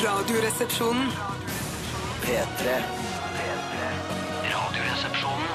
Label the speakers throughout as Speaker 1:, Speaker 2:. Speaker 1: Radioresepsjonen.
Speaker 2: P3. Radioresepsjonen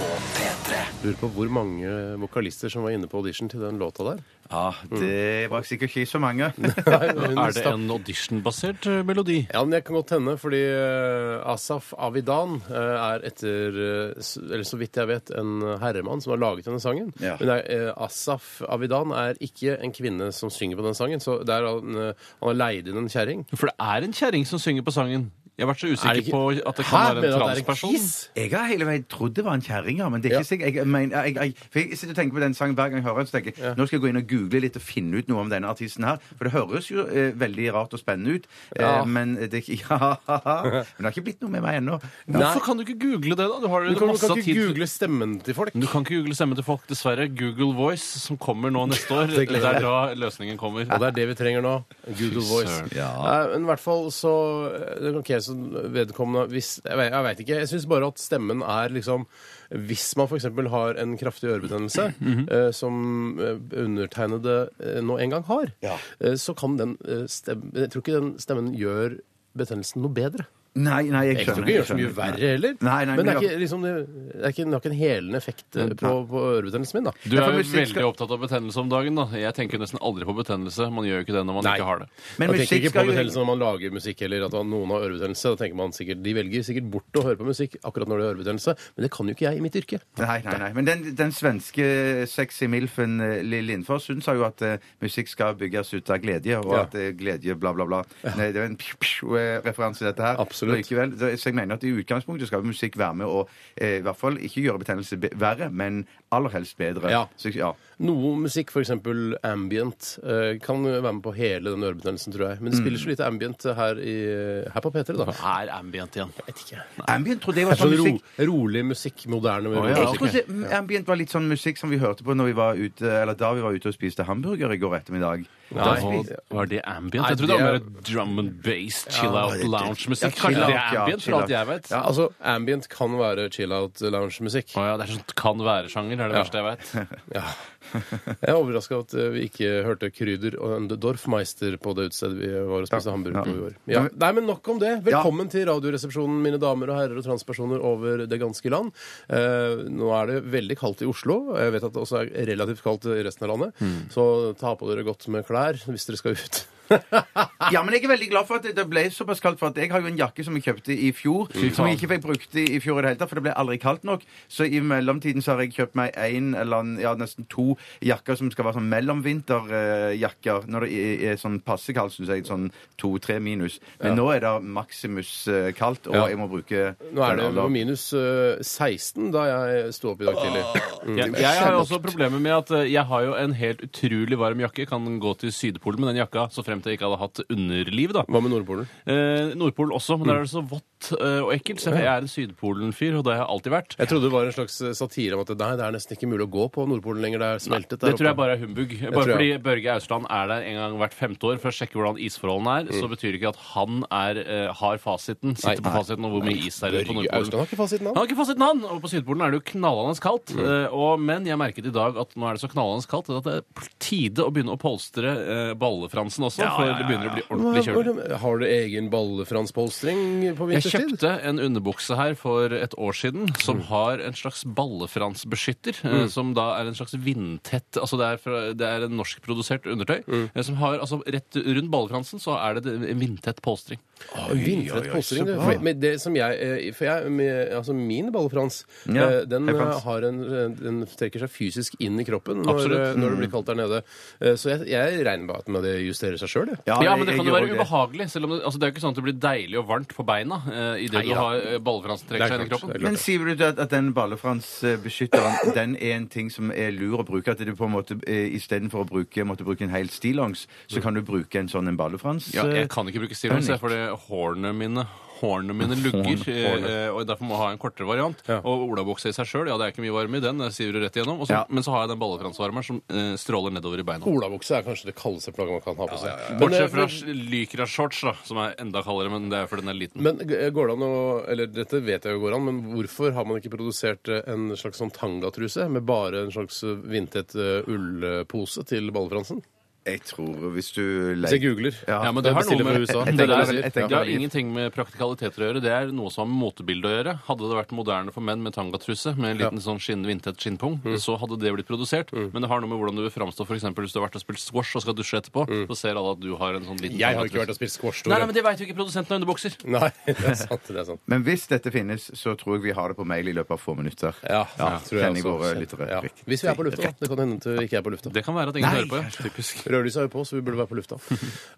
Speaker 2: på P3.
Speaker 3: Lurer på hvor mange vokalister som var inne på audition til den låta der.
Speaker 4: Ja,
Speaker 3: Mm.
Speaker 4: det var sikkert ikke så mange.
Speaker 5: Er det en auditionbasert eh, melodi?
Speaker 3: Ja, men jeg kan godt hende, fordi eh, Asaf Avidan eh, er etter, eh, s- eller så vidt jeg vet, en herremann som har laget denne sangen.
Speaker 4: Ja.
Speaker 3: Men det er, eh, Asaf Avidan er ikke en kvinne som synger på den sangen, så det er han, eh, han har leid inn en kjerring.
Speaker 5: For det er en kjerring som synger på sangen. Jeg har vært så
Speaker 3: Er det
Speaker 5: usikker
Speaker 3: ikke-
Speaker 5: på at det
Speaker 3: Hæ?
Speaker 5: kan
Speaker 3: Mener
Speaker 5: være en
Speaker 3: du at det er en
Speaker 5: transperson.
Speaker 3: kiss?
Speaker 4: Jeg har hele veien trodd det var en kjerring, ja, men det er ikke
Speaker 3: Ja.
Speaker 4: sikkert. Jeg, men, jeg, jeg, for jeg sitter og tenker på den sangen hver gang jeg hører den, så tenker jeg nå skal jeg gå inn og google litt og finne ut noe om denne artisten her. For det høres jo eh, veldig rart og spennende ut, eh,
Speaker 3: Ja.
Speaker 4: men det er ikke ja, Men det har ikke blitt noe med meg ennå.
Speaker 5: Hvorfor kan du ikke google det, da? Du har
Speaker 3: Du kan, du
Speaker 5: masse
Speaker 3: kan ikke
Speaker 5: tid.
Speaker 3: google stemmen til folk.
Speaker 5: Du kan ikke google stemme til folk, dessverre. Google Voice, som kommer nå neste år.
Speaker 3: Det
Speaker 5: Det
Speaker 3: gleder jeg.
Speaker 5: er da løsningen kommer.
Speaker 3: Og det er det vi trenger nå. Google Voice.
Speaker 5: søren.
Speaker 3: Nei, men i hvert fall så eh, Ok, så vedkommende hvis, Jeg, vet- jeg veit ikke. Jeg syns bare at stemmen er liksom Hvis man f.eks. har en kraftig ørebetennelse,
Speaker 4: Mhm.
Speaker 3: eh, som eh, undertegnede eh, nå en gang har, eh, så kan den eh, stem- Jeg tror ikke den stemmen gjør betennelsen noe bedre.
Speaker 4: Nei, nei,
Speaker 3: Jeg tror
Speaker 4: jeg skjønner.
Speaker 3: ikke det gjør så mye
Speaker 4: skjønner.
Speaker 3: verre heller.
Speaker 4: Nei, nei,
Speaker 3: men det
Speaker 4: men Mm,
Speaker 3: er
Speaker 4: ja.
Speaker 3: ikke, liksom, det det er ikke, det har ikke en helende effekt eh, på, på ørebetennelsen min, da.
Speaker 5: Du
Speaker 4: Ja, for
Speaker 5: er jo
Speaker 4: musikk skal-
Speaker 5: veldig opptatt av betennelse om dagen, da. Jeg tenker jo nesten aldri på betennelse. Man gjør jo ikke det når man
Speaker 3: Nei.
Speaker 5: ikke har det.
Speaker 3: man
Speaker 4: Men
Speaker 3: tenker
Speaker 4: musikk
Speaker 3: ikke på
Speaker 4: skal
Speaker 3: betennelse
Speaker 4: jo
Speaker 3: når man lager musikk, eller at noen har ørebetennelse. Da tenker man sikkert, De velger sikkert bort å høre på musikk akkurat når de har ørebetennelse, men det kan jo ikke jeg i mitt yrke.
Speaker 4: Nei, nei, nei. Men den, den svenske sexy milfen eh, Lill Lindfors hun sa jo at eh, musikk skal bygges ut av glede, og
Speaker 3: Ja.
Speaker 4: at eh, glede bla, bla, bla. Nei, det er en pju, pju, eh, referanse, dette her.
Speaker 3: Absolutt.
Speaker 4: Likevel, det- så jeg mener at i utgangspunktet skal musikk være med å eh, i hvert fall ikke gjøre betennelse be verre, men aller helst bedre.
Speaker 3: Ja.
Speaker 4: Så, ja.
Speaker 3: Noe musikk, f.eks. ambient, eh, kan være med på hele den ørebetennelsen, tror jeg. Men det
Speaker 4: Mm.
Speaker 3: spiller så lite ambient her, i, her på P3, da.
Speaker 5: Er ambient igjen.
Speaker 4: Ambient trodde jeg var sånn
Speaker 3: Sånn ro,
Speaker 4: musikk.
Speaker 3: rolig musikk, moderne
Speaker 5: ja,
Speaker 4: Jeg
Speaker 3: musikk.
Speaker 4: trodde mm, ambient var litt sånn musikk som vi hørte på når vi var ute, eller da vi var ute og spiste hamburger i går ettermiddag. Da
Speaker 5: Da
Speaker 4: spiste-
Speaker 5: var- var det ambient?
Speaker 3: Nei,
Speaker 5: Jeg trodde det var
Speaker 3: det
Speaker 5: mer drum and bass, chill out,
Speaker 4: det- det-
Speaker 5: lounge-musikk.
Speaker 4: ja, chill
Speaker 5: Kanskje det
Speaker 4: out,
Speaker 5: er
Speaker 4: ja,
Speaker 5: ambient,
Speaker 4: chill
Speaker 5: for alt
Speaker 4: out.
Speaker 5: jeg vet.
Speaker 3: Ja, altså, ambient kan være chill-out lounge-musikk.
Speaker 5: Å ja, det er sånn kan være-sjanger, det er det
Speaker 3: Ja.
Speaker 5: verste jeg vet.
Speaker 3: Jeg er overraska at eh, vi ikke hørte Krüder og en Dorfmeister på det utestedet vi var og spiste
Speaker 4: Ja.
Speaker 3: hamburger på i år.
Speaker 4: Ja.
Speaker 3: Ja. Nei, men nok om det. Velkommen til Radioresepsjonen, mine damer og herrer og transpersoner over det ganske land. Eh, nå er det veldig kaldt i Oslo. Jeg vet at det også er relativt kaldt i resten av landet.
Speaker 5: Mm.
Speaker 3: Så ta på dere godt med klær hvis dere skal ut.
Speaker 4: Ja, men jeg er veldig glad for at det- det ble såpass kaldt. For at jeg har jo en jakke som jeg kjøpte i fjor, som jeg ikke fikk brukt i, i fjor i det hele tatt, for det ble aldri kaldt nok. Så i mellomtiden så har jeg kjøpt meg en eller annen, ja, nesten to jakker som skal være sånn mellomvinterjakker. Når det er, er sånn passe kaldt, syns jeg. Sånn to-tre minus. Men nå er det maksimus eh, kaldt, og
Speaker 3: Ja.
Speaker 4: jeg må bruke
Speaker 3: Nå er det
Speaker 4: den
Speaker 3: jo
Speaker 4: aller-
Speaker 3: minus eh, 16 da jeg sto opp i dag tidlig.
Speaker 5: Jeg, jeg har jo også problemer med at eh, jeg har jo en helt utrolig varm jakke. Kan gå til Sydpolen med den jakka, så frem til jeg ikke hadde hatt underliv, da.
Speaker 3: Hva Mm. med Nordpolen?
Speaker 5: Eh, Nordpolen også, men der er det så vått eh, og ekkelt. Så jeg er en Sydpolen-fyr, og det har jeg alltid vært.
Speaker 3: Jeg trodde det var en slags satire om at nei, det er nesten ikke mulig å gå på Nordpolen lenger. Det er smeltet der
Speaker 5: Det tror jeg
Speaker 3: oppe.
Speaker 5: bare er humbug. Bare
Speaker 3: tror
Speaker 5: fordi
Speaker 3: jeg.
Speaker 5: Børge Ausland er der en gang hvert femte år for å sjekke hvordan isforholdene er, så betyr det ikke at han er, eh, har fasiten,
Speaker 3: Mm.
Speaker 5: sitter
Speaker 3: Nei.
Speaker 5: på fasiten om hvor mye is det er på
Speaker 3: Børge
Speaker 5: Nordpolen.
Speaker 3: Ausland har ikke fasiten, han.
Speaker 5: Han har ikke fasiten, han! Og på Sydpolen er det jo knallende kaldt.
Speaker 3: Mm.
Speaker 5: eh, Og, men jeg merket i dag at nå er det så knallende kaldt at det er på tide å begynne å polstre eh, ballefransen også, for det begynner å bli ordentlig kjølig.
Speaker 3: Har du egen ballefranspolstring på
Speaker 5: Jeg
Speaker 3: vinterstid?
Speaker 5: kjøpte en underbukse her for et år siden som
Speaker 3: Mm.
Speaker 5: har en slags ballefransbeskytter. eh, Som da er en slags vindtett Altså det er, fra, det er en norskprodusert undertøy.
Speaker 3: Mm.
Speaker 5: eh, Som har, altså Rett rundt ballefransen så er det en vindtett polstring.
Speaker 3: Vindrett polstring. du. For, men det som jeg, eh, for jeg med, altså min ballefrans,
Speaker 4: Ja,
Speaker 3: eh, den,
Speaker 4: hei,
Speaker 3: eh,
Speaker 4: Frans.
Speaker 3: har en, eh, den trekker seg fysisk inn i kroppen når,
Speaker 5: Absolutt. Mm.
Speaker 3: eh, når det blir kaldt der nede. Eh, Så jeg, jeg regner med at med det justerer seg sjøl, jeg.
Speaker 5: Ja, men det
Speaker 4: jeg- jeg
Speaker 5: kan jo
Speaker 4: gjorde
Speaker 5: være
Speaker 4: det.
Speaker 5: ubehagelig. Selv om det, altså det er jo ikke sånn at det blir deilig og varmt på beina eh, idet du
Speaker 3: Neida.
Speaker 5: har eh, ballefransen
Speaker 3: Det er
Speaker 5: trekker seg inn i
Speaker 3: klart,
Speaker 5: kroppen.
Speaker 3: det er
Speaker 4: Men
Speaker 3: klart.
Speaker 4: sier du at, at den ballefransbeskytteren den er en ting som er lur å bruke? At du på en måte eh, istedenfor å bruke, måtte bruke en hel stillongs, så kan du bruke en sånn en ballefrans?
Speaker 5: Ja,
Speaker 4: eh,
Speaker 5: jeg kan ikke bruke stillongs, jeg, fordi hårene mine Hårene mine lugger, eh, og derfor må jeg ha en kortere variant. Og olabukse i seg sjøl, ja, det er ikke mye varme i den. Jeg siver jo rett igjennom. Og så-
Speaker 4: Ja.
Speaker 5: Men så har jeg den ballefransvarmeren som eh, stråler nedover i beina.
Speaker 3: Olabukse er kanskje det kaldeste plagget man kan ha på seg. Men, eh,
Speaker 5: Bortsett fra lykra-shorts, da, som er enda kaldere, men det er jo fordi den er liten.
Speaker 3: Men g- går det an å Eller dette vet jeg jo går an, men hvorfor har man ikke produsert eh, en slags sånn tangatruse med bare en slags eh, vindtett eh, ullpose til ballefransen?
Speaker 4: eh, Jeg tror hvis du
Speaker 3: Hvis jeg googler.
Speaker 4: Ja.
Speaker 5: Ja, men det har noe
Speaker 3: bestiller
Speaker 5: med
Speaker 3: fra USA.
Speaker 5: Det,
Speaker 4: tenker
Speaker 5: der,
Speaker 4: det. Jeg
Speaker 5: det
Speaker 4: tenker
Speaker 5: har
Speaker 4: det.
Speaker 5: ingenting med praktikaliteter å gjøre. Det er noe som har med motebildet å gjøre. Hadde det vært moderne for menn med tangatruse med en liten sånn skinn, vindtett skinnpung, så hadde det blitt produsert. Men det har noe med hvordan du vil framstå f.eks. hvis du har vært og spilt squash og skal dusje etterpå. Så ser alle at du har en sånn liten
Speaker 3: Jeg har ikke
Speaker 5: tangatruse.
Speaker 3: vært og spist squash.
Speaker 5: Nei,
Speaker 3: Tore.
Speaker 5: nei, men det veit jo ikke produsenten av underbukser.
Speaker 3: Nei, det er sant. det er sant.
Speaker 4: Men hvis dette finnes, så tror jeg vi har det på mail i løpet av få minutter.
Speaker 3: Ja, det tror jeg
Speaker 4: kjenner
Speaker 3: også.
Speaker 4: våre lyttere
Speaker 3: Ja.
Speaker 4: riktig.
Speaker 3: Hvis vi er på lufta, da. Det kan hende at vi ikke er på lufta.
Speaker 5: Det kan være at ingen hører på. Ja. Typisk.
Speaker 3: Rødlyset er jo på, så vi burde være på lufta.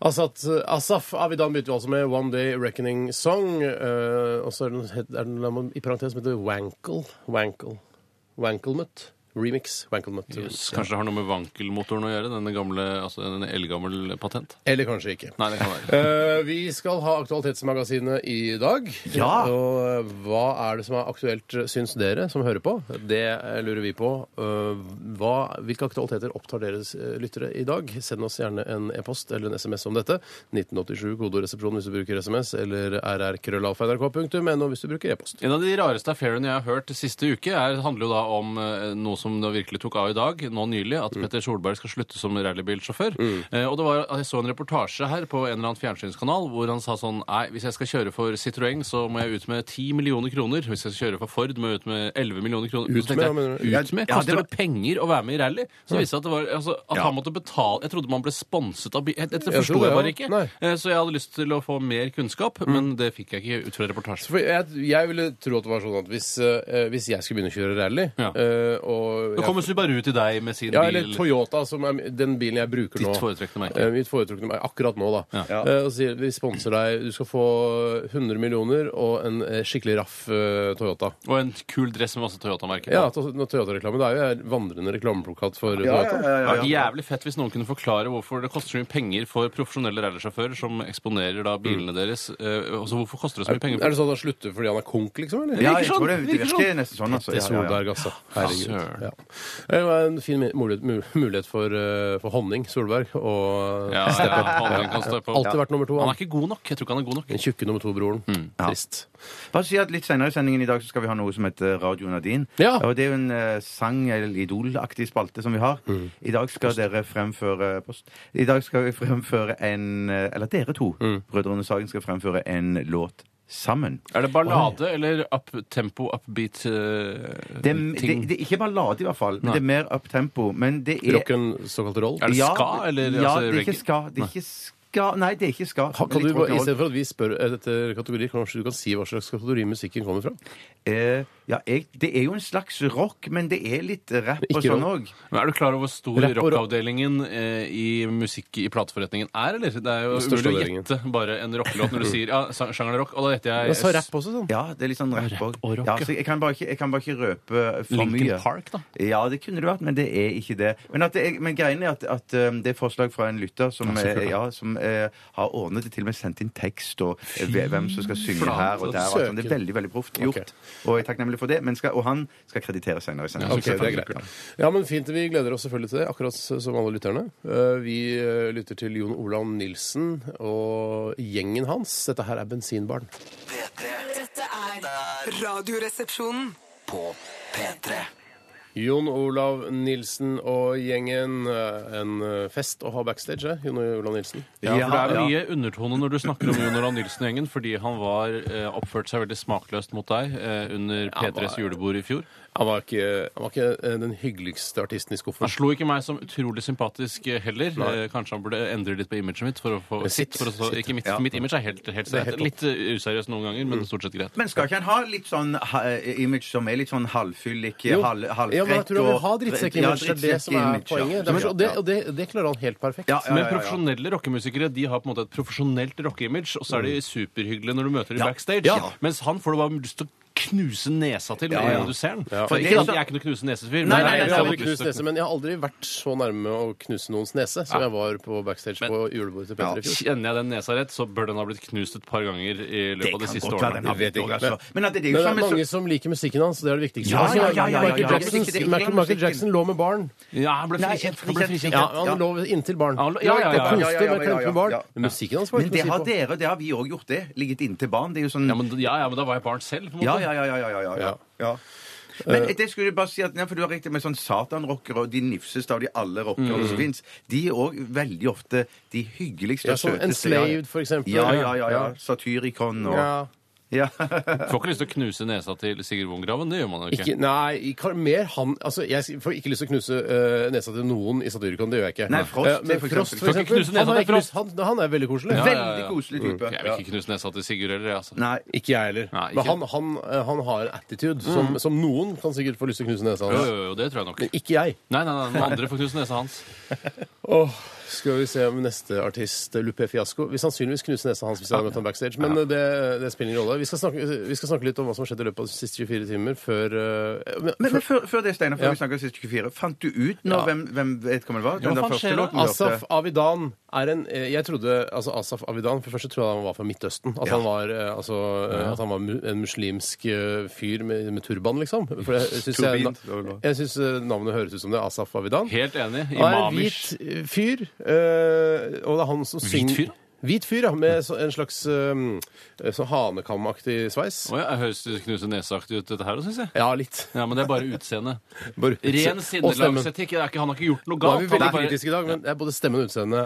Speaker 3: Asaf, Asaf Avidan begynte jo altså med One Day Reckoning Song. eh, og så er det, noe, het- er det noe i parentes som heter Wankle. Wankle. Wankelmut. Remix. Wankelmut.
Speaker 5: Yes, kanskje det har noe med vankelmotoren å gjøre? Denne gamle, altså en eldgammel patent?
Speaker 3: Eller kanskje ikke.
Speaker 5: Nei, det kan være.
Speaker 3: Eh, vi skal ha Aktualitetsmagasinet i dag.
Speaker 4: Ja.
Speaker 3: Og eh, hva er det som er aktuelt, syns dere som hører på? Det eh, lurer vi på. Eh, hva, hvilke aktualiteter opptar deres eh, lyttere i dag? Send oss gjerne en e-post eller en SMS om dette. 1987 kodoresepsjon hvis du bruker SMS, eller rrkrøllalfa.nrk.no hvis du bruker e-post.
Speaker 5: En av de rareste affærene jeg har hørt siste uke, er, handler jo da om eh, noe som da virkelig tok av i dag, nå nylig, at
Speaker 3: Mm.
Speaker 5: Petter Solberg skal slutte som rallybilsjåfør. Eh, og det var, Jeg så en reportasje her på en eller annen fjernsynskanal hvor han sa sånn Nei, hvis jeg skal kjøre for Citroën, så må jeg ut med 10 millioner kroner. Hvis jeg skal kjøre for Ford, må jeg ut med 11 millioner kroner.
Speaker 3: Ut
Speaker 5: Så tenkte
Speaker 3: med, mener du?
Speaker 5: jeg, ut med?
Speaker 4: Ja, det
Speaker 5: Koster
Speaker 4: var-
Speaker 5: det penger å være med i rally? Så viste det seg at det var altså, At
Speaker 4: Ja.
Speaker 5: han måtte betale Jeg trodde man ble sponset av bil... Dette
Speaker 3: Jeg
Speaker 5: forsto
Speaker 3: tror det,
Speaker 5: jeg bare
Speaker 3: ja.
Speaker 5: ikke.
Speaker 3: Nei. Mm.
Speaker 5: Eh, Så jeg hadde lyst til å få mer kunnskap, men det fikk jeg ikke ut fra reportasjen.
Speaker 3: For jeg, jeg ville tro at det var sånn at hvis, eh, hvis jeg skulle begynne å kjøre rally
Speaker 5: Ja.
Speaker 3: eh, og
Speaker 5: Nå
Speaker 3: jeg-
Speaker 5: kommer Subaru til deg med sin
Speaker 3: Ja, eller
Speaker 5: bil.
Speaker 3: Toyota, som er den bilen jeg bruker
Speaker 5: Ditt
Speaker 3: nå.
Speaker 5: foretrukne merke.
Speaker 3: Eh, Mitt foretrukne merke akkurat nå, da.
Speaker 5: Ja.
Speaker 4: Ja.
Speaker 3: Eh, og sier vi sponser deg. Du skal få 100 millioner og en eh, skikkelig raff eh, Toyota.
Speaker 5: Og en kul dress med masse Toyota-merker.
Speaker 3: Ja,
Speaker 5: på.
Speaker 3: to- no- Toyota-reklame. Det er jo en vandrende reklameplakat for eh,
Speaker 4: Ja,
Speaker 3: Toyota.
Speaker 4: ja,
Speaker 5: Det
Speaker 4: ja,
Speaker 5: hadde vært
Speaker 4: ja.
Speaker 5: jævlig fett hvis noen kunne forklare hvorfor det koster så mye penger for profesjonelle rallysjåfører som eksponerer da bilene deres. Eh, altså Hvorfor koster det så mye penger?
Speaker 3: Er det sånn at han slutter fordi han er konk, liksom? eller?
Speaker 4: Ja,
Speaker 5: virker
Speaker 4: jeg
Speaker 5: sånn,
Speaker 4: tror det, det
Speaker 5: virker
Speaker 4: virker nesten sånn, altså.
Speaker 3: Det er
Speaker 4: Ja, ja, ja.
Speaker 3: Solberg, altså. Herregud.
Speaker 5: søren.
Speaker 3: Ja. Eh, Det var en fin mulighet, mu- mulighet for, eh, for honning, Solberg, og
Speaker 5: Ja, ja, han kan stå på.
Speaker 3: Alltid vært nummer to.
Speaker 5: Han
Speaker 3: Han
Speaker 5: er ikke god nok. Jeg tror ikke han er god nok.
Speaker 3: Den tjukke nummer to-broren. Trist.
Speaker 4: Bare si at Litt senere i sendingen i dag så skal vi ha noe som heter Radio Nadine.
Speaker 3: Ja.
Speaker 4: Og Det er jo en eh, sang- eller idolaktig spalte som vi har. I dag skal dere fremføre post. I dag skal vi fremføre en eh, Eller dere to, Brødrene Sagen, skal fremføre en låt sammen.
Speaker 5: Er det ballade eller up tempo, upbeat eh,
Speaker 4: Det er, det,
Speaker 5: ting?
Speaker 4: det er ikke ballade, i hvert fall, men
Speaker 5: Nei.
Speaker 4: det er mer up tempo. Men det er
Speaker 3: Rocken såkalt roll.
Speaker 5: Er det
Speaker 4: Ja,
Speaker 5: ska, eller
Speaker 4: Ja,
Speaker 5: altså,
Speaker 4: det er
Speaker 5: reggae?
Speaker 4: ikke ska. Det er ikke ska. Nei, det er ikke ska.
Speaker 3: Ha-
Speaker 4: Det er
Speaker 3: Kan du,
Speaker 4: litt
Speaker 3: bare- I
Speaker 4: rock'n'roll.
Speaker 3: stedet for at vi spør eh, etter kategorier, kanskje du kan si hva slags kategori musikken kommer fra?
Speaker 4: Eh, ja, jeg, det er jo en slags rock, men det er litt rap og
Speaker 3: Ikke
Speaker 4: sånn
Speaker 3: rock.
Speaker 4: òg.
Speaker 5: Men er du klar over hvor stor
Speaker 3: Rapp og rock.
Speaker 5: rockavdelingen eh, i musikk i plateforretningen er, eller? Det er jo
Speaker 3: Den største
Speaker 5: umulig å
Speaker 3: avdelingen.
Speaker 5: gjette bare en rockelåt når du sier ja, sang- sjangeren rock, og da gjetter jeg
Speaker 3: Jeg sa rapp også, sånn.
Speaker 4: Ja, det er litt sånn rapp òg.
Speaker 5: og rock,
Speaker 4: Ja,
Speaker 5: ja.
Speaker 4: så jeg, kan bare ikke- jeg kan bare ikke røpe for
Speaker 5: Linkin
Speaker 4: mye.
Speaker 5: Park, da.
Speaker 4: Ja, det kunne det vært, men det er ikke det. Men, at det er, men greien er at, at um, det er forslag fra en lytter som, eh, ja, som eh, har ordnet det, til og med sendt inn tekst og eh, hvem som skal synge
Speaker 5: flate,
Speaker 4: her og der. og alt sånt. Det er
Speaker 3: søken.
Speaker 4: veldig veldig proft gjort.
Speaker 3: Ok.
Speaker 4: Og jeg er takknemlig for det, men skal, og han skal kreditere senere. i sendingen.
Speaker 3: Ok, det er greit. Ja, men fint. Vi gleder oss selvfølgelig til det, akkurat som alle lytterne. Eh, Vi eh, lytter til Jon Olav Nilsen og gjengen hans. Dette her er Bensinbarn.
Speaker 2: P3
Speaker 1: Dette er Radioresepsjonen.
Speaker 2: på P3.
Speaker 3: Jon Olav Nilsen og gjengen. eh, En eh, fest å ha backstage, eh, Jon Olav Nilsen.
Speaker 5: Ja, for det er
Speaker 4: Ja,
Speaker 5: mye undertone når du snakker om Jon Olav Nilsen-gjengen, fordi han var eh, oppført seg veldig smakløst mot deg eh, under P3s julebord i fjor.
Speaker 3: Han var ikke, han var ikke eh, den hyggeligste artisten i skuffen.
Speaker 5: Han slo ikke meg som utrolig sympatisk eh, heller. Eh, kanskje han burde endre litt på imaget mitt. for å få
Speaker 3: Eh, sitt,
Speaker 5: sitt, for å stå,
Speaker 3: sitt.
Speaker 5: Ikke mitt,
Speaker 4: Ja.
Speaker 5: mitt image er helt, helt,
Speaker 3: er helt Mm.
Speaker 5: greit. Litt eh, useriøst noen ganger, men stort sett greit.
Speaker 4: Men skal ikke han ha litt sånn ha, image som er litt sånn halvfyllik,
Speaker 3: Jo.
Speaker 4: halv, halvfrekk
Speaker 3: ja, men jeg tror han vil ha
Speaker 4: Ja,
Speaker 3: drittsekk-image. det er det som er
Speaker 4: drittsekk-image, ja.
Speaker 3: poenget. Det er- Og det, og det, det klarer han helt perfekt.
Speaker 4: Ja, ja,
Speaker 5: Men
Speaker 4: ja, ja, ja.
Speaker 5: profesjonelle rockemusikere de har på en måte et profesjonelt rockeimage, og så er de superhyggelige når du møter dem
Speaker 4: Mm. Ja.
Speaker 5: backstage.
Speaker 4: Ja.
Speaker 5: Mens han får du bare lyst til å knuse nesa til med
Speaker 4: ja.
Speaker 5: en gang du ser den.
Speaker 3: Ja.
Speaker 5: For
Speaker 4: Det
Speaker 5: ikke
Speaker 4: er
Speaker 5: at
Speaker 4: så-
Speaker 5: jeg er ikke noe knuse nesefyr.
Speaker 4: Nei,
Speaker 5: men
Speaker 4: nei,
Speaker 5: jeg
Speaker 3: Jeg har
Speaker 5: hadde
Speaker 3: aldri
Speaker 5: lyst
Speaker 3: knust
Speaker 5: til-
Speaker 3: nese, men jeg har aldri vært så nærme å knuse noens nese som jeg var på backstage på julebordet til Petter i fjor.
Speaker 5: Kjenner jeg den nesa rett, så bør den ha blitt knust et par ganger i løpet av de siste årene.
Speaker 4: har blitt òg, altså. Men at det, det
Speaker 3: Men det
Speaker 4: er jo
Speaker 3: er
Speaker 4: samme som
Speaker 3: mange som liker musikken hans, og det er det viktigste.
Speaker 4: Ja, ja, ja, ja, ja, ja.
Speaker 3: Michael,
Speaker 4: Det er ikke- det er
Speaker 3: Jackson,
Speaker 4: ikke
Speaker 3: Michael, Michael
Speaker 4: musikken.
Speaker 3: Jackson lå med barn.
Speaker 5: Ja, han ble
Speaker 4: Nei,
Speaker 5: frikjent.
Speaker 4: frikjent,
Speaker 5: Han ble frikjent.
Speaker 4: frikjent.
Speaker 3: Ja,
Speaker 5: Ja.
Speaker 3: han
Speaker 4: Ja.
Speaker 3: lå inntil barn.
Speaker 5: Han lå-
Speaker 3: Ja,
Speaker 5: ja, ja, ja,
Speaker 3: Og
Speaker 4: ja, ja,
Speaker 3: koste
Speaker 4: ja,
Speaker 3: med
Speaker 4: ja, ja,
Speaker 3: klemte med
Speaker 4: ja.
Speaker 3: barn. Men musikken hans var
Speaker 4: Men det
Speaker 3: ikke
Speaker 4: har
Speaker 3: noe å si på.
Speaker 4: dere, det har vi òg gjort, det. Ligget inntil barn. Det er jo sånn
Speaker 5: Ja, men, ja, ja, men da var jeg barn selv. på en måte.
Speaker 4: Ja, ja, ja, ja, ja, ja, ja.
Speaker 3: Ja. Eh.
Speaker 4: ja. Men det skulle jeg bare si at, nei, for Du har riktig med sånn satanrockere og de nifseste av de alle rockere
Speaker 3: Mm.
Speaker 4: som fins. De er òg veldig ofte de hyggeligste
Speaker 3: Ja,
Speaker 4: og
Speaker 3: sånn
Speaker 4: søteste.
Speaker 3: Enslaved, for eksempel.
Speaker 4: Ja, ja, ja. ja. Satyricon og
Speaker 3: Ja.
Speaker 4: Ja.
Speaker 5: Får ikke lyst til å knuse nesa til Sigurd Vongraven. Det gjør man jo ikke.
Speaker 3: Ikke, nei, kan- mer han altså, Jeg får ikke lyst til å knuse eh, nesa til noen i Satyricon. Det gjør jeg ikke.
Speaker 4: Nei, Frost,
Speaker 3: Eh, men
Speaker 4: for eksempel.
Speaker 3: Frost, for
Speaker 5: Kan ikke
Speaker 3: eksempel.
Speaker 5: knuse nesa
Speaker 3: Han, har
Speaker 5: til
Speaker 3: jeg ikke lyst, han, han er veldig koselig.
Speaker 5: Ja, ja,
Speaker 4: Veldig
Speaker 5: ja.
Speaker 3: Mm.
Speaker 4: koselig type.
Speaker 5: Jeg vil
Speaker 4: Ja.
Speaker 5: ikke knuse nesa til Sigurd heller, jeg, altså.
Speaker 4: Nei.
Speaker 3: Ikke jeg heller.
Speaker 5: Nei, ikke. Mm.
Speaker 3: Men han, han, eh, han har en attitude som, som noen kan sikkert få lyst til å knuse nesa
Speaker 5: Jo,
Speaker 3: hans.
Speaker 5: jo, jo, det tror jeg nok.
Speaker 3: Men ikke jeg.
Speaker 5: Nei, nei, nei, noen andre får knuse nesa hans.
Speaker 3: Åh, skal vi se om neste artist, Lupe Fiasko Vil sannsynligvis knuse nesa hans hvis jeg hadde møtt ham backstage, men eh, det, det spiller ingen rolle. Vi skal, snakke, vi skal snakke litt om hva som har skjedd i løpet av de siste 24 timer før eh, men-
Speaker 4: Men, men før, før det, Steinar, før
Speaker 3: Ja.
Speaker 4: vi snakker om siste 24, fant du ut nå
Speaker 3: Ja.
Speaker 4: hvem, hvem vedkommende var? Den
Speaker 5: hva
Speaker 4: der
Speaker 5: faen skjer
Speaker 4: første
Speaker 5: da?
Speaker 4: låten vi hørte?
Speaker 3: Asaf Avidan er en eh, Jeg trodde altså Asaf Avidan For det første trodde jeg han var fra Midtøsten. At han var, eh, altså, eh, at han var mu en muslimsk eh, fyr med, med turban, liksom. For jeg syns jeg,
Speaker 4: Turbin, det var bra.
Speaker 3: jeg synes, eh, navnet høres ut som det. Asaf Avidan.
Speaker 5: Helt enig.
Speaker 3: Han er en
Speaker 5: Imamish.
Speaker 3: hvit eh, fyr, eh, og det er han som synger
Speaker 5: fyr?
Speaker 3: Hvit fyr, ja. Med så, en slags eh, sånn hanekamaktig sveis.
Speaker 5: Å ja, jeg høres knuse neseaktig ut, dette her òg, syns jeg.
Speaker 3: Ja, litt.
Speaker 5: Ja, men det er bare utseendet.
Speaker 3: Bare-
Speaker 5: Ren
Speaker 3: Og stemmen.
Speaker 5: sinnelagsetikk. det er ikke- Han har ikke gjort noe
Speaker 3: Da er
Speaker 5: galt.
Speaker 3: vi
Speaker 5: Han
Speaker 3: veldig
Speaker 5: er bare-
Speaker 3: kritiske i dag, men det er både stemmen og utseendet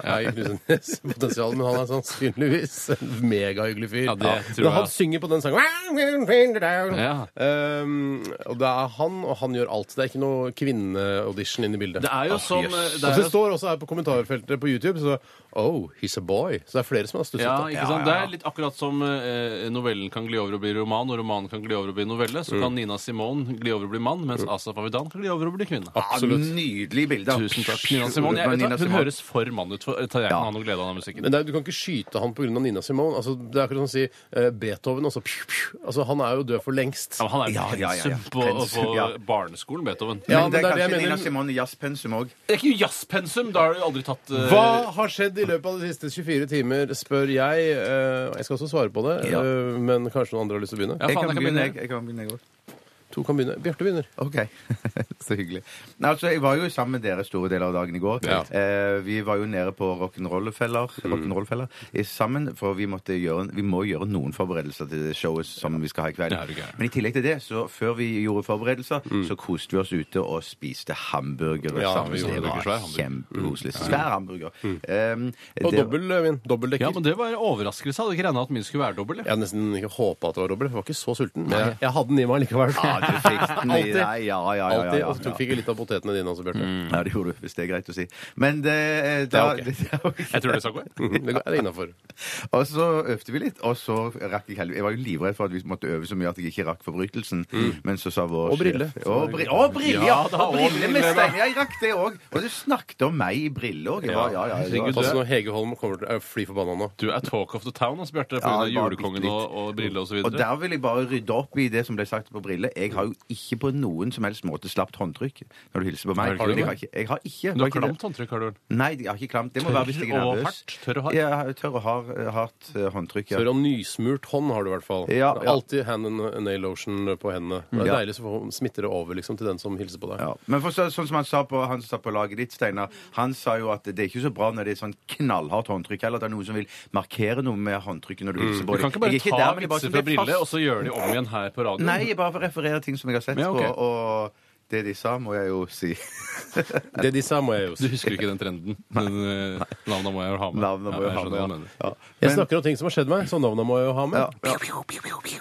Speaker 3: er knusenespotensial. Men han er sannsynligvis en megahyggelig fyr.
Speaker 5: Ja, det tror
Speaker 3: Når
Speaker 5: jeg.
Speaker 3: han synger på den sangen
Speaker 5: Ja.
Speaker 3: Ehm, Og det er han, og han gjør alt. Det er ikke noe kvinneaudition inne i bildet.
Speaker 5: Det er jo som det
Speaker 3: Og så
Speaker 5: er jo
Speaker 3: står også her på kommentarfeltet på YouTube så Oh, he's a boy. Så det er flere som har stusset.
Speaker 5: Ja,
Speaker 4: sånn-
Speaker 3: da.
Speaker 5: ikke sant? Det er litt akkurat som eh, novellen kan gli over og bli roman, og romanen kan gli over og bli novelle.
Speaker 4: Mm.
Speaker 5: Så kan Nina Simone gli over og bli mann, mens Asaf Avidan kan gli over og bli kvinne. Ah,
Speaker 3: Absolutt.
Speaker 4: Ja, nydelig bilde.
Speaker 5: Tusen takk. Nina Simone, jeg,
Speaker 4: Urban
Speaker 5: vet du
Speaker 4: Nina
Speaker 5: hva, Hun
Speaker 4: Simone.
Speaker 5: høres for mann ut. For, tar jeg kan ha noe glede av den musikken.
Speaker 3: Men det er, du kan ikke skyte han pga. Nina Simone. Altså, det er akkurat som å si eh, Beethoven. Også, pju, pju. Altså, han er jo død for lengst.
Speaker 5: Ja, men han er jo
Speaker 4: Ja, ja, ja, ja.
Speaker 5: pensum på,
Speaker 4: Pensum,
Speaker 5: på
Speaker 4: ja.
Speaker 5: barneskolen, Beethoven.
Speaker 3: Ja,
Speaker 4: Men det er
Speaker 3: men det er det jeg
Speaker 4: kanskje Nina
Speaker 3: mener.
Speaker 4: Simone i jazzpensum òg.
Speaker 5: Det er ikke jazzpensum! Da har du aldri tatt eh,
Speaker 3: Hva har skjedd i løpet av de siste 24 timer, spør jeg. Eh, Jeg skal også svare på det,
Speaker 4: Ja.
Speaker 3: eh, men kanskje noen andre har lyst til å begynne?
Speaker 5: Ja,
Speaker 4: Jeg
Speaker 5: faen,
Speaker 4: kan
Speaker 5: jeg kan
Speaker 4: begynne,
Speaker 5: begynne.
Speaker 4: jeg. jeg kan begynne, jeg òg.
Speaker 3: To kan begynne. Bjarte begynner.
Speaker 4: OK. Så hyggelig. Nei, altså, Jeg var jo sammen med dere store deler av dagen i går.
Speaker 3: Ja.
Speaker 4: Eh, vi var jo nede på Rock'n'Roll-feller rock'n'roll-feller, eh, sammen, for vi, måtte gjøre, vi må gjøre noen forberedelser til det showet som vi skal ha i kveld.
Speaker 5: Ja, er du gæren.
Speaker 4: Men i tillegg til det, så før vi gjorde forberedelser, så koste vi oss ute og spiste hamburgere
Speaker 3: Ja,
Speaker 4: sammen.
Speaker 3: vi
Speaker 4: Så det
Speaker 5: gjorde det. Svær
Speaker 4: var
Speaker 5: hamburger.
Speaker 4: kjempekoselig. Svær hamburger. Eh,
Speaker 3: Og
Speaker 4: det-
Speaker 3: dobbel, Øyvind. Dobbeltdekker.
Speaker 5: Ja, men det var en overraskelse. Hadde ikke regna at min skulle være dobbel.
Speaker 3: Jeg hadde nesten ikke håpa at det var dobbel. Jeg var ikke så sulten. Men jeg, jeg hadde den i meg likevel.
Speaker 4: Ja, du fikk den i
Speaker 3: Alltid.
Speaker 4: deg. Ja, ja, ja. ja,
Speaker 3: Alltid.
Speaker 4: ja,
Speaker 3: Og så fikk jeg litt av potetene dine også, Bjarte.
Speaker 4: Ja, det gjorde du, hvis det er greit å si. Men det, eh, da,
Speaker 3: ok.
Speaker 4: det er ok.
Speaker 5: Jeg tror det sånn. skal gå. jeg.
Speaker 4: Mm.
Speaker 3: Det går- er innafor.
Speaker 4: Og så øvde vi litt, og så rakk jeg helvete. Jeg var jo livredd for at vi måtte øve så mye at jeg ikke rakk forbrytelsen. Men så sa vår
Speaker 3: Og brille.
Speaker 4: sjef- Og bri å, brille! Ja,
Speaker 5: Ja, da,
Speaker 4: og
Speaker 5: og
Speaker 4: brille
Speaker 5: brille,
Speaker 4: med
Speaker 5: da.
Speaker 4: stein. Jeg rakk det òg. Og du snakket om meg i brille òg. Ja, ja, ja, det var- sånn.
Speaker 5: Herregud,
Speaker 3: Pass nå, Hege Holm kommer til å fly forbanna nå.
Speaker 5: Du er talk of the town, altså,
Speaker 4: Ja,
Speaker 5: Bjarte. Pga.
Speaker 4: det
Speaker 5: av
Speaker 4: var
Speaker 5: julekongen
Speaker 4: litt-
Speaker 5: og, og brille osv.
Speaker 4: Og der vil jeg bare rydde opp i det som ble sagt på Brille. Jeg har jo ikke på noen som helst måte slapt håndtrykk når du hilser på meg.
Speaker 5: Har du ikke det?
Speaker 4: Jeg har ikke. Jeg har ikke
Speaker 5: Du
Speaker 4: var
Speaker 5: har
Speaker 4: ikke det?
Speaker 5: klamt håndtrykk, har du vel?
Speaker 4: Nei, jeg har ikke klamt. Det må være hvis jeg er
Speaker 5: Tørr og
Speaker 4: nervøs.
Speaker 5: hardt? Tørr og hardt?
Speaker 4: Ja, tørr og hard, hardt eh, håndtrykk. Ja.
Speaker 3: Tørr og nysmurt hånd har du i hvert fall.
Speaker 4: Ja, ja.
Speaker 3: Alltid hand and nail lotion på hendene. Det er
Speaker 4: Ja.
Speaker 3: deilig så får- smitter det over liksom, til den som hilser på deg.
Speaker 4: Ja. Men for så, sånn som han sa på, han som satt på laget ditt, Steinar, han sa jo at det er ikke så bra når det er sånn knallhardt håndtrykk, eller at det er noen som vil markere noe med håndtrykket når du hilser på
Speaker 5: Mm. Du
Speaker 4: dem.
Speaker 5: kan ikke bare
Speaker 4: Jeg er
Speaker 5: ta
Speaker 4: der, men det er bare
Speaker 5: vitser
Speaker 4: sånn,
Speaker 5: fra
Speaker 4: det er fast.
Speaker 5: brille og så gjøre de om igjen her på radioen.
Speaker 4: Nei, jeg bare refererer ting som jeg har sett
Speaker 5: Ja, ok.
Speaker 4: på, og det de sa, må jeg jo si.
Speaker 3: Det de sa, må jeg jo
Speaker 5: Du
Speaker 3: si.
Speaker 5: husker ikke den trenden? Men eh, navnet må jeg jo ha med.
Speaker 4: Navnet må
Speaker 5: Ja,
Speaker 4: jo
Speaker 5: jeg
Speaker 4: ha
Speaker 5: skjønner
Speaker 4: med.
Speaker 5: hva
Speaker 4: Ja.
Speaker 5: du mener.
Speaker 4: Ja.
Speaker 3: Jeg
Speaker 4: Men-
Speaker 3: snakker om ting som har skjedd meg, så navna må jeg jo ha med.
Speaker 4: Ja.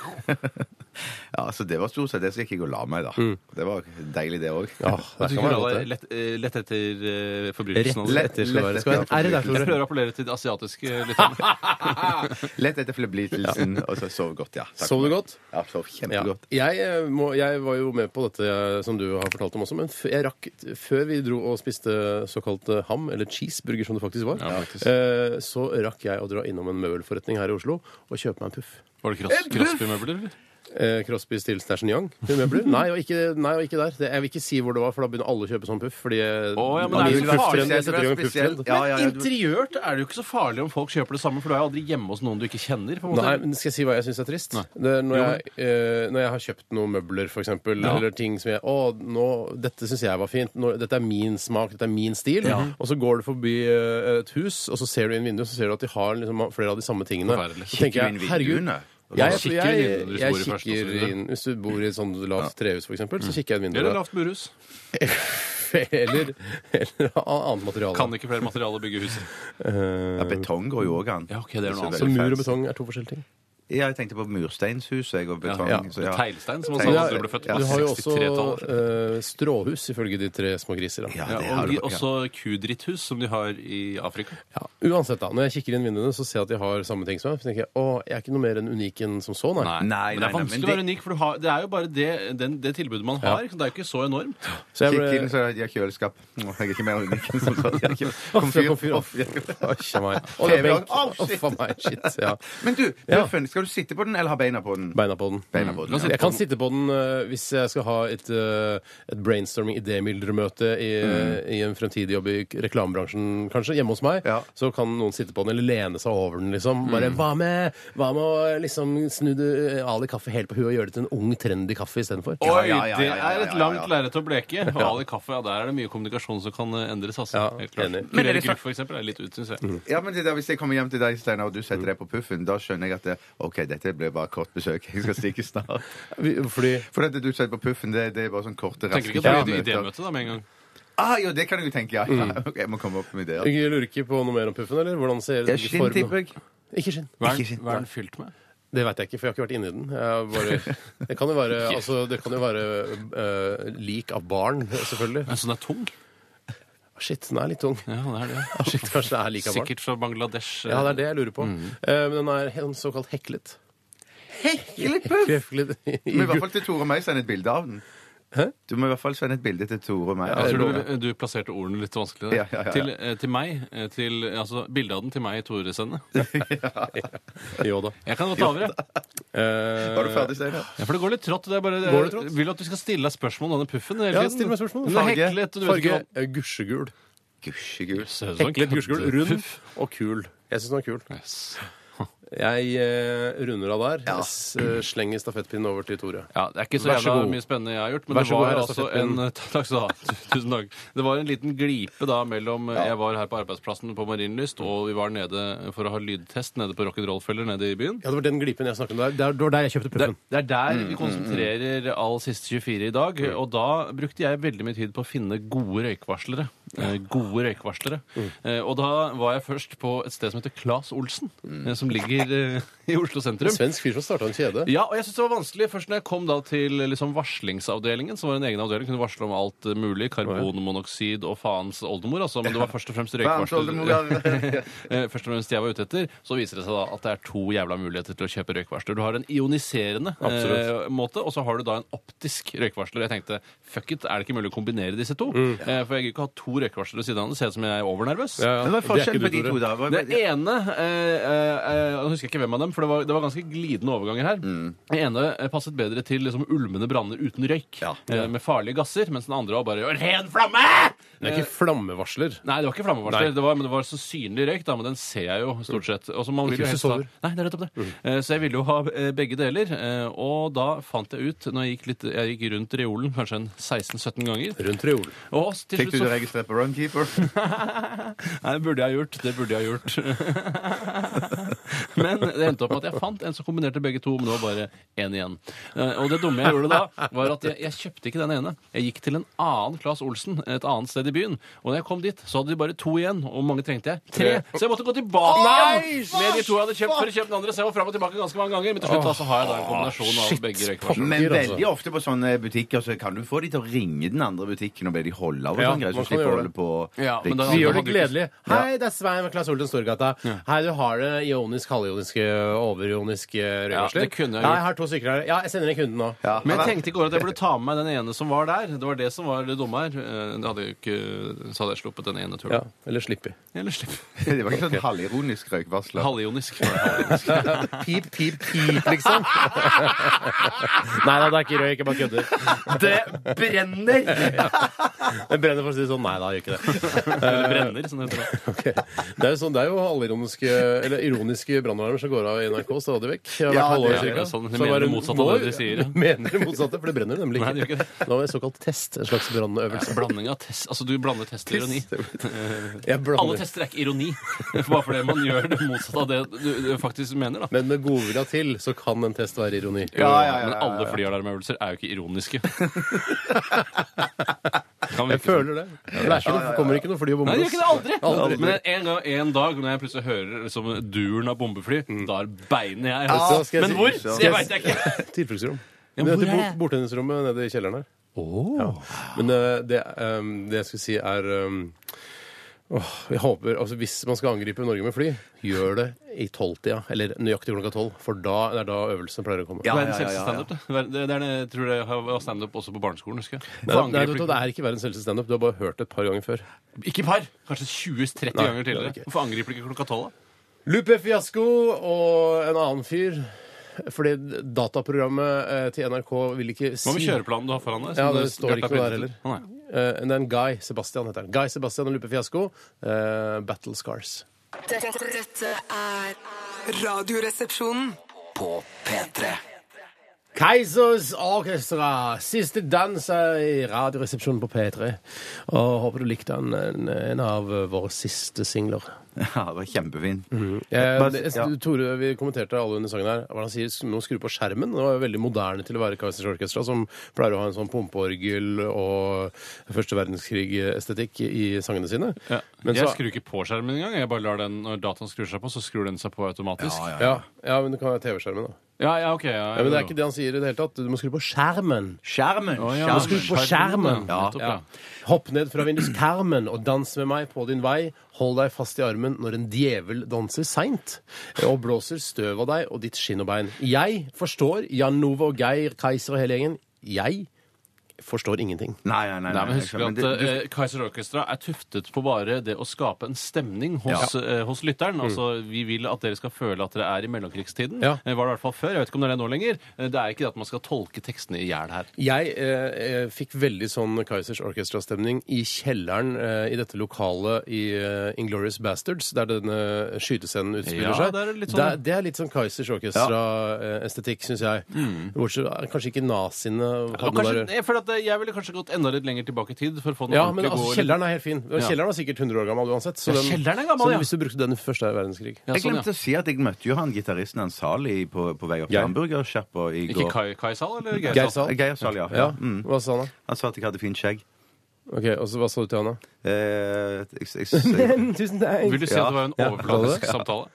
Speaker 4: Ja, så det var stort sett det, så gikk jeg og la meg, da.
Speaker 5: Mm.
Speaker 4: Det var deilig, det òg.
Speaker 3: Ja, det kan
Speaker 5: Du kunne
Speaker 3: være
Speaker 5: la
Speaker 3: godt,
Speaker 5: deg
Speaker 3: det.
Speaker 5: lett, eh, lett etter eh,
Speaker 3: Rett
Speaker 5: forbrytelsen. altså.
Speaker 3: lett etter skal
Speaker 4: lett
Speaker 3: være. Skal være
Speaker 4: etter
Speaker 3: en R der,
Speaker 4: forbrytelsen.
Speaker 5: Jeg
Speaker 3: Tore.
Speaker 5: prøver å appellere til de asiatiske lytterne.
Speaker 4: Lett etter fleblitelsen, og så sov godt, ja. Takk
Speaker 3: Sov du
Speaker 4: for meg.
Speaker 3: godt?
Speaker 4: Ja, sov
Speaker 3: Ja.
Speaker 4: kjempegodt.
Speaker 3: Jeg, eh, må, jeg var jo med på dette eh, som du har fortalt om også, men f jeg rakk før vi dro og spiste såkalt eh, ham, eller cheeseburger som det faktisk var,
Speaker 5: Ja, faktisk.
Speaker 3: eh, så rakk jeg å dra innom en møbelforretning her i Oslo og kjøpe meg en puff.
Speaker 5: Var det cross- Crosby-møbler? eller?
Speaker 3: Eh, Crosby, Stills, Nash Young møbler? Nei og, ikke, nei, og ikke der. Det, jeg vil ikke si hvor det var, for da begynner alle å kjøpe sånn puff. Fordi
Speaker 5: Å, ja, men
Speaker 3: Alle
Speaker 5: det er
Speaker 3: vil
Speaker 5: jo
Speaker 3: puff
Speaker 5: farlig,
Speaker 3: trend,
Speaker 4: det er
Speaker 3: jeg setter i gang
Speaker 4: spesielt.
Speaker 3: puff-trend.
Speaker 4: Ja, ja, ja, du-
Speaker 5: Interiørt er det jo ikke så farlig om folk kjøper det samme, for du er jo aldri hjemme hos noen du ikke kjenner. på en måte.
Speaker 3: Nei, men Skal jeg si hva jeg syns er trist? Det er når, jeg, eh, når jeg har kjøpt noen møbler, f.eks., eksempel eller ting som jeg Å, nå, dette syns jeg var fint. Nå, dette er min smak, dette er min stil. Og så går du forbi eh, et hus, og så ser du inn vinduet, så ser du at de har liksom, flere av de samme tingene.
Speaker 5: Forferdelig.
Speaker 3: Så tenker
Speaker 4: Kikker du
Speaker 3: jeg,
Speaker 4: inn
Speaker 3: herregud
Speaker 4: vinduene?
Speaker 5: Ja,
Speaker 3: Jeg,
Speaker 5: kikker
Speaker 3: jeg,
Speaker 5: inn
Speaker 3: jeg,
Speaker 5: hvis du bor i først, og så
Speaker 3: kikker
Speaker 5: videre.
Speaker 3: inn Hvis du bor i et sånt lavt trehus, for eksempel, så kikker jeg inn
Speaker 5: Mm. Eller
Speaker 3: vinduet.
Speaker 5: lavt burhus.
Speaker 3: Eller, eller annet materiale.
Speaker 5: Kan ikke flere materialer bygge hus.
Speaker 4: Ja, betong går jo òg an.
Speaker 5: Ja, ok, det er noe annet.
Speaker 3: Så mur og betong er to forskjellige ting.
Speaker 4: Ja, jeg tenkte på mursteinshus jeg, og betong.
Speaker 3: Ja.
Speaker 4: så ja.
Speaker 5: Teglstein, som han
Speaker 4: Teglstein.
Speaker 5: sa da du ble født.
Speaker 4: Ja,
Speaker 3: Du har jo også
Speaker 5: 63-tallet.
Speaker 3: eh, stråhus, ifølge de tre små griser. Da.
Speaker 4: Ja,
Speaker 5: Ja,
Speaker 4: det har
Speaker 5: og
Speaker 4: du.
Speaker 5: de- også kudritthus, som de har i Afrika.
Speaker 3: Ja, uansett, da. Når jeg kikker inn vinduene, så ser jeg at de har samme ting som meg. Så tenker jeg å, jeg er ikke noe mer enn unik enn som så, nei.
Speaker 4: Nei,
Speaker 5: men det
Speaker 4: nei,
Speaker 5: er
Speaker 4: nei, men
Speaker 5: vanskelig å være
Speaker 4: det-
Speaker 5: unik, for du har, det er jo bare det, den, det tilbudet man har.
Speaker 3: Ja.
Speaker 5: ikke sant? Det er jo ikke så enormt.
Speaker 3: Så jeg
Speaker 4: Kikk
Speaker 3: ble
Speaker 4: inn, så jeg har kjøleskap. Nå, Jeg er ikke mer unik enn som sånn.
Speaker 3: Komfyr,
Speaker 4: Komfyr.
Speaker 3: komfyr,
Speaker 4: Off, ja.
Speaker 3: Æsj a meg. Å, det er
Speaker 4: TV
Speaker 3: benk.
Speaker 4: også. Å, shit.
Speaker 3: Uff a meg. Shit. Ja.
Speaker 4: Men du,
Speaker 3: Ja.
Speaker 4: Bjørfen, skal du sitte på den, eller ha beina på den?
Speaker 3: Beina på den. Mm.
Speaker 4: Beina på den,
Speaker 5: La oss
Speaker 4: ja.
Speaker 5: sitte
Speaker 3: Jeg kan sitte på den eh, hvis jeg skal ha et, eh, et brainstorming-idémyldremøte i, i en fremtidig jobb i k- reklamebransjen, kanskje, hjemme hos meg.
Speaker 4: Mm. Ja. Mm.
Speaker 3: Så kan noen sitte på den eller lene seg over den, liksom. Bare hva med, hva med å liksom snu det- Ali kaffe helt på huet og gjøre det til en ung, trendy kaffe istedenfor?
Speaker 5: Oi,
Speaker 4: ja, ja, ja,
Speaker 5: det
Speaker 4: ja, ja,
Speaker 5: er
Speaker 4: ja,
Speaker 5: et langt
Speaker 4: ja.
Speaker 5: lerret å bleke. Og Ali Kaffe, ja, der er det mye kommunikasjon som kan eh, endres. Altså.
Speaker 3: Ja,
Speaker 5: Helt klart.
Speaker 3: enig.
Speaker 4: Men er
Speaker 5: Kurere
Speaker 4: det
Speaker 5: Grupp,
Speaker 4: så-
Speaker 5: for eksempel, er litt ut, synes jeg.
Speaker 4: Ja, men det der, Hvis jeg kommer hjem til deg, Steinar, og du setter deg på puffen, da skjønner jeg at det, OK, dette blir bare kort besøk. Jeg skal stikke snart.
Speaker 3: Vi- Fordi
Speaker 4: For at du setter på puffen, det, det er bare sånn korte,
Speaker 5: Tenker
Speaker 4: raske
Speaker 5: du ikke at det blir
Speaker 4: møter.
Speaker 5: et idémøte da, med en gang?
Speaker 4: Ah, jo, det kan jeg jo tenke, ja. ja. Ok, jeg må komme opp med ideer.
Speaker 3: Mm. Jeg lurer ikke på noe mer om puffen, eller? Hvordan ser
Speaker 4: Ja,
Speaker 3: ikke
Speaker 4: skinn,
Speaker 3: formen-
Speaker 4: tipper jeg.
Speaker 3: Ikke skinn.
Speaker 5: Hva er,
Speaker 4: Ikke
Speaker 5: den-
Speaker 4: sitt,
Speaker 5: hva er den fylt med?
Speaker 3: Det veit jeg ikke, for jeg har ikke vært inni den. Jeg har bare, det kan jo være, altså, det kan jo være eh, lik av barn, selvfølgelig. Ah,
Speaker 5: En sånn er tung?
Speaker 3: Shit, den er litt tung.
Speaker 5: Ja, det er det.
Speaker 3: Shit, kanskje det er lik av barn.
Speaker 5: Sikkert fra Bangladesh.
Speaker 3: Ja, det er det jeg lurer på. Eh, men den er he- såkalt heklet.
Speaker 4: Heklet puff!
Speaker 3: Heklet i,
Speaker 4: Du må i hvert fall til Tore og meg sende et bilde av den.
Speaker 3: Hæ?
Speaker 4: Du må i hvert fall sende et bilde til Tore og meg.
Speaker 5: Jeg tror Eh, altså, du, du plasserte ordene litt vanskelig der.
Speaker 4: Ja, ja, ja, ja.
Speaker 5: Til, eh, til meg, eh, til, altså bildet av den til meg i Tore sende.
Speaker 3: Jo da.
Speaker 5: Jeg kan godt ta over, jeg.
Speaker 3: Eh,
Speaker 4: Var du ferdig, Steinar?
Speaker 5: Ja, for det går litt trått. Det er bare,
Speaker 3: Går det trått?
Speaker 5: Jeg vil at du skal stille deg spørsmål om denne puffen. hele
Speaker 3: ja,
Speaker 5: tiden.
Speaker 3: still meg spørsmål.
Speaker 5: Den er heklet, og du vet ikke
Speaker 3: farge
Speaker 5: hva- Sånn
Speaker 3: eh, gusjegul.
Speaker 4: Gusjegul.
Speaker 5: Ser ut som en
Speaker 3: Heklet gusjegul. Rund
Speaker 5: køddepuff.
Speaker 3: og kul. Jeg syns den var kul.
Speaker 5: Yes.
Speaker 3: Jeg eh, runder av der. Jeg s- eh, slenger stafettpinnen over til Tore.
Speaker 5: Ja, det er ikke så,
Speaker 3: Vær så
Speaker 5: jævla
Speaker 3: god.
Speaker 5: mye spennende jeg har gjort, men
Speaker 3: Vær
Speaker 5: det
Speaker 3: så god,
Speaker 5: var
Speaker 3: her er
Speaker 5: altså en
Speaker 3: stafettpinnen.
Speaker 5: Takk skal du ha. Tusen takk. Det var en liten glipe da mellom eh, Jeg var her på arbeidsplassen på Marienlyst, og vi var nede for å ha lydtest nede på Rock'n'Roll-feller nede i byen.
Speaker 3: Ja, Det var den glipen jeg snakket om der. Det er- Det var der jeg kjøpte
Speaker 5: Det,
Speaker 3: puffen.
Speaker 5: det er der vi konsentrerer all siste 24 i dag. Og da brukte jeg veldig mye tid på å finne gode røykvarslere. Eh, gode røykvarslere. Eh, og da var jeg først på et sted som heter Claes Olsen, eh, som ligger eh, i Oslo
Speaker 3: En
Speaker 5: sentrum.
Speaker 3: svensk fyr som starta en kjede.
Speaker 5: Ja, og jeg synes det var vanskelig Først når jeg kom da til liksom, varslingsavdelingen Som var en egen avdeling Kunne varsle om alt eh, mulig Karbonmonoksid og faens oldemor altså, Men det var først og fremst
Speaker 4: Faens
Speaker 5: røykvarsler
Speaker 4: oldemor,
Speaker 5: Eh, Først og fremst jeg var ute etter Så viser det seg da at det er to jævla muligheter til å kjøpe røykvarsler Du har en ioniserende eh,
Speaker 3: Absolutt.
Speaker 5: måte Og så har du da en optisk røykvarsler Jeg tenkte, fuck it, er det ikke mulig å kombinere disse to?
Speaker 4: Mm.
Speaker 5: Eh, for jeg gir ikke å ha to røykvarsler ved siden av Det ser ut som jeg er overnervøs
Speaker 4: Men Hva er forskjellen på de to, da? Hva-
Speaker 5: det ene eh, eh, eh, Jeg husker ikke hvem av dem, for det var, det var ganske glidende overganger her.
Speaker 4: Mm.
Speaker 5: Den ene eh, passet bedre til liksom, ulmende branner uten røyk, eh, med farlige gasser, mens den andre var bare ren flamme!
Speaker 3: Det er ikke flammevarsler.
Speaker 5: Nei, det var ikke
Speaker 3: Nei.
Speaker 5: flammevarsler, det var, men det var så synlig røyk, da, men den ser jeg jo stort sett. Og så man vil
Speaker 3: Ikke
Speaker 5: jo
Speaker 3: hvis
Speaker 5: helst
Speaker 3: du
Speaker 5: ha...
Speaker 3: sover.
Speaker 5: Nei, det er nettopp det.
Speaker 4: Mm.
Speaker 5: Eh, Så jeg ville jo ha eh, begge deler, eh, og da fant jeg ut, når jeg gikk, litt, jeg gikk rundt reolen kanskje en 16-17 ganger,
Speaker 3: Rundt reolen.
Speaker 5: og til
Speaker 4: Fikk du
Speaker 5: slutt så
Speaker 4: det registrert på Runkeeper?
Speaker 5: Nei, det burde jeg ha gjort. Det burde jeg ha gjort. men det endte opp med at jeg fant en som kombinerte begge to, men det var bare én igjen. Eh, Og det dumme jeg gjorde da, var at jeg, jeg kjøpte ikke den ene. Jeg gikk til en annen Claes Olsen et annet sted i byen. Og da jeg kom dit, så hadde de bare to igjen. Og hvor mange trengte jeg? Tre. Så jeg måtte gå tilbake igjen med de to jeg hadde kjøpt for å kjøpe den andre. Så jeg var fram og tilbake ganske mange ganger. Men til slutt da, så har jeg da en kombinasjon
Speaker 3: shit,
Speaker 5: av begge røykvarsler.
Speaker 4: Men
Speaker 3: Dyr, altså.
Speaker 4: veldig ofte på sånne butikker så kan du få de til å ringe den andre butikken og be de holde av og
Speaker 3: Ja,
Speaker 4: sånn greier.
Speaker 3: man
Speaker 4: Så
Speaker 3: kan
Speaker 4: slipper å
Speaker 3: gjøre
Speaker 4: holde på
Speaker 5: Ja, men da-
Speaker 3: Vi gjør
Speaker 5: hadde
Speaker 3: det
Speaker 5: du ikke-
Speaker 3: gledelig. Hei, det er Svein fra Claes Olsen Storgata. Hei, du har det ionisk, halvionisk, overionisk rødvarsler?
Speaker 5: Ja, det kunne jeg
Speaker 3: Nei,
Speaker 5: gjort.
Speaker 3: jeg har to stykker her. Ja, jeg sender inn kunden nå.
Speaker 4: Ja,
Speaker 5: Men jeg tenkte i går at jeg burde ta med meg den ene som var der. Det var det som var det dumme her. Eh, Det hadde jeg jo ikke, så hadde jeg sluppet den ene turen.
Speaker 3: Ja, eller Slippi.
Speaker 5: Eller slipp.
Speaker 4: Det var ikke sånn halvironisk røykvarsler.
Speaker 5: Halvionisk. var det, halvionisk.
Speaker 3: Pip, pip, pip, liksom. Nei da, det er ikke røyk, jeg bare kødder.
Speaker 5: Det brenner!
Speaker 3: Den brenner for å si det sånn. Nei da, jeg gjør ikke det.
Speaker 5: Eller brenner, som det heter. da.
Speaker 3: Ok. Det er jo sånn, det er jo halvironiske eller ironiske brannvarmer som går av i NRK stadig vekk. Jeg har vært
Speaker 4: Ja,
Speaker 3: halvår
Speaker 4: det-
Speaker 3: cirka.
Speaker 5: ja, sånn, de
Speaker 3: Så
Speaker 5: mener
Speaker 3: bare
Speaker 5: det motsatte av
Speaker 3: nå-
Speaker 5: det de sier, ja.
Speaker 3: de Mener det motsatte, for det brenner nemlig
Speaker 5: Nei, det gjør
Speaker 3: ikke.
Speaker 5: ikke
Speaker 3: Nå har vi en såkalt test, en slags brannøvelse.
Speaker 5: Blanding av test. Altså, du blander test og ironi.
Speaker 3: Jeg
Speaker 5: Alle
Speaker 3: blander.
Speaker 5: tester er ikke ironi. Bare fordi man gjør det motsatte av det du du faktisk mener, da.
Speaker 3: Men med godvilja til så kan en test være ironi.
Speaker 4: Ja, ja, ja, ja,
Speaker 5: Men
Speaker 4: ja.
Speaker 5: alle flyalarmøvelser er jo ikke ironiske. Kan
Speaker 3: Jeg
Speaker 5: virke sånn.
Speaker 3: føler det. Det er ikke noe, kommer ikke noe fly og bomber
Speaker 5: Nei, det gjør ikke det aldri.
Speaker 3: Aldri.
Speaker 5: Men en, gang, en dag når jeg plutselig hører liksom, duren av bombefly, da er beinet jeg
Speaker 3: Mm. Ja, skal jeg
Speaker 5: Men
Speaker 3: si-
Speaker 5: hvor?
Speaker 3: skal
Speaker 5: Det
Speaker 3: jeg
Speaker 5: veit jeg ikke.
Speaker 3: Tilfluktsrom. Det
Speaker 5: Ja, men
Speaker 3: heter
Speaker 5: hvor er
Speaker 3: bort,
Speaker 5: det?
Speaker 3: bortendingsrommet nede i kjelleren her. Ja. Men eh, det, ehm, det jeg skulle si, er ehm, åh, jeg håper, altså Hvis man skal angripe Norge med fly, gjør det i tolvtida. Eller nøyaktig klokka tolv, for da det er da øvelsene pleier å komme.
Speaker 4: Ja, ja,
Speaker 5: Verdens
Speaker 4: ja,
Speaker 5: eldste
Speaker 4: ja, ja.
Speaker 5: standup. det. Ver- Det, det er det, jeg tror jeg har- var standup også på barneskolen. husker jeg.
Speaker 3: Nei, nei, vet du hva, det er ikke verdens eldste standup. Du har bare hørt det et par ganger før.
Speaker 5: Ikke par! Kanskje 20-30
Speaker 3: Nei,
Speaker 5: ganger
Speaker 3: det er det
Speaker 5: tidligere.
Speaker 3: ikke.
Speaker 5: Hvorfor angriper de ikke klokka tolv? da?
Speaker 3: Lupe Fiasko og en annen fyr. Fordi dataprogrammet eh, til NRK vil ikke si
Speaker 5: Hva med kjøreplanen du har foran deg?
Speaker 3: Ja,
Speaker 5: som
Speaker 3: det står ikke
Speaker 5: Bjarte
Speaker 3: noe
Speaker 5: har
Speaker 3: der
Speaker 5: printet
Speaker 3: heller.
Speaker 5: ut? Å, nei.
Speaker 3: Eh, det er en Guy Sebastian heter han. Guy Sebastian og Lupe Fiasko. eh, Battle Scars.
Speaker 1: Dette, dette er Radioresepsjonen.
Speaker 2: På P3.
Speaker 3: Keisers Orchestra. Siste dans er i Radioresepsjonen på P3. Og håper du likte den, en, en av våre siste singler.
Speaker 4: Ja, det var kjempefint.
Speaker 3: Eh,
Speaker 4: Bare-
Speaker 3: det-
Speaker 4: ja.
Speaker 3: Tore, vi kommenterte alle under sangen her. Hva han sier, nå skru på skjermen. Det var jo veldig moderne til å være Keisers Orchestra, som pleier å ha en sånn pumpeorgel og første verdenskrig-estetikk i sangene sine.
Speaker 5: Ja.
Speaker 3: Men
Speaker 5: jeg
Speaker 3: så-
Speaker 5: skrur ikke på skjermen engang. Jeg bare lar den, Når dataen skrur seg på, så skrur den seg på automatisk. Ja, ja,
Speaker 3: ja, ja, men det kan være TV-skjermen, da.
Speaker 5: ja, ok. Ja,
Speaker 3: Ja, men det er ikke det han sier i det hele tatt. Du må skru på skjermen.
Speaker 4: Skjermen!
Speaker 5: Å, ja.
Speaker 3: Du
Speaker 4: skjermen.
Speaker 3: må skru på skjermen.
Speaker 5: Ja, nettopp, ja.
Speaker 3: Hopp ned fra vinduskarmen og dans med meg på din vei. Hold deg fast i armen når en djevel danser seint og blåser støv av deg og ditt skinn og bein. Jeg forstår Jan Nove og Geir Kaiser og hele gjengen. Jeg forstår ingenting.
Speaker 4: Nei, nei, nei.
Speaker 5: Nei, men
Speaker 4: nei,
Speaker 5: husker
Speaker 4: skjermen.
Speaker 5: at
Speaker 4: Du-
Speaker 5: eh, Kaiser Orchestra er tuftet på bare det å skape en stemning hos, eh, hos lytteren. Altså, Vi vil at dere skal føle at dere er i mellomkrigstiden.
Speaker 3: Mm. Ja.
Speaker 5: Eh, var det i hvert fall før. Jeg vet ikke om det er nå lenger. Eh, Det er ikke det at man skal tolke tekstene i hjel her.
Speaker 3: Jeg eh, eh, fikk veldig sånn Kaizers Orchestra-stemning i kjelleren eh, i dette lokalet i eh, Inglorious Bastards, der denne skytescenen utspiller
Speaker 5: Ja,
Speaker 3: seg.
Speaker 5: det er litt sånn-
Speaker 3: det, er- det er litt sånn Kaizers Orchestra-estetikk, synes syns jeg. Bortsett fra eh, kanskje ikke naziene hadde
Speaker 5: Og Mm. kanskje,
Speaker 3: noe der.
Speaker 5: jeg, føler at eh, jeg ville kanskje gått enda litt lenger tilbake i tid. for å få den
Speaker 3: Ja, men
Speaker 5: ordentlige
Speaker 3: altså,
Speaker 5: gode-
Speaker 3: kjelleren er helt fin. Kjelleren var sikkert 100 år gammel uansett. Så
Speaker 5: Ja,
Speaker 3: den-
Speaker 5: kjelleren er gammel,
Speaker 3: så
Speaker 5: ja.
Speaker 3: Hvis du brukte den i første verdenskrig.
Speaker 5: Ja,
Speaker 4: Jeg
Speaker 5: sånn,
Speaker 4: glemte
Speaker 5: ja.
Speaker 4: å si at jeg møtte jo han gitaristen han Sali på, på vei opp til
Speaker 3: Geir.
Speaker 4: hamburgersjappa i går.
Speaker 5: Ikke Kai, Kai Sal eller Geir
Speaker 3: Geir
Speaker 5: Sal?
Speaker 3: Sal.
Speaker 4: Geir Sali, ja.
Speaker 3: Ja,
Speaker 4: Mm.
Speaker 3: Hva sa han, da?
Speaker 4: Han sa at jeg hadde fint skjegg.
Speaker 3: Ok, og så Hva sa du til han, da?
Speaker 4: Eh, jeg, jeg, jeg,
Speaker 3: Tusen takk.
Speaker 5: Vil du si
Speaker 4: Ja.
Speaker 5: at det var en
Speaker 3: Ja.
Speaker 5: overfladisk
Speaker 3: Ja.
Speaker 5: samtale?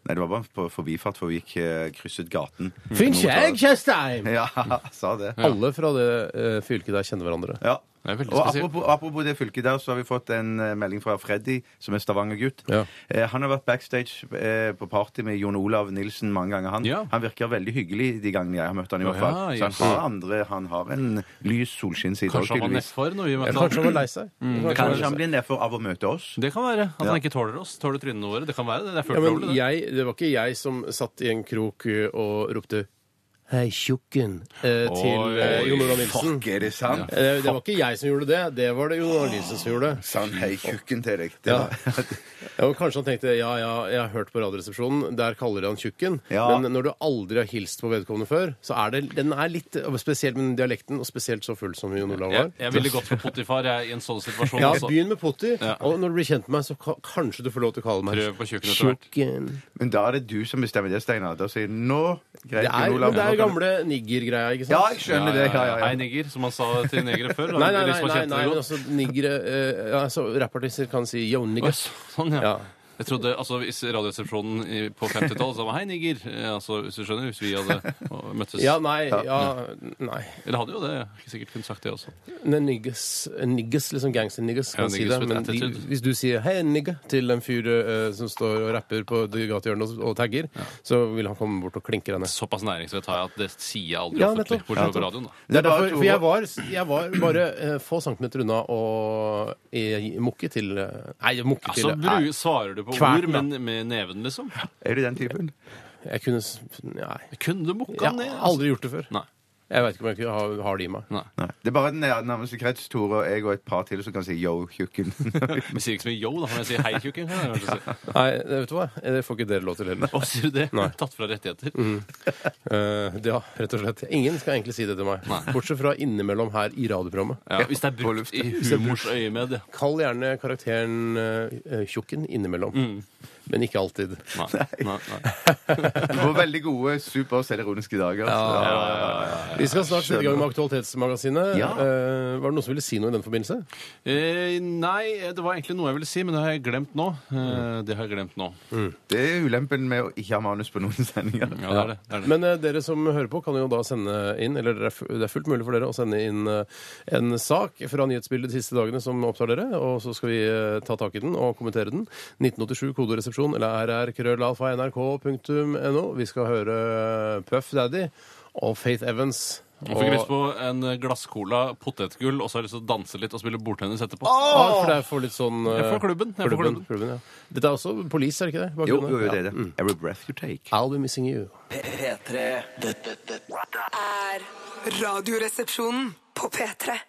Speaker 4: nei, det var bare på forbifart, for vi gikk eh, krysset gaten.
Speaker 3: Finn skjegg, Tjøstheim!
Speaker 4: Ja, sa det.
Speaker 3: Alle fra det eh, fylket der kjenner hverandre.
Speaker 4: Ja.
Speaker 5: Det er veldig
Speaker 4: Og
Speaker 5: spesielt.
Speaker 4: apropos, apropos det fylket der, så har vi fått en eh, melding fra Freddy, som er Stavanger-gutt.
Speaker 3: Ja.
Speaker 4: Eh, han har vært backstage eh, på party med Jon Olav Nilsen mange ganger. Han,
Speaker 5: Ja.
Speaker 4: han virker veldig hyggelig de gangene jeg har møtt han i hvert
Speaker 5: Ja,
Speaker 4: fall. så
Speaker 5: yes.
Speaker 4: han har andre Han har en lys solskinnsside. også,
Speaker 5: Kanskje han var
Speaker 4: tydeligvis.
Speaker 5: nedfor når vi møtte
Speaker 3: Kanskje han
Speaker 5: han?
Speaker 3: var lei seg.
Speaker 5: Mm.
Speaker 4: Kanskje han blir nedfor av å møte oss.
Speaker 5: Det kan være. At
Speaker 4: Ja.
Speaker 5: han ikke tåler oss. Tåler trynene våre. Det kan være det. Det er
Speaker 3: Ja,
Speaker 5: fullt
Speaker 3: men
Speaker 5: lovlig. det.
Speaker 3: jeg, det var ikke jeg som satt i en krok ø, og ropte 'Hei, tjukken' eh, til eh,
Speaker 5: Oi,
Speaker 3: Jon Olav Nilsen.
Speaker 4: Fuck, er det sant?
Speaker 3: Eh, Det var ikke jeg som gjorde det, det var det Jon Olav Nilsen som gjorde. det.
Speaker 4: Sa han hei tjukken til deg? Det
Speaker 3: Ja.
Speaker 4: var-
Speaker 3: Ja, og kanskje han tenkte ja, ja, jeg har hørt på Radioresepsjonen, der kaller de han tjukken.
Speaker 4: Ja.
Speaker 3: Men når du aldri har hilst på vedkommende før, så er det, den er litt og Spesielt med den dialekten, og spesielt så full som Jon Olav
Speaker 5: Jeg,
Speaker 3: var.
Speaker 5: jeg ville gått for Potifar jeg, i en sånn situasjon.
Speaker 3: Ja,
Speaker 5: altså.
Speaker 3: Begynn med Potti,
Speaker 5: Ja.
Speaker 3: og når du blir kjent med meg, så ka- kanskje du får lov til å kalle meg
Speaker 5: Prøv på tjukken etter hvert.
Speaker 3: tjukken.
Speaker 4: Men da er det du som bestemmer det, Steinar. Da sier du nå greit,
Speaker 3: Det er, men
Speaker 4: Jon Olav,
Speaker 3: det
Speaker 4: nå
Speaker 3: er
Speaker 4: kan-
Speaker 3: gamle nigger-greia, ikke sant?
Speaker 4: Ja, jeg skjønner det. Ja, ja,
Speaker 5: Hei,
Speaker 4: ja.
Speaker 5: nigger, som han sa til negere før. da.
Speaker 3: Nei, nei,
Speaker 5: De
Speaker 3: nei,
Speaker 5: som
Speaker 3: nei,
Speaker 5: kjente
Speaker 3: nei
Speaker 5: det
Speaker 3: men
Speaker 5: godt.
Speaker 3: altså nigre eh, altså, Rappartister kan si yo
Speaker 5: Oi,
Speaker 3: nigger.
Speaker 5: Sånn, ja.
Speaker 3: Ja.
Speaker 5: Jeg trodde, altså Hvis Radioresepsjonen i- på 50-tallet sa hei, nigger eh, altså, Hvis du skjønner, hvis vi hadde å, møttes
Speaker 3: Ja, nei, ja, nei.
Speaker 5: Eller hadde jo det. jeg har Ikke sikkert kunne sagt det også.
Speaker 3: Nei, Niggas, niggas liksom gangster-niggas kan
Speaker 5: Ja,
Speaker 3: si
Speaker 5: niggas
Speaker 3: det.
Speaker 5: with
Speaker 3: Men de,
Speaker 5: attitude.
Speaker 3: hvis du sier 'hei, nigga' til en fyr eh, som står og rapper på det gatehjørnet og, og tagger, så vil han komme bort og klinke deg ned.
Speaker 5: Såpass næringsvett har jeg at det sier jeg aldri
Speaker 3: Ja,
Speaker 5: offentlig.
Speaker 3: nettopp.
Speaker 5: Bortsett
Speaker 3: Ja,
Speaker 5: fra på
Speaker 3: nettopp.
Speaker 5: radioen, da.
Speaker 3: Det er
Speaker 4: bare
Speaker 3: derfor,
Speaker 4: to-
Speaker 3: for jeg var, jeg var bare eh, få centimeter unna å eh, mukke til eh, Nei, mukke til
Speaker 5: Altså,
Speaker 3: eh,
Speaker 5: bru, svarer du på
Speaker 3: Kverten,
Speaker 5: ord, men med neven, liksom?
Speaker 4: Er du den typen?
Speaker 3: Jeg kunne s- Nei.
Speaker 5: Kunne du mukka
Speaker 3: Jeg
Speaker 5: ned?
Speaker 3: har
Speaker 5: altså?
Speaker 3: aldri gjort det før.
Speaker 5: Nei.
Speaker 3: Jeg veit ikke om jeg ikke har, har de i meg.
Speaker 5: Nei.
Speaker 4: Det er bare den nær- nærmeste krets, Tore og jeg og et par til, som kan si yo, tjukken.
Speaker 5: Vi sier ikke så mye yo, da, men jeg sier hei, tjukken. kan jeg kanskje si.
Speaker 3: Nei, vet du hva? Det får ikke dere lov til heller.
Speaker 5: Å, sier du det?
Speaker 3: Nei. Mm.
Speaker 5: Tatt fra rettigheter.
Speaker 3: Eh, ja, rett og slett. Ingen skal egentlig si det til meg. Bortsett fra innimellom her i radioprogrammet.
Speaker 5: Ja, hvis det er brukt i humors øyemed. ja.
Speaker 3: Kall gjerne karakteren eh, tjukken innimellom.
Speaker 4: Mm.
Speaker 3: Men ikke alltid.
Speaker 5: Nei. Nei. Nei.
Speaker 4: Du får veldig gode super- og selvironiske dager. Ja,
Speaker 3: Vi skal snart sette i gang med Aktualitetsmagasinet.
Speaker 4: Ja.
Speaker 3: Eh, var det noen som ville si noe i den forbindelse?
Speaker 5: Eh, nei, det var egentlig noe jeg ville si, men det har jeg glemt nå. Eh, det har jeg glemt nå.
Speaker 4: Det er ulempen med å ikke ha manus på noen sendinger.
Speaker 5: Ja, det er det. det, er det.
Speaker 3: Men eh, dere som hører på, kan jo da sende inn eller det er, fu- det er fullt mulig for dere å sende inn eh, en sak fra nyhetsbildet de siste dagene som opptar dere, og så skal vi eh, ta tak i den og kommentere den. 1987 kodoresepsjon eller rrkrøllalfa.nrk.no. Vi skal høre eh, Puff Daddy og Faith Evans.
Speaker 5: Man fikk lyst på en glasscola, potetgull, og så har jeg lyst til å danse litt og spille bordtennis etterpå.
Speaker 3: Ja, for det er for litt sånn eh,
Speaker 5: Jeg får klubben, jeg får klubben.
Speaker 3: klubben, ja. Dette er også Police, er det ikke det?
Speaker 4: Jo,
Speaker 3: Bakgrunnen?
Speaker 4: jo, jo, det
Speaker 3: Ja. Mm. Ah.
Speaker 4: er det. Every breath you take.
Speaker 3: I'll be missing you.
Speaker 2: P3. Dette, dette
Speaker 1: er Radioresepsjonen på P3.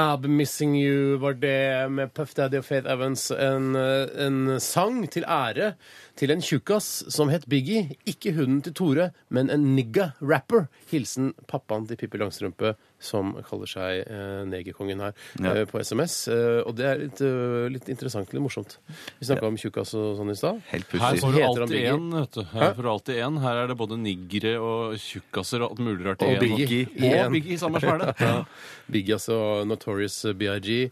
Speaker 3: I'll be missing you var det med Puff Daddy og Faith Evans. En, eh, en sang til ære til en tjukkas som het Biggie. Ikke hunden til Tore, men en nigga-rapper. Hilsen pappaen til Pippi Langstrømpe, som kaller seg eh, negerkongen her, eh, på SMS. Eh, og det er litt, eh, litt interessant, litt morsomt. Vi snakka om tjukkas og sånn i stad.
Speaker 4: Helt
Speaker 5: Her
Speaker 4: pussig.
Speaker 5: får du
Speaker 3: Heter han
Speaker 5: alltid
Speaker 3: Biggie?
Speaker 5: en, vet du. Her får du alltid en. Her er det både niggere og tjukkaser og alt mulig rart. i
Speaker 3: Og
Speaker 5: en.
Speaker 3: Biggie.
Speaker 5: Og Biggie, samme smelle.
Speaker 3: Biggie, altså Notorious BIG.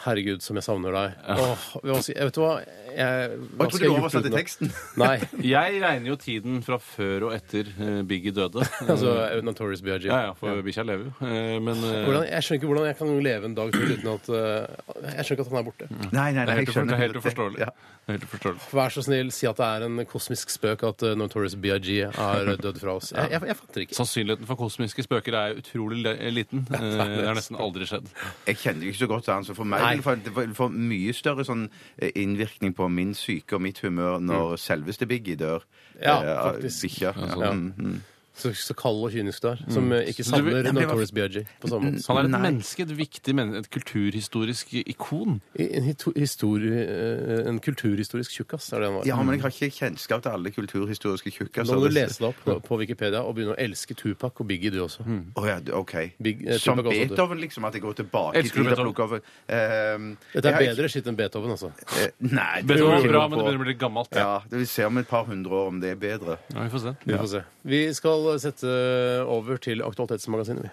Speaker 3: Herregud, som jeg savner deg. Åh, jeg må si- jeg vet du hva? Jeg, hva
Speaker 4: Jeg
Speaker 3: skal
Speaker 4: trodde
Speaker 3: jeg
Speaker 4: du
Speaker 3: gjort
Speaker 4: oversatte
Speaker 3: uten det?
Speaker 4: teksten.
Speaker 3: Nei.
Speaker 5: Jeg regner jo tiden fra før og etter eh, Biggie døde.
Speaker 3: Altså Notorious B.I.G.
Speaker 5: Ja, ja, for bikkja lever jo. Eh, Men eh,
Speaker 3: Hvordan, jeg skjønner ikke hvordan jeg kan leve en dag til uten at eh, Jeg skjønner ikke at han er borte.
Speaker 4: Nei, nei,
Speaker 5: det
Speaker 4: nei,
Speaker 5: er
Speaker 4: jeg
Speaker 5: helt ufor- det
Speaker 4: skjønner.
Speaker 5: er helt uforståelig.
Speaker 4: Ja.
Speaker 5: Det er helt uforståelig.
Speaker 3: Vær så snill, si at det er en kosmisk spøk at eh, Notorious B.I.G. er død fra oss. Jeg, jeg, jeg fatter ikke.
Speaker 5: Sannsynligheten for kosmiske spøker er utrolig le- liten. Eh, Det har nesten aldri skjedd.
Speaker 4: Jeg kjenner jo ikke så godt til han, så for meg vil det få- det vil få mye større sånn eh, innvirkning på min syke og mitt humør når selveste Biggie dør.
Speaker 3: Mm. Ja,
Speaker 4: Eh, av
Speaker 3: faktisk.
Speaker 4: Bikkja.
Speaker 3: Ja.
Speaker 4: Ja. Mm, mm.
Speaker 3: Så, så kald og kynisk du er, som eh, ikke
Speaker 5: Mm. Så du vil-
Speaker 3: savner
Speaker 5: Jeg blir-
Speaker 3: Notorious B.I.G. på samme måte.
Speaker 5: Han er et
Speaker 4: Nei.
Speaker 5: menneske, et viktig men et kulturhistorisk ikon.
Speaker 3: I- En, hito- historie, eh, en kulturhistorisk tjukkas er det han var.
Speaker 4: ja, men jeg har ikke kjennskap til alle kulturhistoriske tjukkaser.
Speaker 3: Nå må du lese det opp på, på Wikipedia og begynne å elske Tupac og Biggie, du også.
Speaker 5: Mm.
Speaker 4: Å ja, d- OK.
Speaker 3: Big- eh,
Speaker 4: Som
Speaker 3: Tupac også, du.
Speaker 4: Beethoven, liksom? At jeg går tilbake i
Speaker 5: Elsker du
Speaker 4: tid og
Speaker 5: Beethoven?
Speaker 4: plukker over Ehm,
Speaker 3: Dette
Speaker 4: jeg har
Speaker 3: er bedre skitt enn Beethoven, altså.
Speaker 4: ikke- eh, Nei.
Speaker 5: Det var
Speaker 4: tror jeg
Speaker 5: bra,
Speaker 4: ikke på.
Speaker 5: men det begynner å bli litt gammelt. Ja,
Speaker 4: Ja, det Vi ser om et par hundre år om det er bedre.
Speaker 5: vi får se.
Speaker 3: Vi får se. Vi skal sette over til Aktualitetsmagasinet, vi.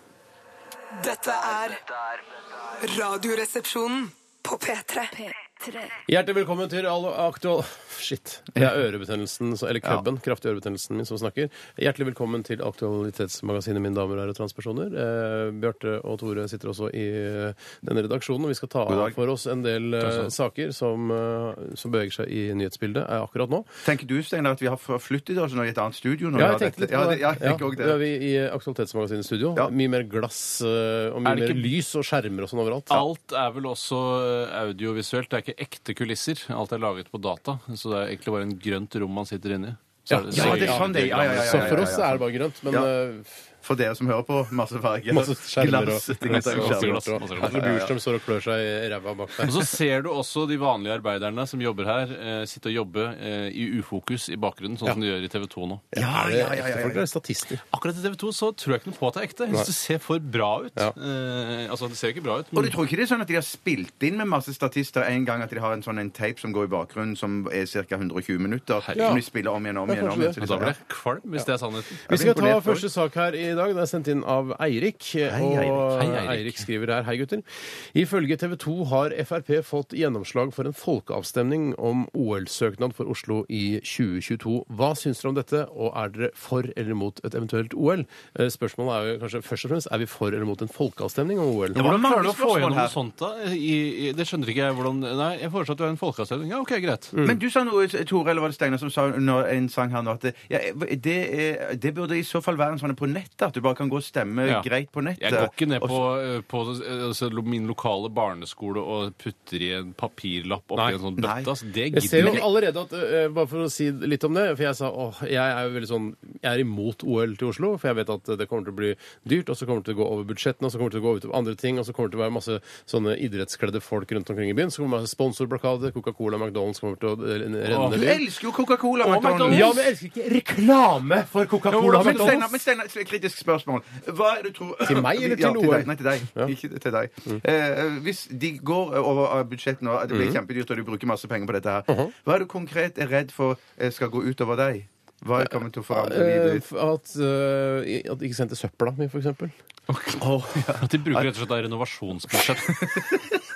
Speaker 1: Dette er Radioresepsjonen på P3.
Speaker 3: Hjertelig velkommen til all aktual... Shit. Det er ørebetennelsen, så- eller krabben, kraftig ørebetennelsen min som snakker. Hjertelig velkommen til Aktualitetsmagasinet, mine damer og herrer transpersoner. Eh, Bjarte og Tore sitter også i eh, denne redaksjonen, og vi skal ta
Speaker 4: God
Speaker 3: av
Speaker 4: dag.
Speaker 3: for oss en del eh, saker som, eh, som beveger seg i nyhetsbildet eh, akkurat nå.
Speaker 4: Tenker du, Steinar, at vi har forflyttet oss nå i et annet studio?
Speaker 3: Ja,
Speaker 4: Når vi har
Speaker 3: jeg tenkte litt på
Speaker 4: dette? ja,
Speaker 3: det.
Speaker 4: det. Ja, jeg tenker også
Speaker 3: Nå er
Speaker 4: det.
Speaker 3: vi i Aktualitetsmagasinets studio.
Speaker 4: Ja.
Speaker 3: Mye mer glass eh, og
Speaker 5: Er
Speaker 3: mye mer
Speaker 5: det ikke-
Speaker 3: lys og skjermer og sånn overalt.
Speaker 5: Alt er vel også eh, audiovisuelt. Det er ikke ekte kulisser. Alt er laget på data. Så det er egentlig bare en grønt rom man sitter inne i. Så
Speaker 3: Ja,
Speaker 4: Ja, det er sånn det er. Ja, ja, ja, ja,
Speaker 3: Så
Speaker 4: ja,
Speaker 3: for
Speaker 4: ja,
Speaker 3: oss
Speaker 4: ja.
Speaker 3: er det bare grønt, men
Speaker 4: Ja.
Speaker 3: eh,
Speaker 4: For dere som hører på, masse farger.
Speaker 3: Masse skjermer og
Speaker 4: Glass, ting og tang,
Speaker 5: masse
Speaker 4: skjermer.
Speaker 5: glass. masse glass.
Speaker 3: Atle Bjurstrøm står og klør seg i ræva bak
Speaker 5: Og
Speaker 3: der.
Speaker 5: så ser du også de vanlige arbeiderne som jobber her, eh, sitte og jobbe eh, i ufokus i bakgrunnen, sånn som de gjør i TV 2 nå.
Speaker 4: Ja,
Speaker 3: Er det
Speaker 4: ja, ja,
Speaker 3: ekte
Speaker 4: ja,
Speaker 3: folk
Speaker 4: ja.
Speaker 3: eller er det statister?
Speaker 5: Akkurat i TV 2 så tror jeg ikke noe på at det er ekte. Jeg synes det ser for bra ut.
Speaker 3: Ja.
Speaker 5: Eh, altså, det ser jo ikke bra ut.
Speaker 4: Og du
Speaker 5: Men
Speaker 4: tror ikke det er sånn at de har spilt inn med masse statister en gang, at de har en sånn en tape som går i bakgrunnen, som er ca. 120 minutter,
Speaker 3: Ja.
Speaker 4: som de spiller om igjen og om
Speaker 3: Ja,
Speaker 4: igjen? og om
Speaker 3: kanskje
Speaker 4: igjen
Speaker 3: det.
Speaker 4: så de
Speaker 5: da
Speaker 4: sier,
Speaker 5: blir jeg kvalm, hvis det er sannheten.
Speaker 3: Vi skal ta
Speaker 4: imponert, folk.
Speaker 3: første sak her i dag. Den er sendt inn av Eirik. og
Speaker 4: Eirik.
Speaker 5: Hei, Eirik.
Speaker 3: Eirik skriver her. Hei, gutter. Ifølge TV 2 har Frp fått gjennomslag for en folkeavstemning om OL-søknad for Oslo i 2022. Hva syns dere om dette, og er dere for eller mot et eventuelt OL? Eh, Spørsmålet er jo kanskje først og fremst er vi for eller mot en folkeavstemning om OL.
Speaker 5: Hvordan
Speaker 4: mange
Speaker 5: klarer du å få
Speaker 4: spørsmål
Speaker 5: gjennom
Speaker 4: her.
Speaker 5: noe sånt, da? I, i, det skjønner ikke jeg hvordan Nei, jeg foreslår at du har en folkeavstemning. Ja, OK, greit.
Speaker 3: Mm.
Speaker 4: ja. Men du sa noe, Tore, eller var det Steinar som sa under en sang her nå, at det, ja, det, er, det burde i så fall være en sånn på nettet At du bare kan gå og stemme
Speaker 5: Ja.
Speaker 4: greit på nettet.
Speaker 5: Jeg går ikke ned
Speaker 4: Og
Speaker 5: på, eh, på eh, altså, lo- min lokale barneskole og putter i en papirlapp oppi
Speaker 3: Nei.
Speaker 5: en sånn
Speaker 4: Nei.
Speaker 5: bøtte. Altså, det
Speaker 3: Jeg ser
Speaker 5: gidder
Speaker 3: jo
Speaker 5: jeg ikke.
Speaker 3: allerede at, eh, Bare for å si litt om det, for jeg sa åh, jeg er jo veldig sånn Jeg er imot OL til Oslo, for jeg vet at eh, det kommer til å bli dyrt, og så kommer det til å gå over budsjettene, og så kommer det til å gå ut over andre ting, og så kommer det til å være masse sånne idrettskledde folk rundt omkring i byen. Så kommer det masse sponsorblokader, Coca-Cola, McDonald's kommer til å eh, renne
Speaker 4: Du
Speaker 3: ned.
Speaker 4: elsker jo Coca-Cola,
Speaker 5: Og McDonald's.
Speaker 3: Ja, men jeg elsker ikke reklame for
Speaker 4: Jo,
Speaker 3: Coca-Cola og
Speaker 4: men Steinar,
Speaker 3: McDonald's.
Speaker 4: men Steinar, et kritisk spørsmål. Hva er det du tror
Speaker 3: Til meg eller til
Speaker 4: ja,
Speaker 3: noe?
Speaker 4: Til deg. Nei, til deg. Ikke til deg.
Speaker 5: Mm.
Speaker 4: Eh, hvis de går over av budsjett nå, det blir kjempedyrt, og du bruker masse penger på dette her,
Speaker 5: Uh-huh.
Speaker 4: hva er du konkret er redd for eh, skal gå ut over deg? Hva er kommet til å forandre livet
Speaker 3: Eh,
Speaker 4: ditt?
Speaker 3: At, eh, at de ikke sendte søpla mi, for eksempel.
Speaker 5: At de bruker rett og slett av renovasjonsbudsjett.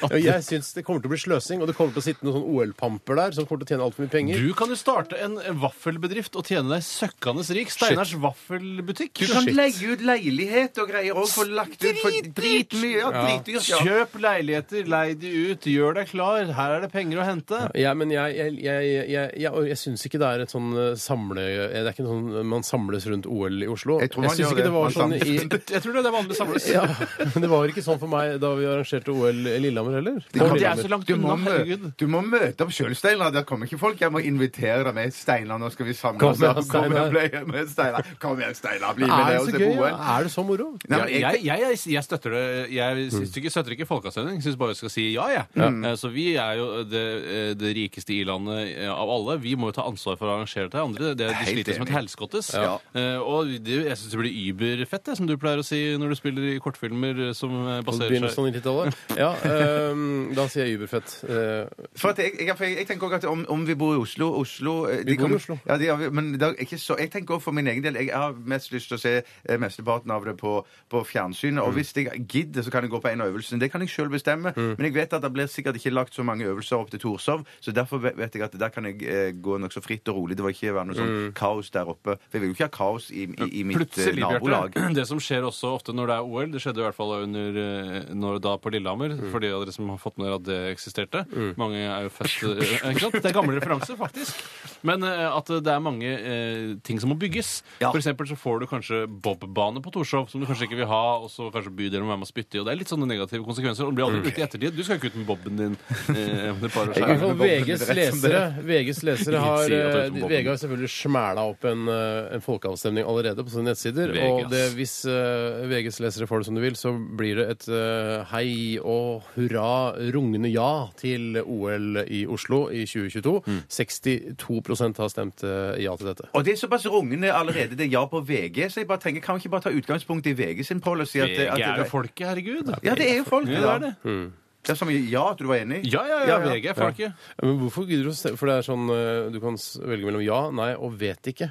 Speaker 3: Ja, Jeg syns det kommer til å bli sløsing, og det kommer til å sitte noen sånne OL-pamper der som kommer til å tjene altfor mye penger.
Speaker 5: Du kan jo starte en vaffelbedrift og tjene deg søkkende rik. Steinars vaffelbutikk.
Speaker 4: Du kan
Speaker 3: shit.
Speaker 4: leie ut leilighet og greier òg, få lagt ut for dritmye. Ja, dritdyrt. Ja.
Speaker 5: Kjøp leiligheter, lei de ut, gjør deg klar. Her er det penger å hente.
Speaker 3: Ja, men jeg, jeg, jeg, jeg, jeg, og jeg syns ikke det er et sånn eh, samle... Det er ikke en sånn eh, man samles rundt OL i Oslo.
Speaker 4: Jeg tror man
Speaker 3: syns
Speaker 4: gjør
Speaker 3: ikke
Speaker 4: det.
Speaker 3: det var
Speaker 4: Man
Speaker 3: sånn
Speaker 4: samles
Speaker 3: i
Speaker 5: Jeg tror det er vanlig samles.
Speaker 3: ja, men Det var ikke sånn for meg da vi arrangerte OL i Lillehammer heller.
Speaker 5: Men
Speaker 3: På
Speaker 5: det er så
Speaker 3: Lillehammer.
Speaker 5: langt
Speaker 4: Du må,
Speaker 5: unna, herregud.
Speaker 4: mø- du må møte opp sjøl, Steinar. Der kommer ikke folk. Jeg må invitere deg med, Steinar. Nå skal vi samle
Speaker 3: Kom
Speaker 4: oss. opp.
Speaker 3: igjen,
Speaker 4: Kom igjen,
Speaker 3: Steinar.
Speaker 4: ble med, Steinar. Kom igjen, Steinar. Bli med
Speaker 3: Er
Speaker 4: ned
Speaker 3: det
Speaker 4: og
Speaker 3: så
Speaker 4: se
Speaker 3: gøy?
Speaker 4: på
Speaker 3: Ja?
Speaker 4: OL.
Speaker 3: Er det så moro?
Speaker 4: Nei, men
Speaker 5: Jeg, jeg, jeg, jeg støtter det. Jeg
Speaker 3: Mm.
Speaker 5: syns ikke, støtter ikke folkeavstemning. Syns bare vi skal si ja, jeg.
Speaker 4: Mm.
Speaker 5: Eh, Så vi er jo det, eh, det rikeste i-landet eh, av alle. Vi må jo ta ansvar for å arrangere det til andre. Det, de
Speaker 4: Helt
Speaker 5: sliter som et
Speaker 4: enig.
Speaker 5: helskottes.
Speaker 4: Ja.
Speaker 5: Eh, Og det, jeg syns det blir überfett, det, som du pleier å si når du spiller i kortfilmer eh, som eh,
Speaker 3: På
Speaker 5: baserer
Speaker 3: begynnelsen
Speaker 5: seg
Speaker 3: av 90-tallet? Ja, ehm, da sier jeg Uberfett. Eh,
Speaker 4: For at jeg, jeg, for jeg, jeg tenker også at om, om vi bor i Oslo Oslo eh, de
Speaker 3: Vi bor i
Speaker 4: kommer-
Speaker 3: Oslo.
Speaker 4: Ja, de, har vi- men det er ikke så, jeg tenker også for min egen del Jeg har mest lyst til å se eh, mesteparten av det på, på fjernsynet. Og hvis jeg gidder, så kan jeg gå på en av øvelsene. Det kan jeg sjøl bestemme. Men jeg vet at det blir sikkert ikke lagt så mange øvelser opp til Torshov, så derfor vet vet jeg at der kan jeg eh, gå nokså fritt og rolig. Det var ikke være noe sånn kaos der oppe. For jeg vil jo ikke ha kaos i, i, i mitt eh,
Speaker 5: Plutselig,
Speaker 4: nabolag.
Speaker 5: Bjarte. Det som skjer også ofte når det er OL, det skjedde i hvert fall under, eh, når, da på Lillehammer,
Speaker 4: Mm.
Speaker 5: for de av dere som har fått med dere at det eksisterte. Mange er jo født eh, ikke sant? Det er gamle referanser, faktisk. Men eh, at det er mange eh, ting som må bygges.
Speaker 4: Ja.
Speaker 5: For eksempel så får du kanskje bobbane på Torshov, som du kanskje ikke vil ha, og så kanskje bydelen må være med å spytte i, og det er litt sånne negative konsekvenser. Og det blir
Speaker 4: Mm.
Speaker 5: aldri brukt i ettertid. Du skal jo ikke ut med bobben din. Eh, om et par år
Speaker 3: i
Speaker 5: så
Speaker 3: hvert
Speaker 5: er det-
Speaker 3: fall Altså, VGs lesere, VGs lesere har
Speaker 5: Sier at det er
Speaker 3: eh,
Speaker 5: som Bobben.
Speaker 3: VG har selvfølgelig smæla opp en, eh, en folkeavstemning allerede på sine nettsider.
Speaker 5: VG,
Speaker 3: Og det,
Speaker 5: ass.
Speaker 3: hvis eh, VGs lesere får det som de vil, så blir det et eh, hei og hurra rungende ja til OL i Oslo i 2022.
Speaker 5: Mm.
Speaker 3: 62 har stemt eh, ja til dette.
Speaker 4: Og det er såpass rungende allerede, det er ja på VG, så jeg bare tenker, kan vi ikke bare ta utgangspunkt i VG sin policy? At,
Speaker 5: VG
Speaker 4: at,
Speaker 5: er jo folket, herregud.
Speaker 4: Ja, det er jo folk.
Speaker 5: Ja, det er det.
Speaker 4: Det er så mye ja at du var enig.
Speaker 5: Ja, ja, ja,
Speaker 4: Ja, ja.
Speaker 5: VG er folket.
Speaker 3: Men hvorfor gidder du å stemme? For det er sånn eh, du kan s- velge mellom ja, nei og vet ikke.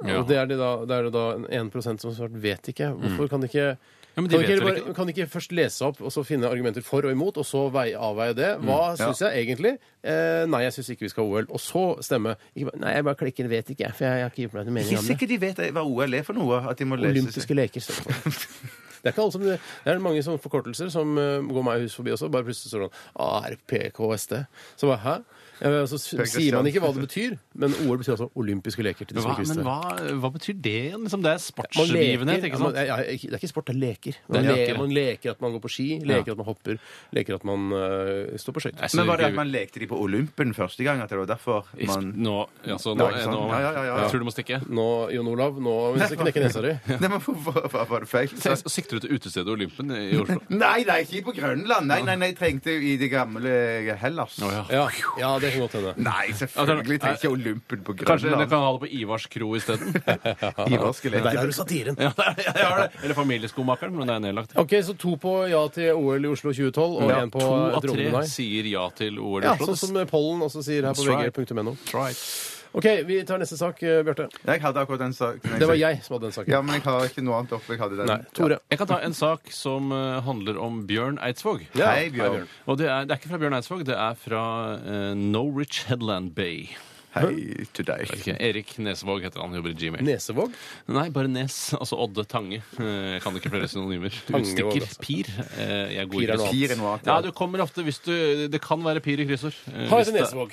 Speaker 5: Ja.
Speaker 3: Og det er det da, det er det da 1 som har svart vet ikke. Hvorfor kan de ikke
Speaker 5: Mm. Ja, men de
Speaker 3: kan de
Speaker 5: vet
Speaker 3: ikke,
Speaker 5: vel
Speaker 3: bare,
Speaker 5: ikke.
Speaker 3: kan de ikke først lese opp og så finne argumenter for og imot, og så vei, avveie det? Hva
Speaker 5: Mm,
Speaker 3: syns jeg egentlig? Eh, nei, jeg syns ikke vi skal ha OL. Og så stemme. Ikke, bare, nei, jeg bare klikker 'vet ikke', for jeg, jeg har ikke gitt meg noen mening
Speaker 4: Ikke
Speaker 3: om det.
Speaker 4: sikkert de vet hva OL er for noe. At de må lese
Speaker 3: Olympiske leker. står det på. Det er ikke alle som, det er mange sånne forkortelser som eh, går meg hus forbi også. Bare plutselig står det sånn ARPKSD. Så bare hæ? Eh, Så s-
Speaker 4: Per
Speaker 3: sier
Speaker 4: Christian.
Speaker 3: man ikke hva det betyr, men OL betyr altså olympiske leker. til de
Speaker 5: Men
Speaker 3: som
Speaker 5: hva,
Speaker 3: ikke visste
Speaker 5: men
Speaker 3: det.
Speaker 5: hva, hva betyr det igjen? Liksom, det
Speaker 3: Man
Speaker 5: er
Speaker 3: leker,
Speaker 5: sportsbegivenhet, ikke
Speaker 3: ja,
Speaker 5: sant?
Speaker 3: man- ja, ikke- det er ikke sport, det er leker. Man,
Speaker 5: Det er
Speaker 3: le-
Speaker 5: leker.
Speaker 3: man leker at man går på ski, leker at man hopper, leker at man øh, står på skøyter.
Speaker 5: Jeg
Speaker 4: Men
Speaker 5: synes
Speaker 4: var det at
Speaker 5: ikke-
Speaker 4: man lekte de på Olympen første gang? At det var derfor man
Speaker 5: Nå, altså, nå,
Speaker 4: Nei, ikke sant?
Speaker 5: nå,
Speaker 4: Ja, ja, ja, ja.
Speaker 5: Jeg tror du må stikke.
Speaker 3: Nå, Jon Olav, nå hvis du knekker nesa di
Speaker 4: Nei, men hvorfor hvorfor var det feil?
Speaker 5: Se- Sikter du til utestedet Olympen i Oslo?
Speaker 4: Nei, nei, ikke på Grønland! Nei, nei, nei, jeg trengte jo i det gamle eh, Hellas.
Speaker 5: Å, ja.
Speaker 3: ja, ja, det kan godt hende.
Speaker 4: Nei, selvfølgelig trengte jeg ikke Olympen på
Speaker 5: Kanskje dere
Speaker 4: Grønland.
Speaker 5: kan ha det på Ivars kro isteden?
Speaker 4: Ivarske
Speaker 3: Men der
Speaker 4: leker.
Speaker 3: har du satiren.
Speaker 5: Ja, det er- jeg har det. Eller Familieskomakeren, men det er nedlagt.
Speaker 3: Ok, så to på ja til OL i Oslo 2012, og
Speaker 5: Ja,
Speaker 3: én på
Speaker 5: to av
Speaker 3: et
Speaker 5: tre
Speaker 3: rungende nei.
Speaker 5: sier ja til OL i
Speaker 3: Ja,
Speaker 5: Oslo.
Speaker 3: sånn som pollen også sier her på
Speaker 5: That's
Speaker 3: vg.no.
Speaker 5: Right.
Speaker 3: OK, vi tar neste sak, eh, Bjarte.
Speaker 4: Jeg hadde akkurat den saken.
Speaker 3: Det var jeg som hadde den saken.
Speaker 4: Ja, men jeg har ikke noe annet oppe. Jeg hadde den.
Speaker 3: Nei, Tore.
Speaker 5: Jeg kan ta en sak som eh, handler om Bjørn Eidsvåg.
Speaker 4: Ja. Hei, Bjørn.
Speaker 5: Og det er, det er ikke fra Bjørn Eidsvåg, det er fra eh, Norwich Headland Bay.
Speaker 4: Hei til deg.
Speaker 5: Ok, Erik Nesvåg heter han, jobber i Gmail.
Speaker 3: Nesevåg.
Speaker 5: Nei, bare Nes. Altså Odde Tange. Eh, Jeg kan ikke flere synonymer.
Speaker 3: Tange var
Speaker 5: Utstikker.
Speaker 3: det, altså.
Speaker 5: Pir. Eh, Jeg går
Speaker 3: Pir er noe
Speaker 4: Fire noe annet.
Speaker 5: Ja, du kommer ofte hvis du Det kan være pir i kryssord. Eh,
Speaker 3: Ha
Speaker 5: hvis
Speaker 3: etter
Speaker 5: det-
Speaker 3: Nesevåg.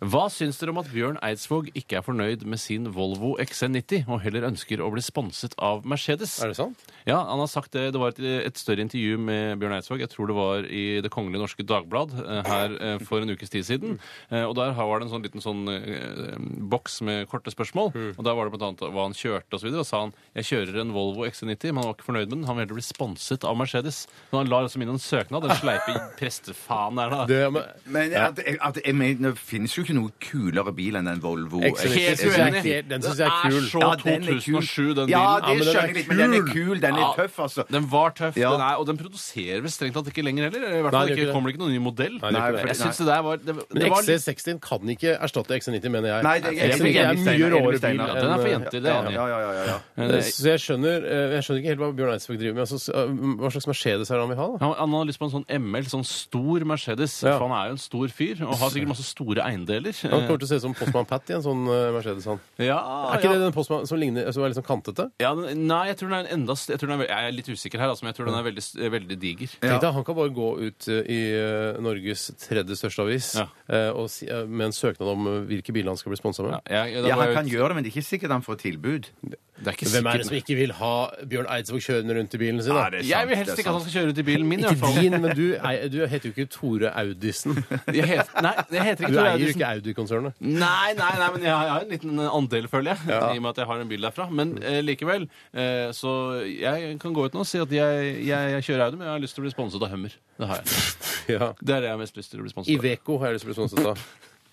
Speaker 5: Hva syns dere om at Bjørn Eidsvåg ikke er fornøyd med sin Volvo XC90, og heller ønsker å bli sponset av Mercedes?
Speaker 3: Er det sant?
Speaker 5: Ja, han har sagt det. Det var et, et større intervju med Bjørn Eidsvåg. Jeg tror det var i Det kongelige norske dagblad eh, her eh, for en ukes tid siden. Eh, Og der har- var det en sånn liten sånn eh, boks med korte spørsmål. Og der var det blant annet hva han kjørte osv. Og så sa han jeg kjører en Volvo XC90, men han var ikke fornøyd med den. Han vil heller bli sponset av Mercedes. Men han la altså inn en søknad. Den sleipe prestefaen der, da.
Speaker 3: Det, men,
Speaker 4: Men at, at, jeg mener, det finnes jo ikke noe kulere bil enn en Volvo.
Speaker 3: Helt
Speaker 4: Jeg synes-
Speaker 3: uenig. Den synes jeg er kul.
Speaker 5: Den er så
Speaker 4: Ja, den er kul.
Speaker 5: 2007, den bilen.
Speaker 4: Ja,
Speaker 3: Ja, men
Speaker 4: det
Speaker 3: den er
Speaker 4: skjønner jeg litt, men den er
Speaker 3: kul.
Speaker 4: kul. Den er
Speaker 5: Ja.
Speaker 4: tøff, altså.
Speaker 5: Den var tøff,
Speaker 4: Ja.
Speaker 5: den er, og den produserer vel strengt tatt ikke lenger heller. I
Speaker 3: Nei,
Speaker 5: hvert fall
Speaker 3: det gjør
Speaker 5: ikke,
Speaker 3: ikke det.
Speaker 5: kommer det ikke noen ny modell.
Speaker 3: det gjør
Speaker 4: ikke det.
Speaker 5: jeg synes det der var det,
Speaker 3: men
Speaker 5: det var
Speaker 3: XC60 kan ikke erstatte XC90, mener jeg.
Speaker 4: Nei, det er-
Speaker 3: XC90 er en mye råere bil.
Speaker 5: Ja, den er
Speaker 3: enn,
Speaker 5: for
Speaker 3: eh,
Speaker 5: jenter, det er jeg enig i.
Speaker 4: Ja, ja, ja, ja, ja.
Speaker 5: Men
Speaker 3: Eh,
Speaker 5: det-
Speaker 3: Så jeg skjønner, eh, jeg skjønner ikke helt hva Bjørn Eidsvåg driver med. Altså, s- eh, hva slags Mercedes er det han vil ha? da?
Speaker 5: Han, han har lyst på en sånn ML, sånn stor Mercedes.
Speaker 3: Ja.
Speaker 5: For han er jo en stor fyr og har sikkert masse store eiendeler.
Speaker 3: Han kommer til å se ut som Postman Pat i en sånn eh, Mercedes. han.
Speaker 5: Eh, ja,
Speaker 3: Er ikke
Speaker 5: ja.
Speaker 3: det den Postman som ligner, som er litt sånn kantete?
Speaker 5: ja, den- Nei, jeg tror den er en enda st- Jeg, tror den er, ve- jeg er litt usikker her, altså, men jeg tror den er veldig, veldig diger.
Speaker 3: Tenk deg, Han kan bare gå ut eh, i eh, Norges tredje største avis
Speaker 5: Ja.
Speaker 3: eh, og si, eh, med en søknad om eh, hvilke biler han skal bli sponsa med.
Speaker 5: Ja, jeg, da
Speaker 4: Ja,
Speaker 5: var
Speaker 4: han
Speaker 5: jeg-
Speaker 4: kan gjøre det, men det er ikke sikkert han får tilbud.
Speaker 5: det er ikke
Speaker 3: Hvem er
Speaker 5: sikkert-
Speaker 3: det som ikke vil ha Bjørn Eidsvåg kjørende rundt i bilen sin? da?
Speaker 4: Nei, det er sant,
Speaker 5: Jeg vil
Speaker 4: det er
Speaker 5: helst ikke at han
Speaker 4: sant.
Speaker 5: skal kjøre ut i bilen min, i hvert
Speaker 3: Ikke
Speaker 5: fall.
Speaker 3: din, men du, ei- du heter jo ikke Tore Audisen.
Speaker 5: Jeg het- nei, det heter
Speaker 3: Du
Speaker 5: ikke Tor
Speaker 3: eier jo
Speaker 5: Eidesen.
Speaker 3: ikke Audi-konsernet.
Speaker 5: Nei, nei, nei, men jeg har, jeg har en liten andel, føler jeg. I og med at jeg har en bil derfra. Men eh, likevel. Eh, så jeg kan gå ut nå og si at jeg, jeg, jeg kjører Audi, men jeg har lyst til å bli sponset av Hummer. Det har jeg.
Speaker 3: Ja.
Speaker 5: Det er det jeg har mest lyst til å bli sponset av.
Speaker 3: Iveco har jeg lyst til å bli sponset av.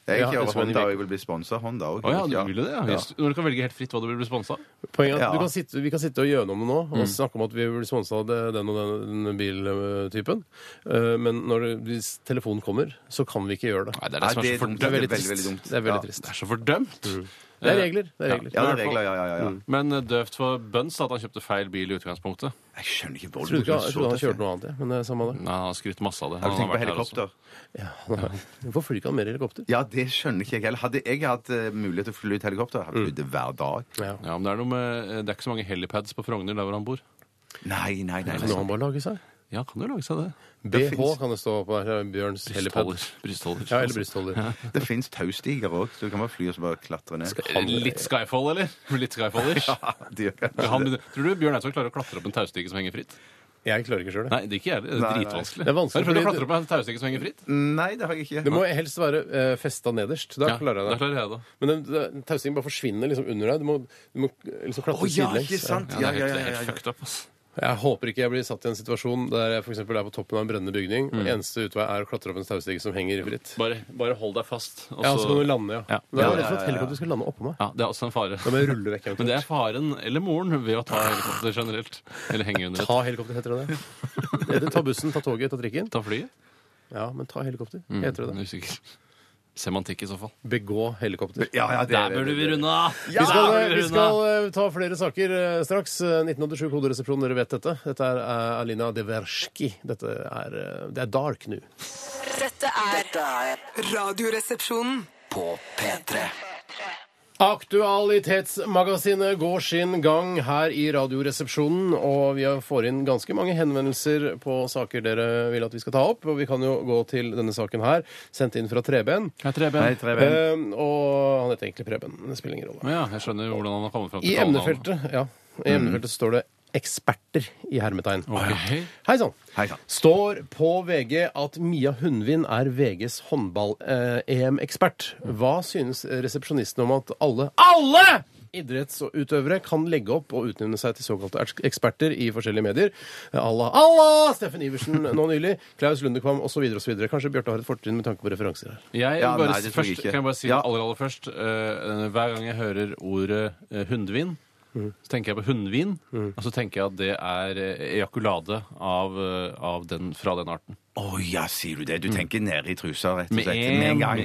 Speaker 4: Jeg
Speaker 3: Ja, det
Speaker 4: kjører
Speaker 3: er som en
Speaker 4: Honda,
Speaker 3: idé.
Speaker 4: og jeg vil bli sponsa av Honda òg.
Speaker 5: Å ja, du vil jo det? Ja. Just- Når du kan velge helt fritt hva du vil bli sponset av.
Speaker 3: Poenget er at
Speaker 4: Ja.
Speaker 3: du kan sitte, Vi kan sitte og gjennom det nå og snakke om at vi blir sponsa av det- den og den, den biltypen, Eh, men når det, hvis telefonen kommer, så kan vi ikke gjøre det.
Speaker 5: Nei, det er
Speaker 4: Nei,
Speaker 5: det som
Speaker 4: det
Speaker 5: er
Speaker 4: er
Speaker 5: så
Speaker 4: dumt. Det er
Speaker 5: fordømt.
Speaker 4: veldig, veldig dumt.
Speaker 3: Det er veldig
Speaker 4: Ja.
Speaker 3: trist.
Speaker 5: Det er så fordømt.
Speaker 3: Det er regler. Det er regler.
Speaker 4: Ja, det er regler, ja, ja, ja. ja.
Speaker 5: Eh, Men eh, døvt for Buns at han kjøpte feil bil i utgangspunktet.
Speaker 4: Jeg skjønner ikke
Speaker 3: Jeg trodde,
Speaker 4: Volvo.
Speaker 3: ikke, han- jeg trodde
Speaker 4: Har
Speaker 3: han kjørte noe annet, jeg, men det er samme det.
Speaker 5: Nei, han har skrytt masse av det.
Speaker 4: altså. Mm. du
Speaker 5: Han
Speaker 4: tenkt på
Speaker 5: vært her også.
Speaker 4: helikopter?
Speaker 3: Ja, Hvorfor flyr ikke han mer i helikopter?
Speaker 4: Ja, det skjønner ikke jeg heller. Hadde jeg hatt eh, mulighet til å fly ut helikopter,
Speaker 5: Mm.
Speaker 4: hadde jeg flydd det hver dag.
Speaker 3: Ja.
Speaker 5: Ja, men det er, noe med, eh, det er ikke så mange helipads på Frogner der hvor han bor.
Speaker 4: Nei, nei, nei.
Speaker 3: Kan
Speaker 4: nei.
Speaker 3: han bare lage seg?
Speaker 5: Ja, kan jo lage seg det.
Speaker 3: BH
Speaker 4: finnes-
Speaker 3: kan det stå på her. Bjørns helipad.
Speaker 5: Brystholder. Brystholder.
Speaker 3: Ja, eller brystholder.
Speaker 4: Det fins taustiger òg, så du kan bare fly og så bare klatre ned.
Speaker 5: Eh, Litt Skyfall, eller? Litt Skyfallers.
Speaker 4: Ja, det gjør kanskje
Speaker 5: Han,
Speaker 4: det.
Speaker 5: tror du Bjørn Eidsvåg klarer å klatre opp en taustige som henger fritt?
Speaker 3: Jeg klarer ikke sjøl, det.
Speaker 5: Nei, det er ikke jeg. Det er
Speaker 4: Nei, nei.
Speaker 5: dritvanskelig.
Speaker 3: Det er vanskelig,
Speaker 5: Har du prøvd å
Speaker 3: fordi
Speaker 5: klatre opp en taustige som henger fritt?
Speaker 4: Nei, det har jeg ikke.
Speaker 3: Det må helst være uh, festa nederst. Da
Speaker 5: Ja,
Speaker 3: klarer
Speaker 5: da
Speaker 3: jeg det.
Speaker 5: klarer jeg det.
Speaker 3: Men den, den tausingen bare forsvinner liksom under deg. Du må, du må liksom klatre
Speaker 4: Å ja,
Speaker 3: sidelengs.
Speaker 4: ikke sant?
Speaker 5: Ja, det
Speaker 4: Ja, ja, ja.
Speaker 5: er helt, det er
Speaker 4: ja,
Speaker 5: helt
Speaker 4: ja.
Speaker 5: fucked up, ass.
Speaker 3: Jeg håper ikke jeg blir satt i en situasjon der jeg for eksempel er på toppen av en brennende bygning,
Speaker 5: Mm.
Speaker 3: og eneste utvei er å klatre opp en taustige som henger fritt.
Speaker 5: Bare, bare hold deg fast. og
Speaker 3: Ja,
Speaker 5: så-
Speaker 3: så kan du lande, ja.
Speaker 5: Ja.
Speaker 3: Da er jeg redd for at helikopteret skal lande oppå meg.
Speaker 5: Ja, det er også en fare.
Speaker 3: Da må jeg rulle vekk.
Speaker 5: Men det er faren eller moren ved å ta helikopter generelt. Eller henge under et
Speaker 3: Ta helikopter, heter det det. Eller Ta bussen, ta toget, ta trikken.
Speaker 5: Ta flyet.
Speaker 3: Ja, men ta helikopter,
Speaker 4: Mm.
Speaker 3: heter det det.
Speaker 5: Usikker. Semantikk i så fall.
Speaker 3: Begå helikopter.
Speaker 4: Ja, ja, det er
Speaker 5: Der
Speaker 4: det,
Speaker 5: burde
Speaker 4: det,
Speaker 5: vi
Speaker 4: det.
Speaker 5: runde av!
Speaker 3: Vi skal,
Speaker 5: Der burde
Speaker 3: vi
Speaker 5: runde
Speaker 3: skal
Speaker 5: av.
Speaker 3: eh, ta flere saker eh, straks. Eh, 1987 Koderesepsjon, dere vet dette. Dette er eh, Alina Deverski. Dette er, eh, det er dark nå.
Speaker 1: Dette er
Speaker 2: Dette er
Speaker 1: Radioresepsjonen.
Speaker 2: på P3.
Speaker 3: Aktualitetsmagasinet går sin gang her i Radioresepsjonen, og vi får inn ganske mange henvendelser på saker dere vil at vi skal ta opp. Og vi kan jo gå til denne saken her, sendt inn fra Treben.
Speaker 5: Hei, Treben.
Speaker 4: Hei, Treven.
Speaker 3: Eh, og han heter egentlig Preben. Det spiller ingen rolle.
Speaker 5: Ja, jeg skjønner hvordan han har kommet fram til
Speaker 3: I
Speaker 5: kallenavnet.
Speaker 3: emnefeltet, ja,
Speaker 4: Mm.
Speaker 3: i emnefeltet står det 'eksperter' i hermetegn.
Speaker 5: Ok.
Speaker 3: Hei sann.
Speaker 4: Hei sann.
Speaker 3: Står på VG at Mia Hundvin er VGs håndball-EM-ekspert. eh, Hva synes resepsjonisten om at alle ALLE! Idrettsutøvere kan legge opp og utnevne seg til såkalte eks- eksperter i forskjellige medier. Eh, Allah, Allah! Steffen Iversen nå nylig. Klaus Lundekvam osv. osv. Kanskje Bjarte har et fortrinn med tanke på referanser her.
Speaker 5: Jeg vil
Speaker 4: Ja,
Speaker 5: bare,
Speaker 4: nei, det tror jeg
Speaker 5: først,
Speaker 4: ikke.
Speaker 5: kan jeg bare si
Speaker 4: Ja.
Speaker 5: aller, aller først eh, Hver gang jeg hører ordet eh, hundvin,
Speaker 4: Mm.
Speaker 5: så tenker jeg på hundvin. Og så tenker jeg at det er eh, ejakulade av, eh, av den, fra den arten.
Speaker 4: Å ja, sier du det? Du tenker nede i trusa, rett og
Speaker 5: Mm. Med
Speaker 4: slett.
Speaker 5: en- med en gang,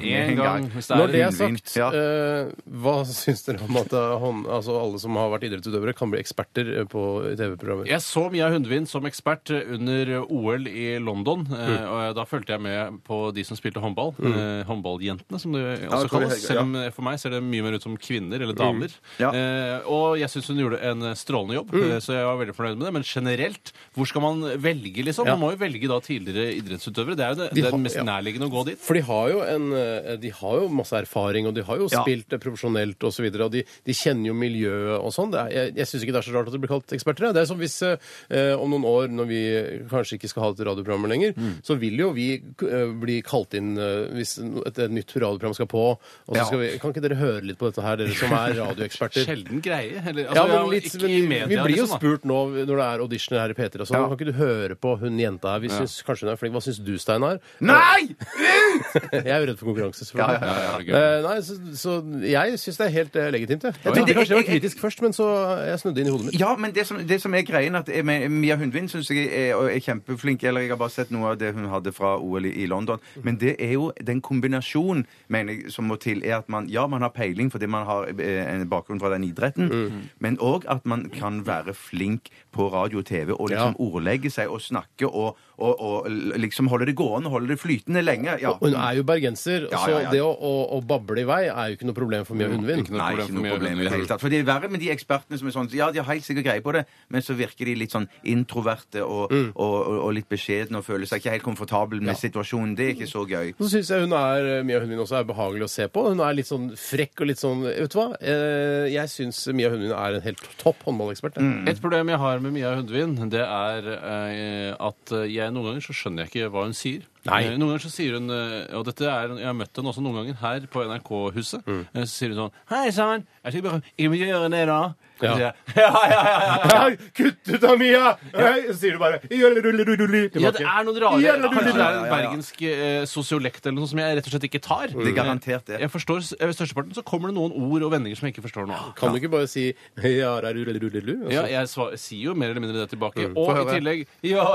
Speaker 5: hvis det er
Speaker 3: Når det er
Speaker 4: hundvin,
Speaker 3: sagt,
Speaker 4: ja.
Speaker 3: eh, hva syns dere om at eh, hånd, altså alle som har vært idrettsutøvere, kan bli eksperter eh, på TV-programmer?
Speaker 5: Jeg så Mia Hundvin som ekspert eh, under OL i London.
Speaker 3: Mm.
Speaker 5: eh, Og jeg- da fulgte jeg med på de som spilte håndball. eh, Håndballjentene, som det også
Speaker 4: det tror jeg
Speaker 5: kalles.
Speaker 4: heller, ja.
Speaker 5: Selv om eh, for meg ser det mye mer ut som kvinner
Speaker 3: Mm.
Speaker 5: eller damer.
Speaker 4: Ja.
Speaker 5: Eh, Og jeg syns hun gjorde en
Speaker 3: Mm.
Speaker 5: eh, strålende jobb, eh, så jeg var veldig fornøyd med det. Men generelt, hvor skal man velge, liksom? Man må jo velge da tidligere idrettsutøvere. Det er jo det,
Speaker 3: De
Speaker 5: det er
Speaker 3: har-
Speaker 5: mest
Speaker 3: ja.
Speaker 5: nærliggende å gå dit.
Speaker 3: For de har, jo en, eh, de har jo masse erfaring, og de har jo
Speaker 4: Ja.
Speaker 3: spilt det profesjonelt osv. Og, så videre, og de, de kjenner jo miljøet og sånn. Det er- Jeg, jeg syns ikke det er så rart at de blir kalt eksperter. jeg. Det er som hvis eh, om noen år, når vi kanskje ikke skal ha et radioprogram lenger,
Speaker 4: Mm.
Speaker 3: så vil jo vi eh, bli kalt inn eh, hvis et, et nytt radioprogram skal på. Og så
Speaker 4: Ja.
Speaker 3: skal vi, kan ikke dere høre litt på dette her, dere som er radioeksperter?
Speaker 5: Sjelden greie. Eller,
Speaker 3: Ja,
Speaker 5: altså,
Speaker 3: men litt,
Speaker 5: ikke
Speaker 3: men
Speaker 5: i media,
Speaker 3: vi blir jo
Speaker 5: liksom, da.
Speaker 3: spurt nå når det er auditioner her i P3 og sånn.
Speaker 4: Ja.
Speaker 3: Kan ikke du høre på hun jenta her? Vi syns kanskje hun er flink. Hva syns du, Steinar? Eh,
Speaker 4: Nei!
Speaker 3: Jeg er jo redd for konkurranse, selvfølgelig.
Speaker 5: Ja, ja, det er gøy.
Speaker 3: Eh, nei, så, så jeg syns det er helt eh, legitimt, jeg. Jeg
Speaker 4: Men
Speaker 3: trodde
Speaker 4: det-
Speaker 3: kanskje jeg var
Speaker 4: jeg- jeg-
Speaker 3: kritisk først, men så jeg snudde inn i hodet mitt.
Speaker 4: Ja, men det som, det som er greien at jeg, med Mia Hundvin syns jeg er, og er kjempeflink. Eller jeg har bare sett noe av det hun hadde fra OL i, i London. Men det er jo den kombinasjonen mener jeg, som må til, er at man ja, man har peiling fordi man har eh, en bakgrunn fra den idretten,
Speaker 3: Mm.
Speaker 4: men òg at man kan være flink på radio og TV og liksom
Speaker 3: Ja.
Speaker 4: ordlegge seg og snakke og, og, og l- liksom holde det gående, holde det flytende lenge. Ja.
Speaker 3: Og hun er jo bergenser,
Speaker 4: Ja,
Speaker 3: så
Speaker 4: ja, ja.
Speaker 3: det å, å, å bable i vei er jo ikke noe problem for Mia Hundvin.
Speaker 5: Mm, Ikke noe
Speaker 4: Nei, ikke
Speaker 5: problem for
Speaker 4: noe
Speaker 5: mye
Speaker 4: problem i det
Speaker 5: økonomi.
Speaker 4: hele tatt. For det er verre med de ekspertene som er sånn Ja, de har helt sikkert greie på det, men så virker de litt sånn introverte og, og, og, og litt beskjedne og føler seg ikke helt komfortabel med situasjonen. Det er ikke så gøy.
Speaker 3: Så syns jeg hun er eh, Mia Hundvin også er behagelig å se på. Hun er litt sånn frekk og litt sånn Vet du hva? Eh, Jeg syns Mia Hundvin er en helt topp håndballekspert. jeg.
Speaker 5: Et problem jeg har med Mia Hundvin, det er eh, at jeg noen ganger så skjønner jeg ikke hva hun sier.
Speaker 3: Nei.
Speaker 5: Eh, Noen ganger så sier hun eh, Og dette er, jeg har møtt henne også noen ganger her på NRK-huset.
Speaker 3: Mm.
Speaker 5: Eh, Så sier hun sånn Hei sann! Jeg sier bare Ikke må gjøre det, da.
Speaker 3: Ja.
Speaker 5: Så sier jeg, Ja, ja, ja, ja, ja.
Speaker 3: Nei, Kutt ut av Mia! Nei, Så sier du bare «Jølle, rulle, rulle, rulle», tilbake.
Speaker 5: Ja, det er noen rare
Speaker 3: Jølle, rulle,
Speaker 5: Kanskje det
Speaker 3: rulle.
Speaker 5: er en bergensk eh, sosiolekt eller noe som jeg rett og slett ikke tar.
Speaker 4: Det er garantert det.
Speaker 5: Jeg forstår s- eh, størsteparten, så kommer det noen ord og vendinger som jeg ikke forstår noe av.
Speaker 3: Kan du ikke bare si ja, ra, rulle, rulle, rulle, og så-
Speaker 5: Ja, jeg sva- sier jo mer eller mindre det tilbake.
Speaker 4: Mm. Få
Speaker 5: Og i
Speaker 4: høre.
Speaker 5: tillegg Ja,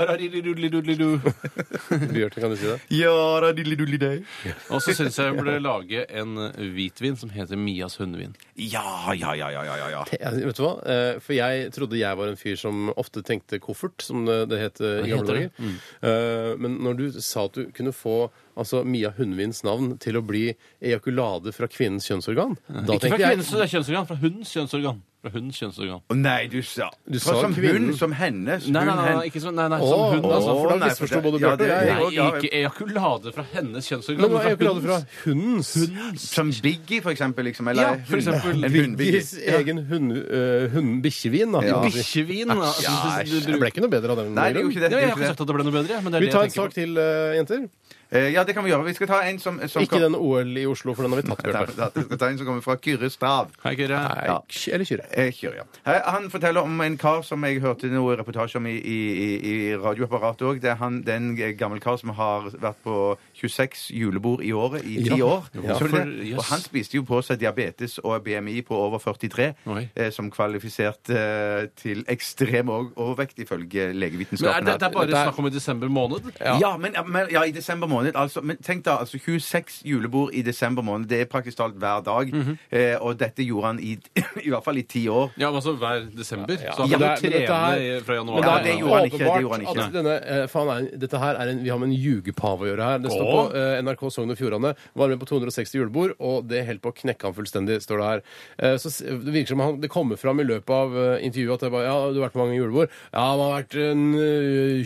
Speaker 5: raririruliruliru.
Speaker 3: Bjørte, kan du si det?
Speaker 4: Ja da, dilledulli deg.
Speaker 5: Og så syns jeg hun burde lage en hvitvin som heter Mias hundevin.
Speaker 4: Ja, ja, ja, ja, ja, ja, ja.
Speaker 3: Ja, vet du hva? Eh, For jeg trodde jeg var en fyr som ofte tenkte koffert, som det det het eh, i
Speaker 5: Det heter
Speaker 3: gamle dager.
Speaker 5: det.
Speaker 3: Eh, Men når du sa at du kunne få altså, Mia Hundvins navn til å bli ejakulade fra kvinnens kjønnsorgan, da
Speaker 5: Ikke fra
Speaker 3: tenkte
Speaker 5: kvinnens
Speaker 3: jeg
Speaker 5: kjønnsorgan, fra hundens kjønnsorgan. Fra hundens kjønnsorgan.
Speaker 4: Å, Nei, du sa
Speaker 3: Du
Speaker 4: For
Speaker 3: sa
Speaker 4: Som
Speaker 3: kvinnen.
Speaker 4: hun, som henne. Hun,
Speaker 5: Nei, nei, nei,
Speaker 4: hen.
Speaker 5: nei, ikke sånn, nei, nei
Speaker 3: Å,
Speaker 5: som hund,
Speaker 3: å,
Speaker 5: altså.
Speaker 3: for da
Speaker 4: nei, for
Speaker 3: misforsto
Speaker 4: det-
Speaker 3: både
Speaker 4: ja,
Speaker 3: Bjarte og
Speaker 4: det-
Speaker 3: jeg.
Speaker 5: Nei,
Speaker 4: å, ja,
Speaker 5: ikke ejakulade fra hennes kjønnsorgan.
Speaker 3: Men det
Speaker 5: men
Speaker 3: var ejakulade fra
Speaker 5: hundens.
Speaker 3: hundens.
Speaker 4: Som Biggie, for eksempel. Liksom, eller
Speaker 5: Ja, for eksempel
Speaker 4: en hundbiggie.
Speaker 3: Bikkjes egen hund, øh, hund, bikkjevin, da.
Speaker 4: Ja.
Speaker 5: Bikkjevin. da. Altså,
Speaker 4: Ja,
Speaker 5: du- du
Speaker 3: Det ble
Speaker 5: bruker-
Speaker 3: ikke noe bedre av den.
Speaker 4: Nei, det er jo
Speaker 3: grunn.
Speaker 4: ikke
Speaker 5: Ja,
Speaker 4: det. det, er
Speaker 5: Jeg har
Speaker 4: jo
Speaker 5: ikke
Speaker 4: ikke
Speaker 5: sagt
Speaker 4: det.
Speaker 5: at det ble noe bedre. Men det er
Speaker 3: Vi
Speaker 5: det
Speaker 3: tar en
Speaker 5: jeg
Speaker 3: sak
Speaker 5: tenker på.
Speaker 3: til, øh, jenter.
Speaker 4: Eh, Ja, det kan vi gjøre. Vi skal ta en som, som
Speaker 3: Ikke den OL i Oslo, for den har vi tatt,
Speaker 4: Nei,
Speaker 3: Bjarte.
Speaker 4: Vi skal ta en som kommer fra Kyrre Stav.
Speaker 5: Hei, Kyrre.
Speaker 3: Nei,
Speaker 4: Ja.
Speaker 3: k- Eller kyrre.
Speaker 4: Eh, Kjør, ja. Her- Han forteller om en kar som jeg hørte noe reportasje om i, i, i i radioapparatet òg. Det er han, det er en gammel kar som har vært på 26 julebord i året i ti
Speaker 3: Ja.
Speaker 4: år.
Speaker 5: Ja.
Speaker 4: Så du det?
Speaker 5: For- yes.
Speaker 4: Og han spiste jo på seg diabetes og BMI på over 43,
Speaker 5: Oi.
Speaker 4: eh, som kvalifiserte eh, til ekstrem og- overvekt, ifølge
Speaker 5: Men er
Speaker 4: legevitenskapen.
Speaker 5: det, det er
Speaker 4: her.
Speaker 5: bare
Speaker 3: Dette er-
Speaker 5: snakk om i desember måned?
Speaker 4: Ja. men, men ja, i desember måned. Altså, men tenk da, altså 26 julebord i desember måned. Det er praktisk talt hver dag.
Speaker 5: Mhm.
Speaker 4: eh, og dette gjorde han i, i hvert fall i ti år.
Speaker 5: Ja, men altså hver desember.
Speaker 3: men det
Speaker 5: Så han kan
Speaker 3: er-
Speaker 5: jo
Speaker 3: men dette
Speaker 5: trene
Speaker 3: her-
Speaker 5: fra
Speaker 3: Men
Speaker 5: januar.
Speaker 3: det
Speaker 4: Ja,
Speaker 3: er
Speaker 4: det gjorde han ikke, det
Speaker 3: åpenbart
Speaker 4: gjorde han ikke.
Speaker 3: At denne, eh, faen er, dette her er en, vi har med en ljugepave å gjøre her. Det står på
Speaker 5: Åh.
Speaker 3: eh, NRK Sogn og Fjordane. Var med på 260 julebord, og det holdt på å knekke han fullstendig, står det her. Eh, Så s- det virker som han, det kommer fram i løpet av eh, intervjuet at det bare, ja, du har vært på mange julebord. Ja, man har vært en, eh,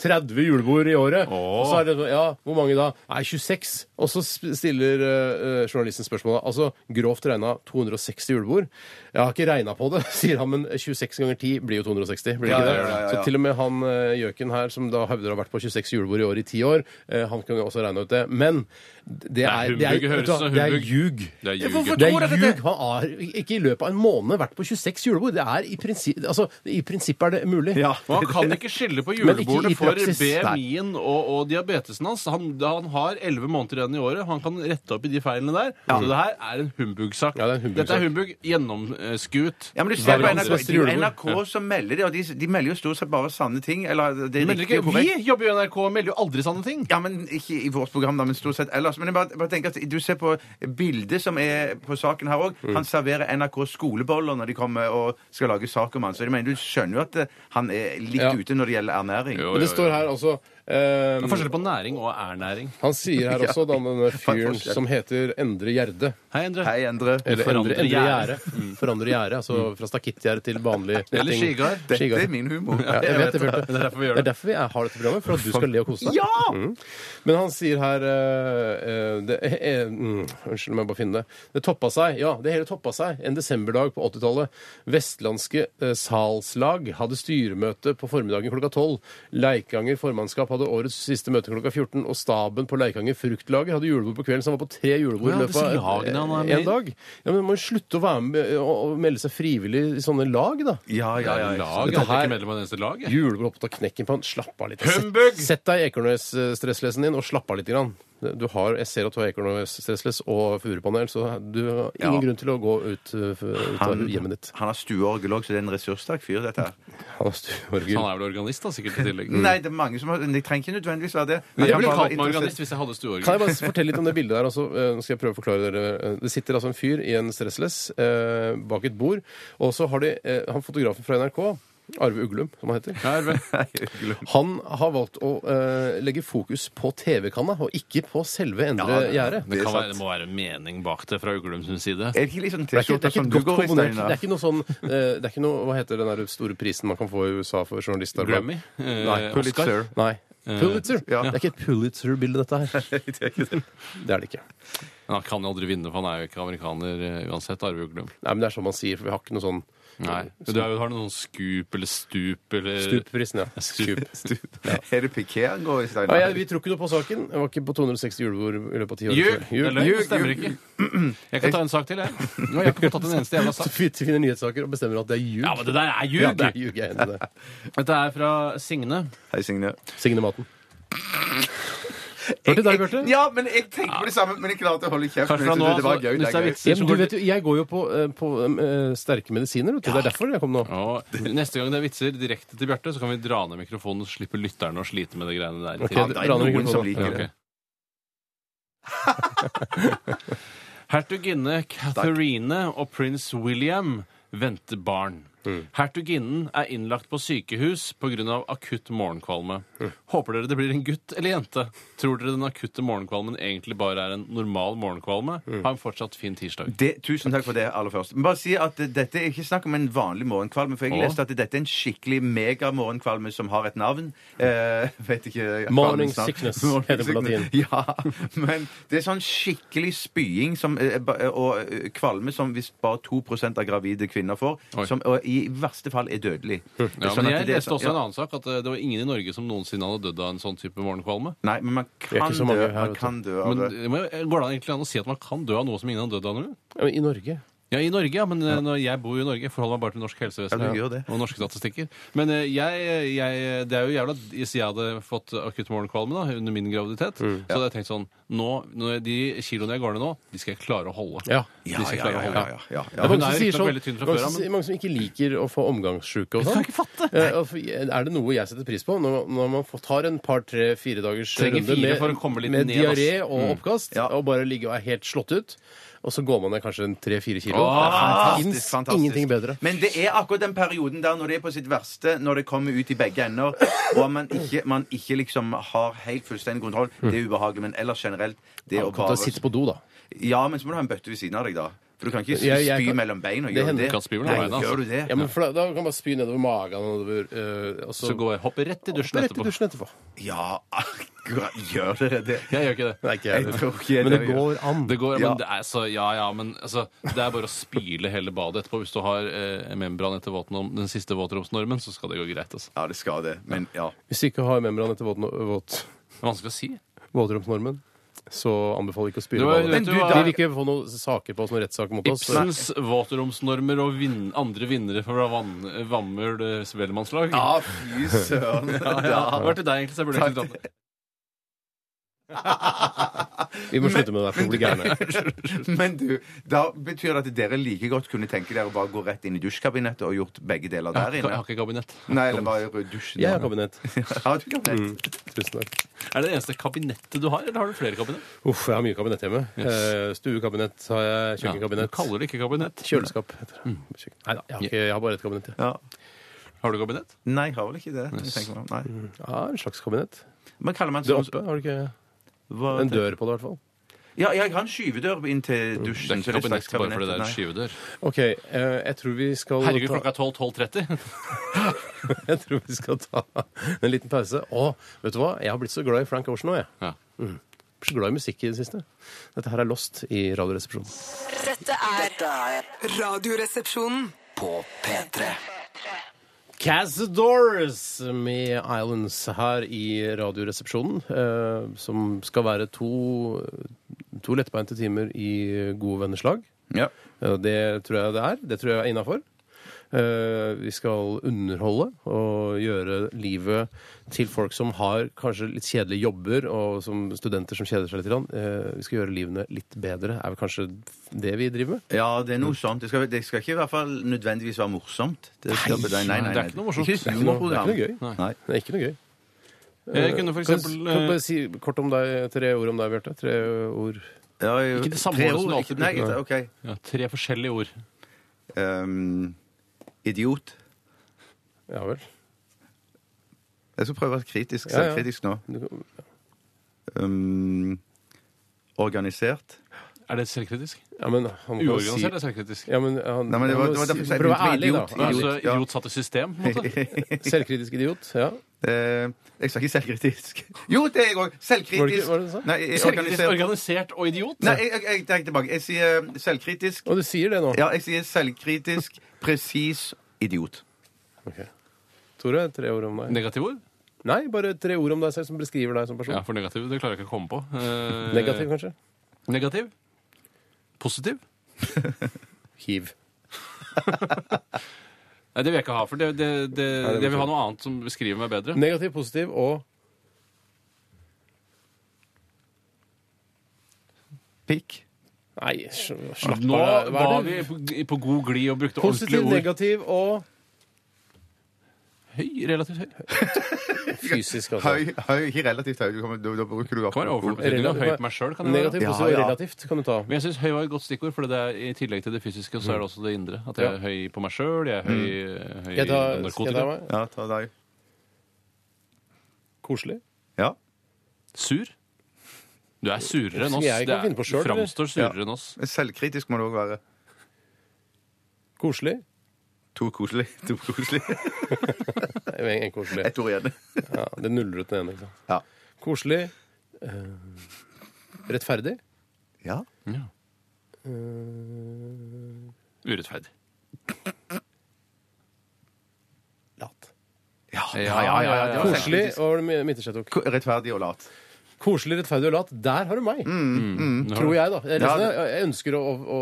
Speaker 3: 20-30 julebord i året. Og så er det sånn, ja, hvor mange da? Nei, 26. Og så sp- stiller eh, eh, journalisten spørsmålet, altså grovt regna 260 julebord. Jeg har ikke regna på det, sier han, men 26 ganger 10 blir jo 260. Blir det ikke det?
Speaker 4: ja, ja, ja.
Speaker 3: Så til og med han eh, gjøken her, som da hevder å ha vært på 26 julebord i år i ti år, eh, han kan jo også regne ut det. Men det er, det er,
Speaker 5: humbug,
Speaker 3: vet du hva,
Speaker 5: høres det
Speaker 3: det er
Speaker 5: humbug.
Speaker 3: ljug.
Speaker 5: Det er ljug.
Speaker 3: Hvorfor
Speaker 5: Det er
Speaker 3: tror jeg dette? Han har ikke i løpet av en måned vært på 26 julebord. Det er i prinsipp, altså, i prinsippet er det mulig.
Speaker 5: Og han kan ikke skylde på
Speaker 3: Men ikke i
Speaker 5: julebordet for
Speaker 3: praksis.
Speaker 5: BMI-en og, og diabetesen hans. Han, han har elleve måneder igjen i året. Han kan rette opp i de feilene der. Så det her er en humbugsak.
Speaker 3: Ja, det er en humbugsak.
Speaker 5: Dette er humbug gjennomskuet.
Speaker 4: Ja, men du ser på
Speaker 5: Verdens
Speaker 4: NRK,
Speaker 3: beste julebord.
Speaker 4: NRK som melder det, og de, de melder jo stort sett bare sanne ting. Eller det er
Speaker 5: Men
Speaker 4: riktig
Speaker 5: ikke,
Speaker 4: og
Speaker 5: vi
Speaker 4: korrekt.
Speaker 5: jobber jo i NRK og melder jo aldri sanne ting.
Speaker 4: Ja, men Ikke i vårt program, da, men stort sett ellers. Men jeg bare, bare tenker at du ser på bildet som er på saken her òg.
Speaker 5: Mm.
Speaker 4: Han serverer NRK skoleboller når de kommer og skal lage sak om han. Så jeg mener, du skjønner jo at eh, han er litt
Speaker 3: Ja.
Speaker 4: ute når det gjelder ernæring.
Speaker 5: Jo,
Speaker 3: Men det står her altså Eh,
Speaker 5: Det er forskjell på næring og ernæring.
Speaker 3: han sier her også, da, denne fyren
Speaker 4: forskjell.
Speaker 3: som heter Endre Gjerde.
Speaker 5: Hei, Endre.
Speaker 4: Hei, Endre.
Speaker 3: Eller
Speaker 5: Forandre
Speaker 3: endre, endre gjerde.
Speaker 5: gjerde. Mm.
Speaker 3: Forandre gjerde, altså fra stakittgjerde til vanlig
Speaker 5: Eller
Speaker 3: ting.
Speaker 5: skigard.
Speaker 4: Dette er min humor.
Speaker 3: Ja, jeg vet det,
Speaker 5: det.
Speaker 3: Bjarte.
Speaker 5: Det er derfor vi gjør
Speaker 3: Det er derfor vi er, har dette programmet, for at du skal le og kose deg.
Speaker 5: Ja!
Speaker 3: Mm. Men han sier her eh, eh, det, eh, mm, Unnskyld, må jeg bare finne det. Det toppa seg. Ja, det hele toppa seg en desemberdag på 80-tallet. Vestlandske eh, salslag hadde styremøte på formiddagen klokka 12. Leikanger formannskap hadde årets siste møte klokka 14. Og staben på Leikanger fruktlager hadde julebord på kvelden, så han var på tre julebord
Speaker 5: Ja,
Speaker 3: i løpet
Speaker 5: disse
Speaker 3: av
Speaker 5: lagene han er
Speaker 3: en,
Speaker 5: med i.
Speaker 3: dag. Ja, men Man må jo slutte å være med og, og melde seg frivillig i sånne lag, da.
Speaker 4: Ja, ja, ja.
Speaker 5: Lag? Jeg
Speaker 3: Dette
Speaker 5: er
Speaker 3: her-
Speaker 5: ikke medlem av det eneste lag. jeg.
Speaker 3: Julebord opp til å knekke på han. Slapp av litt.
Speaker 5: Humbug!
Speaker 3: Sett, sett deg i Ekornes-stresslesen din og slapp av litt. Grann. Du har, jeg ser at du har Ekornes-stressless og furupanel, så du har ingen
Speaker 4: Ja.
Speaker 3: grunn til å gå ut, uh, f- ut av hjemmet ditt.
Speaker 4: Han har stueorgel òg, så det er en ressurssterk fyr, dette her.
Speaker 3: Han har stueorgel.
Speaker 5: Han er vel organist, da, sikkert i tillegg.
Speaker 4: Nei, det er mange som har men Det trenger ikke nødvendigvis være det. Han
Speaker 5: Mm. Jeg
Speaker 4: kan bare
Speaker 5: ville kalt meg
Speaker 4: interessert-
Speaker 5: organist hvis jeg hadde
Speaker 3: Kan
Speaker 5: stueorgan.
Speaker 3: jeg bare fortelle litt om det bildet der? Altså, Eh, nå skal jeg prøve å forklare dere. Det sitter altså en fyr i en stressless eh, bak et bord, og så har de eh, han fotografen fra NRK, Arve Uglum, som han heter.
Speaker 5: Ja, Arve.
Speaker 3: Han har valgt å eh, legge fokus på TV-kanna, og ikke på selve Endre Gjerdet.
Speaker 5: Det,
Speaker 4: er
Speaker 5: kan
Speaker 4: sant.
Speaker 5: være, det må være en mening bak det fra Uglums side.
Speaker 4: Er det ikke litt sånn
Speaker 3: Det er ikke, det
Speaker 4: T-skjorte
Speaker 3: er ikke
Speaker 4: som
Speaker 3: et
Speaker 4: du
Speaker 3: godt
Speaker 4: går i,
Speaker 3: komponert Det
Speaker 4: Steinar?
Speaker 3: er ikke noe sånn eh, Det er ikke noe, Hva heter den der store prisen man kan få i USA for journalister?
Speaker 5: Grammy? Eh,
Speaker 3: Nei,
Speaker 5: Oscar?
Speaker 4: Pulitzer.
Speaker 3: Nei. Pulitzer!
Speaker 4: ja.
Speaker 3: Det er ikke et Pulitzer-bilde, dette her. Det er det ikke. Nei,
Speaker 5: Men han kan jo aldri vinne, for han er jo ikke amerikaner eh, uansett, Arve Uglum.
Speaker 3: men Det er sånn man sier, for vi har ikke noe sånn
Speaker 5: Nei. Du har jo har du noen skup eller stup eller
Speaker 3: Eh, Stup-prisen, ja. Stup.
Speaker 4: Er det Piqué han går i,
Speaker 3: Nei,
Speaker 4: Steinar?
Speaker 3: jeg, vi tror ikke noe på saken. Jeg var ikke på 260 julebord i løpet av ti år.
Speaker 5: Ljug! Det er løgn,
Speaker 4: Ljug,
Speaker 5: det stemmer
Speaker 4: ljug,
Speaker 5: ikke. Jeg kan ta en sak til, jeg. Nå har jeg ikke fått tatt en eneste jævla
Speaker 3: Så
Speaker 5: sak.
Speaker 3: vi finner nyhetssaker og bestemmer at det er ljug.
Speaker 5: Ja, men det der er
Speaker 3: Ja,
Speaker 5: ljug!
Speaker 3: det er ljug, jeg er enig i det.
Speaker 5: Dette er fra Signe.
Speaker 4: Hei, Signe.
Speaker 3: Signe Maten. Hørte du deg, Bjarte?
Speaker 4: Ja, men jeg tenker på det samme, men jeg klarte å holde kjeft.
Speaker 5: Kanskje
Speaker 4: men jeg
Speaker 5: fra nå
Speaker 4: synes det var
Speaker 5: av, så-
Speaker 4: gøy,
Speaker 5: hvis det er
Speaker 4: gøy.
Speaker 5: vitser,
Speaker 3: Ja, men du
Speaker 5: går-
Speaker 3: vet jo, jeg går jo på, eh, på eh, sterke medisiner, vet du. Det er derfor jeg kom nå.
Speaker 5: Og neste gang det er vitser direkte til Bjarte, så kan vi dra ned mikrofonen og slippe lytterne å slite med de greiene der. i
Speaker 3: Ok,
Speaker 5: tillegg.
Speaker 4: det er
Speaker 3: dra ned
Speaker 4: noen
Speaker 3: mikrofonen.
Speaker 4: som liker det.
Speaker 5: Ok. Hertuginne Catherine og prins William venter barn.
Speaker 4: Mm.
Speaker 5: Hertuginnen er innlagt på sykehus pga. akutt morgenkvalme.
Speaker 4: Mm.
Speaker 5: Håper dere det blir en gutt eller jente? Tror dere den akutte morgenkvalmen egentlig bare er en normal morgenkvalme?
Speaker 4: Mm.
Speaker 5: Ha en fortsatt fin tirsdag.
Speaker 4: Det, tusen takk for det, aller først. Men bare si at eh, Dette er ikke snakk om en vanlig morgenkvalme. For jeg
Speaker 5: Åh.
Speaker 4: leste at dette er en skikkelig megamorgenkvalme som har et navn. Eh, vet ikke eh,
Speaker 3: Morning
Speaker 4: kvalmens navn.
Speaker 3: sickness
Speaker 4: Morning
Speaker 3: heter det på
Speaker 4: sickness. Ja, men det er sånn skikkelig spying som, eh, ba- eh, og eh, kvalme som hvis bare 2 av gravide kvinner får,
Speaker 5: Oi.
Speaker 4: som og i verste fall er dødelig.
Speaker 3: Hm.
Speaker 5: Ja,
Speaker 4: Sånn
Speaker 5: men
Speaker 4: at
Speaker 5: jeg
Speaker 4: det er
Speaker 5: leste
Speaker 4: sånn-
Speaker 5: også en annen sak, at eh, det var ingen i Norge som noensinne hadde dødd av en sånn type morgenkvalme.
Speaker 4: Nei, men man
Speaker 3: er ikke
Speaker 4: kan
Speaker 3: så
Speaker 4: dø.
Speaker 3: mange her, vet
Speaker 4: Man
Speaker 3: du.
Speaker 4: kan dø av
Speaker 5: Men
Speaker 4: det.
Speaker 5: det må jo- Går det an egentlig an å si at man kan dø av noe som ingen har dødd av? Nå?
Speaker 3: Ja, men I Norge.
Speaker 5: Ja, i Norge, ja, men eh, når jeg bor jo i Norge. Jeg Forholder meg bare til norsk helsevesen
Speaker 4: Ja, du gjør det.
Speaker 5: og norske statistikker. Men eh, jeg, jeg Det er jo jævla Hvis jeg hadde fått akutt morgenkvalme da, under min graviditet, så hadde jeg tenkt sånn nå, nå, De kiloene jeg går ned nå, de skal jeg klare å holde.
Speaker 3: Ja.
Speaker 5: De
Speaker 4: Ja,
Speaker 5: skal jeg
Speaker 4: ja,
Speaker 5: klare
Speaker 4: ja,
Speaker 5: å
Speaker 4: ja,
Speaker 5: holde.
Speaker 4: ja, ja,
Speaker 3: Det er mange
Speaker 4: ja.
Speaker 3: som
Speaker 5: hun er jo
Speaker 3: sier
Speaker 5: ikke
Speaker 3: sånn,
Speaker 5: veldig tynn fra
Speaker 3: mange
Speaker 5: før,
Speaker 3: som,
Speaker 5: men-
Speaker 3: mange som ikke liker å få omgangssjuke og
Speaker 5: Jeg
Speaker 3: sånn.
Speaker 5: kan ikke fatte!
Speaker 3: Eh, og for- Er det noe jeg setter pris på når, når man får- tar en par, tre, fire dagers eh,
Speaker 5: Trenger
Speaker 3: runde
Speaker 5: fire
Speaker 3: med,
Speaker 5: for å komme litt
Speaker 3: med
Speaker 5: ned, ass. Mm.
Speaker 3: diaré og oppkast,
Speaker 4: Ja.
Speaker 3: og bare ligger og er helt slått ut, og så går man ned kanskje en tre-fire kilo?
Speaker 5: Åh,
Speaker 3: det
Speaker 4: Fantastisk,
Speaker 3: fins
Speaker 4: fantastisk.
Speaker 3: ingenting bedre.
Speaker 4: Men det er akkurat den perioden der når det er på sitt verste, når det kommer ut i begge ender, og man ikke, man ikke liksom har helt fullstendig kontroll, det er ubehagelig. Men ellers generelt det å
Speaker 3: Du kan ta
Speaker 4: bare
Speaker 3: og
Speaker 5: altså.
Speaker 3: Mm. sitte på do, da.
Speaker 4: Ja, men så må du ha en bøtte ved siden av deg, da. For du kan ikke
Speaker 3: Jeg- jeg
Speaker 4: spy
Speaker 3: kan-
Speaker 4: mellom beina.
Speaker 3: Det
Speaker 4: Gjør
Speaker 3: hender
Speaker 4: du det?
Speaker 5: ikke at spyr mellom
Speaker 4: Nei,
Speaker 5: beina, altså.
Speaker 4: Gjør du det?
Speaker 3: Ja, men for da, da kan man bare spy nedover magen og nedover eh, og så,
Speaker 5: Så går jeg hopper rett i dusjen
Speaker 3: rett i
Speaker 5: etterpå.
Speaker 3: dusjen etterpå.
Speaker 4: Ja, akkurat. Gjør dere det?
Speaker 5: Jeg gjør ikke det.
Speaker 3: Nei, ikke jeg.
Speaker 4: Jeg tror ikke jeg
Speaker 3: Men det
Speaker 4: gjør.
Speaker 3: går an.
Speaker 5: Det går,
Speaker 4: Ja.
Speaker 5: men det er så, ja, ja, men altså, det er bare å spyle hele badet etterpå. Hvis du har eh, membran etter våtnom, den siste våtromsnormen, så skal det gå greit. Altså.
Speaker 4: Ja, det skal det. Men ja.
Speaker 3: Hvis du ikke har membran etter våten- våt,
Speaker 5: Det er vanskelig å si.
Speaker 3: våtromsnormen, så anbefaler vi ikke å
Speaker 5: Du,
Speaker 3: spyle badet.
Speaker 5: vet
Speaker 4: Men
Speaker 5: du
Speaker 4: du,
Speaker 5: hva-
Speaker 4: da-
Speaker 3: Vi vil ikke få noen saker på oss, noen rettssaker mot oss.
Speaker 5: Ibsens våtromsnormer og vinn, andre vinnere fra vann, Vammøl eh, Spellemannslag.
Speaker 4: Ja, fy søren.
Speaker 5: Det var til deg, egentlig. Så jeg burde liksom egentlig tatt det.
Speaker 3: Vi må slutte med det der, for å bli gærne.
Speaker 4: Men du, da betyr det at dere like godt kunne tenke dere å bare gå rett inn i dusjkabinettet og gjort begge deler
Speaker 5: Jeg har
Speaker 4: der
Speaker 5: ikke- jeg
Speaker 4: inne?
Speaker 5: har ikke kabinett.
Speaker 4: Nei, eller bare rydde dusjen.
Speaker 3: Jeg har kabinett.
Speaker 4: Ja, du kan det.
Speaker 3: Tusen takk.
Speaker 5: Er det det eneste kabinettet du har, eller har du flere kabinett?
Speaker 3: Uff, jeg har mye kabinett hjemme. Eh, Stuekabinett har jeg,
Speaker 5: Ja, du Mm.
Speaker 3: kjøkkenkabinett.
Speaker 5: kaller det ikke kabinett.
Speaker 3: Kjøleskap heter det. Kjøkken. Nei da, jeg har, ikke, jeg har bare ett kabinett. jeg.
Speaker 4: Ja.
Speaker 5: Har du kabinett?
Speaker 4: Nei, jeg har vel ikke det. Jeg tenker meg om. Nei.
Speaker 3: Ja, en slags kabinett.
Speaker 4: Men kaller man
Speaker 3: Det
Speaker 4: sånn
Speaker 3: oppe har du ikke
Speaker 4: hva-
Speaker 3: en dør Mm. på det, i hvert fall.
Speaker 4: Ja, jeg har en skyvedør inn til
Speaker 5: Det er
Speaker 4: dusjen.
Speaker 5: ikke
Speaker 4: så et slags
Speaker 5: kabinett bare fordi det
Speaker 4: kabinett,
Speaker 5: er en
Speaker 4: nei.
Speaker 5: skyvedør.
Speaker 3: OK, eh, jeg tror vi skal
Speaker 5: Herregud,
Speaker 3: ta-
Speaker 5: klokka er 12. 12.30.
Speaker 3: Jeg tror vi skal ta en liten pause. Å, vet du hva? Jeg har blitt så glad i Frank Ocean nå, jeg.
Speaker 5: Ja.
Speaker 3: Jeg er Så glad i musikk i det siste. Dette her er Lost i Radioresepsjonen.
Speaker 1: Dette er
Speaker 2: Dette er
Speaker 1: Radioresepsjonen.
Speaker 2: på P3.
Speaker 3: Cazadores med Islands her i Radioresepsjonen, eh, som skal være to, to lettbeinte timer i gode venners lag.
Speaker 4: Ja.
Speaker 3: Eh, Det tror jeg det er. Det tror jeg er innafor. Eh, vi skal underholde og gjøre livet til folk som har kanskje litt kjedelige jobber, og som studenter som kjeder seg litt. grann. Eh, vi skal gjøre livene litt bedre, er vel kanskje det vi driver med?
Speaker 4: ja, det er noe sånt. Det skal, det skal ikke i hvert fall nødvendigvis være morsomt. Det skal,
Speaker 3: Nei,
Speaker 4: nei, nei, nei,
Speaker 5: det er ikke noe morsomt.
Speaker 4: Ikke
Speaker 3: Det er ikke noe, det er ikke noe gøy.
Speaker 4: humorprogram. Nei.
Speaker 3: Det er ikke noe gøy.
Speaker 5: Jeg Eh, kunne for eksempel
Speaker 3: Kan, kan du bare si kort om deg, tre ord om deg, Bjarte? Tre ord.
Speaker 4: Ja, jo.
Speaker 5: Ikke det samme
Speaker 4: Tre
Speaker 5: ordet
Speaker 4: ord,
Speaker 5: som du
Speaker 4: ikke-
Speaker 5: alltid
Speaker 4: Nei,
Speaker 5: bruker.
Speaker 4: OK.
Speaker 5: eh, ja, tre forskjellige ord.
Speaker 4: Ehm, idiot.
Speaker 3: Ja vel.
Speaker 4: Jeg skal prøve å være kritisk,
Speaker 3: Ja, ja.
Speaker 4: selvkritisk nå.
Speaker 3: Du kan-
Speaker 4: Ehm, organisert.
Speaker 5: Er det selvkritisk?
Speaker 3: Ja, men han må jo si
Speaker 5: Uorganisert altså. er selvkritisk.
Speaker 3: ja, men han,
Speaker 4: Nei, men det var-
Speaker 3: han må
Speaker 4: det var derfor jeg
Speaker 3: si, prøv
Speaker 4: sa
Speaker 3: å være
Speaker 4: begynte med
Speaker 3: ærlig, da.
Speaker 4: idiot.
Speaker 5: Ja, altså,
Speaker 4: ja.
Speaker 5: idiot satt i system, på en måte.
Speaker 3: Selvkritisk idiot. Ja.
Speaker 4: Eh, jeg sa ikke selvkritisk. Jo, det er jeg òg!
Speaker 3: Var det ikke-
Speaker 4: Selvkritisk.
Speaker 3: var det du sa?
Speaker 4: Nei, jeg-
Speaker 5: Selvkritisk,
Speaker 4: organisert.
Speaker 5: organisert og idiot.
Speaker 4: Nei, jeg, jeg, jeg trekker tilbake. Jeg sier eh, selvkritisk.
Speaker 3: Og du sier det nå.
Speaker 4: Ja, jeg sier selvkritisk, presis, idiot.
Speaker 3: Ok. Tore, tre ord om deg.
Speaker 5: Negative ord?
Speaker 3: Nei, bare tre ord om deg selv som beskriver deg som person.
Speaker 5: Ja, for negativ det klarer jeg ikke å komme på. Eh,
Speaker 3: Negativ, kanskje?
Speaker 5: Negativ. Positiv.
Speaker 3: Hiv.
Speaker 5: Nei, det vil jeg ikke ha, for det, det, det,
Speaker 3: Nei, det
Speaker 5: jeg vil ha
Speaker 3: betyr-
Speaker 5: noe annet som beskriver meg bedre.
Speaker 3: Negativ, positiv og
Speaker 4: Pikk.
Speaker 3: Nei, sj- slapp
Speaker 5: Nå
Speaker 3: av. Hva
Speaker 5: var
Speaker 3: er
Speaker 5: vi
Speaker 3: det?
Speaker 5: på, på god glid og brukte
Speaker 3: Positiv,
Speaker 5: ordentlige ord.
Speaker 3: negativ og
Speaker 5: Høy, relativt høy. Det
Speaker 3: fysisk, altså.
Speaker 4: Høy, høy, ikke relativt høy. Du kommer, da, da bruker du opp
Speaker 5: kan være overført
Speaker 4: ord.
Speaker 5: betydning. Høy på meg sjøl kan jeg
Speaker 3: Negativ,
Speaker 5: være.
Speaker 4: Ja,
Speaker 3: positiv og
Speaker 4: ja.
Speaker 3: relativt kan du ta.
Speaker 5: Men jeg syns høy var et godt stikkord, for det er i tillegg til det fysiske, så er det også det indre. At jeg er høy på meg sjøl, jeg er høy,
Speaker 3: Skal
Speaker 5: høy
Speaker 3: Mm. jeg ta,
Speaker 5: på
Speaker 3: skal jeg ta
Speaker 5: narkotika.
Speaker 3: meg?
Speaker 4: Ja, ta deg.
Speaker 3: Koselig.
Speaker 4: Ja.
Speaker 5: Sur. Du er surere enn
Speaker 3: Som
Speaker 5: oss.
Speaker 3: jeg kan
Speaker 5: Det er-
Speaker 3: finne på selv,
Speaker 5: du
Speaker 3: eller?
Speaker 5: framstår surere enn oss.
Speaker 4: Men Selvkritisk må det òg være.
Speaker 3: Koselig.
Speaker 4: To koselig. To koselig.
Speaker 3: Nei, En, en koselig.
Speaker 4: Ett ord igjen.
Speaker 3: Ja, det nuller ut den ene. ikke sant?
Speaker 4: Ja.
Speaker 3: Koselig. eh, rettferdig.
Speaker 4: Ja.
Speaker 5: Ja.
Speaker 3: Eh.
Speaker 5: Urettferdig.
Speaker 3: Lat.
Speaker 4: Ja,
Speaker 5: ja, ja.
Speaker 3: Koselig og mi- midterskjett og-
Speaker 4: Ko- Rettferdig og lat.
Speaker 3: Koselig, rettferdig og lat. Der har du meg! Mm. Tror jeg, da. Jeg,
Speaker 4: Ja,
Speaker 3: liksom, jeg jeg ønsker å, å, å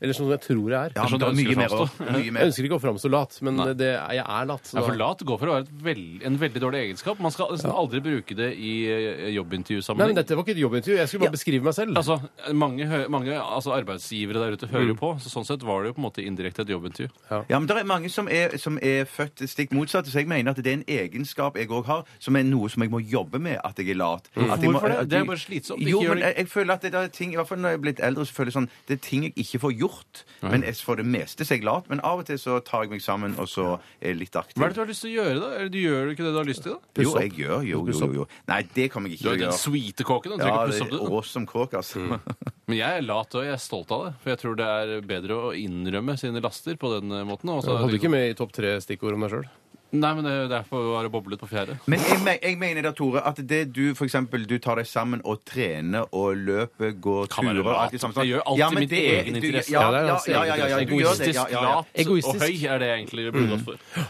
Speaker 3: Eller sånn som jeg tror jeg er.
Speaker 4: Ja, men det er mye mer òg. Mye
Speaker 3: Jeg
Speaker 4: mer.
Speaker 3: ønsker ikke å framstå lat, men
Speaker 5: Nei.
Speaker 3: det, jeg er lat. så
Speaker 5: Ja, for
Speaker 3: da-
Speaker 5: lat går for å være et veld, en veldig dårlig egenskap. Man skal nesten aldri bruke det i eh,
Speaker 3: Nei, men
Speaker 5: jobbintervjusammenheng.
Speaker 3: Dette var ikke et jobbintervju. Jeg skulle bare beskrive meg selv.
Speaker 5: Altså, mange, hø- mange altså arbeidsgivere der ute hører jo på, så sånn sett var det jo på en måte indirekte et jobbintervju.
Speaker 4: Mm. Ja, men det er mange som er, som er født stikk motsatt, så jeg mener at det er en egenskap jeg òg har, som er noe som jeg må jobbe med, at jeg er lat. At jeg må-
Speaker 5: Mm. Hvorfor det?
Speaker 4: at jeg-
Speaker 5: Det er bare slitsomt.
Speaker 4: Jo,
Speaker 5: Ikke gjør
Speaker 4: men
Speaker 5: det.
Speaker 4: jeg, jeg føler at det der er ting, i hvert fall når jeg er blitt eldre, så føler jeg sånn, det er ting jeg ikke får gjort, men jeg, for det meste så er jeg lat, men av og til så tar jeg meg sammen, og så er jeg litt aktiv.
Speaker 5: Hva er det du har lyst til å gjøre, da? Eller du gjør ikke det du har lyst til, da?
Speaker 4: Jo, jeg gjør jo, jo, jo, jo. Nei, det kommer jeg ikke
Speaker 5: Du
Speaker 4: til å
Speaker 5: er jo den
Speaker 4: gjøre.
Speaker 5: sweete kåken. da. Mm. Du
Speaker 4: Ja,
Speaker 5: trenger
Speaker 4: det
Speaker 5: ikke å pusse
Speaker 4: er
Speaker 5: opp det.
Speaker 4: oss som kåk, altså.
Speaker 5: Men jeg er lat og jeg er stolt av det. For jeg tror det er bedre å innrømme sine laster på den eh, måten. og så-
Speaker 3: Du hadde ikke med i topp tre stikkord om deg sjøl.
Speaker 5: Nei, men det er derfor var det boblet på fjerde.
Speaker 4: Men jeg, me jeg mener da, Tore, at det du for eksempel, du tar deg sammen og trener og løper, går
Speaker 5: Kan være
Speaker 4: turer og alt
Speaker 5: lat.
Speaker 4: det samme sånn.
Speaker 5: Jeg gjør alltid
Speaker 4: men
Speaker 5: min
Speaker 4: det er-
Speaker 5: egen
Speaker 4: du-
Speaker 5: interesse.
Speaker 4: Ja,
Speaker 3: Ja, det er
Speaker 4: ja,
Speaker 3: hans
Speaker 4: ja,
Speaker 3: egen
Speaker 4: ja, ja, ja, du gjør det.
Speaker 5: Egoistisk,
Speaker 4: Ja, ja, ja.
Speaker 5: lat
Speaker 3: Egoistisk.
Speaker 5: og høy er det jeg egentlig burde gått for.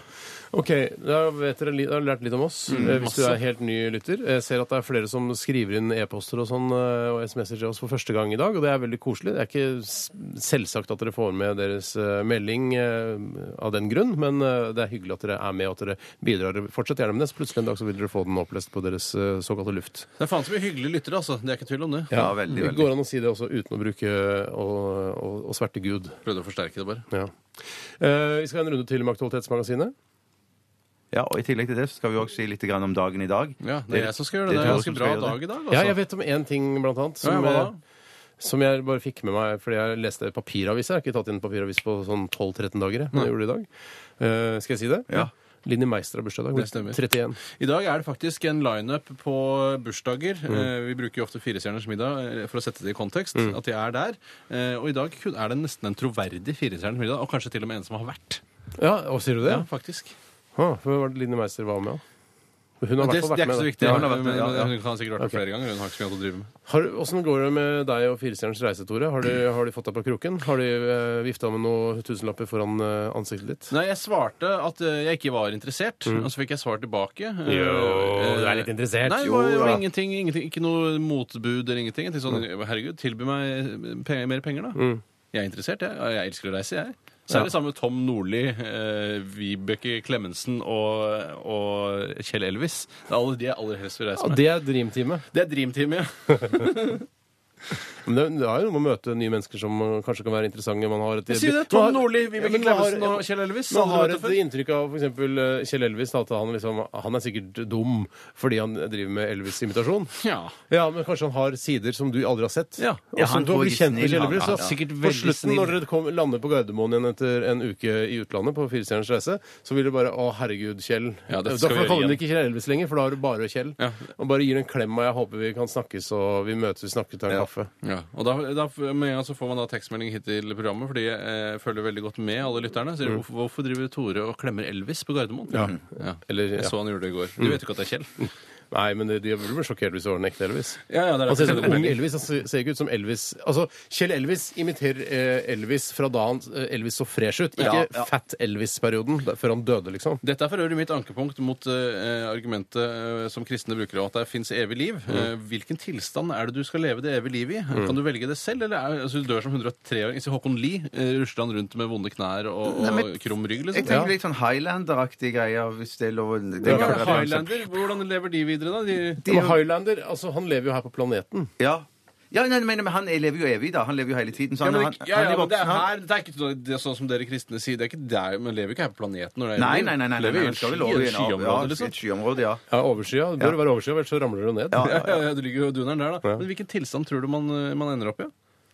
Speaker 3: Ok, Da vet dere li- da har dere lært litt om oss, eh, hvis du
Speaker 5: masse.
Speaker 3: er helt ny lytter. Jeg ser at det er flere som skriver inn e-poster og sånn eh, og SMS-er til oss for første gang i dag, og det er veldig koselig. Det er ikke s- selvsagt at dere får med deres eh, melding eh, av den grunn, men eh, det er hyggelig at dere er med og at dere bidrar. Fortsett gjerne med det, så plutselig en dag så vil dere få den opplest på deres eh, såkalte luft.
Speaker 5: Det er faen så mye hyggelige lyttere, altså. Det er ikke tvil om det.
Speaker 4: Ja, veldig,
Speaker 3: Det går an å si det også uten å bruke å, å, å sverte Gud.
Speaker 5: Prøvde å forsterke det, bare.
Speaker 3: Ja. Eh, vi skal ha en runde til med Aktualitetsmagasinet.
Speaker 4: Ja, og I tillegg til det så skal vi også si litt grann om dagen i dag.
Speaker 5: Ja, det er jeg som skal gjøre det. Det
Speaker 4: du
Speaker 5: er en
Speaker 4: som
Speaker 5: ganske
Speaker 4: skal
Speaker 5: bra
Speaker 4: gjøre det.
Speaker 5: dag i dag, altså.
Speaker 3: Ja, jeg vet om én ting, blant annet, som,
Speaker 5: hva da?
Speaker 3: eh, som jeg bare fikk med meg fordi jeg leste papiravis. Jeg har ikke tatt inn papiravis på sånn 12-13 dager, jeg, men jeg gjorde det i dag. Eh, skal jeg si det?
Speaker 4: Ja.
Speaker 3: Linni Meister har bursdag i dag.
Speaker 5: Det stemmer.
Speaker 3: 31.
Speaker 5: I dag er det faktisk en lineup på bursdager.
Speaker 3: Mm.
Speaker 5: Eh, Vi bruker jo ofte Firestjerners middag eh, for å sette det i kontekst, at de er der. Eh, Og i dag kun- er det nesten en troverdig Firestjerners middag, og kanskje til og med en som har vært.
Speaker 3: Ja, og sier du det?
Speaker 5: Ja, faktisk.
Speaker 3: Hå, for var det Linni Meister var med? da? Hun har i
Speaker 5: Det,
Speaker 3: hvert fall vært
Speaker 5: det er ikke
Speaker 3: med.
Speaker 5: så
Speaker 3: da.
Speaker 5: viktig.
Speaker 3: Ja,
Speaker 5: men-
Speaker 3: hun har vært med,
Speaker 5: men-
Speaker 3: ja, ja.
Speaker 5: Hun kan sikkert ha vært
Speaker 3: Ok.
Speaker 5: med flere ganger. Hun har ikke så mye annet å drive med.
Speaker 3: Har, hvordan går det med deg og Firestjerners reise, Tore? Har du, har du fått deg på kroken? Har du eh, vifta med noen tusenlapper foran eh, ansiktet ditt?
Speaker 5: Nei, jeg svarte at eh, jeg ikke var interessert, og så fikk jeg svar tilbake. Jo,
Speaker 3: du er litt interessert.
Speaker 5: Nei, det
Speaker 3: Mm. Jo
Speaker 5: var, det var
Speaker 3: da. Mm.
Speaker 5: ingenting, ingenting. Ikke noe motbud eller ingenting. Jeg tenkte sånn, herregud, tilby meg eh, pe- mer penger, da. Jeg er interessert, jeg. Og Jeg elsker å reise, jeg. Så er det sammen med Tom Nordli, eh, Vibeke Klemensen og, og Kjell Elvis. Det er alle de jeg aller helst vil reise
Speaker 3: Ja,
Speaker 5: med.
Speaker 3: det er dreamteamet.
Speaker 5: Det er Dream Team, ja.
Speaker 3: Men det, det er jo noe med å møte nye mennesker som eh, kanskje kan være interessante. Man har et,
Speaker 5: Jeg sier det.
Speaker 3: man har-
Speaker 5: Tom Nordli,
Speaker 3: Ja,
Speaker 5: Vibeke
Speaker 3: men man har-
Speaker 5: Klemensen og Kjell Elvis.
Speaker 3: Man
Speaker 5: aldri
Speaker 3: har
Speaker 5: møtt
Speaker 3: et
Speaker 5: før.
Speaker 3: inntrykk av f.eks. Kjell Elvis at han, liksom, han er sikkert dum fordi han driver med Elvis-imitasjon.
Speaker 5: Ja.
Speaker 3: Ja, men kanskje han har sider som du aldri har sett.
Speaker 5: Ja.
Speaker 3: og som
Speaker 4: han
Speaker 3: du har
Speaker 4: tror
Speaker 3: blitt
Speaker 4: jeg er
Speaker 3: kjent med
Speaker 4: snill,
Speaker 3: Kjell
Speaker 4: han.
Speaker 3: Elvis.
Speaker 4: Ja,
Speaker 3: så
Speaker 5: sikkert
Speaker 3: På
Speaker 5: veldig
Speaker 3: slutten,
Speaker 5: snill.
Speaker 3: når dere kom, lander på Gardermoen igjen etter en uke i utlandet, på Firestjerners reise, så vil du bare Å, herregud, Kjell.
Speaker 5: Ja, det
Speaker 3: da
Speaker 5: skal
Speaker 3: får-
Speaker 5: vi gjøre
Speaker 3: kaller du
Speaker 5: igjen.
Speaker 3: ikke Kjell Elvis lenger, for da har du bare Kjell.
Speaker 5: Ja.
Speaker 3: Og bare gir en klem, og jeg håper vi kan snakkes, og vi møtes, vi snakker, tar en kaffe.
Speaker 5: Ja, og da, da med en gang så får man da tekstmelding hit til programmet, fordi jeg eh, følger veldig godt med alle lytterne. Sier, hvorfor, hvorfor driver Tore og klemmer Elvis på Gardermoen? Mm, Ja.
Speaker 3: Eller, ja.
Speaker 5: Jeg så han gjorde det i går. Du vet jo ikke at det er Kjell.
Speaker 3: Nei, men det- de burde bli sjokkert hvis det var en ekte Elvis.
Speaker 5: Ja, ja, det er
Speaker 3: han ser ut
Speaker 5: det.
Speaker 3: som ung Elvis. Han ser ser ikke ut som Elvis Altså, Kjell Elvis imiterer eh, Elvis fra da han eh, Elvis så fresh ut. Ikke
Speaker 4: Ja, ja.
Speaker 3: Fat Elvis-perioden, da- før han døde, liksom.
Speaker 5: Dette er for øvrig mitt ankepunkt mot eh, argumentet eh, som kristne bruker, at det fins evig liv. Eh, hvilken tilstand er det du skal leve det evige livet i? Kan du velge det selv, eller er, altså, du dør som 103-åring? Se Håkon Lie, eh, rusler han rundt med vonde knær og, og
Speaker 4: Nei, men-
Speaker 5: krum rygg,
Speaker 4: Jeg
Speaker 5: liksom?
Speaker 4: tenker litt sånn Highlander-aktige greier, hvis det er lov. å- Det
Speaker 5: Ja,
Speaker 4: er
Speaker 5: men
Speaker 4: gammel referanse.
Speaker 5: Highlander, hvordan lever de videre, da? De,
Speaker 4: De er
Speaker 3: Men
Speaker 4: jo-
Speaker 3: Highlander altså, han lever jo her på planeten.
Speaker 4: Ja. Ja, nei, men, men han lever jo evig, da. Han lever jo hele tiden. Så
Speaker 5: Ja,
Speaker 4: han,
Speaker 5: men,
Speaker 4: han,
Speaker 5: det- ja,
Speaker 4: han
Speaker 5: ja,
Speaker 4: er
Speaker 5: men det er
Speaker 4: voksen, han-
Speaker 5: her Det er ikke noe- det er sånn som dere kristne sier. Det er ikke der, Man lever jo ikke her på planeten. Når det er
Speaker 4: Nei, nei, nei. nei, nei,
Speaker 5: lever
Speaker 4: nei,
Speaker 5: i
Speaker 4: han
Speaker 5: en
Speaker 4: skal
Speaker 5: sky,
Speaker 4: vel over i en
Speaker 5: en
Speaker 4: av-
Speaker 5: skyområde,
Speaker 4: ja,
Speaker 5: liksom.
Speaker 4: et skyområde, ja.
Speaker 3: Ja, overskya. Det bør være overskya, ellers så ramler det ned.
Speaker 5: Ja, ja, ja, du ligger jo duneren der, da. Men hvilken tilstand tror du man, eh, man ender opp i?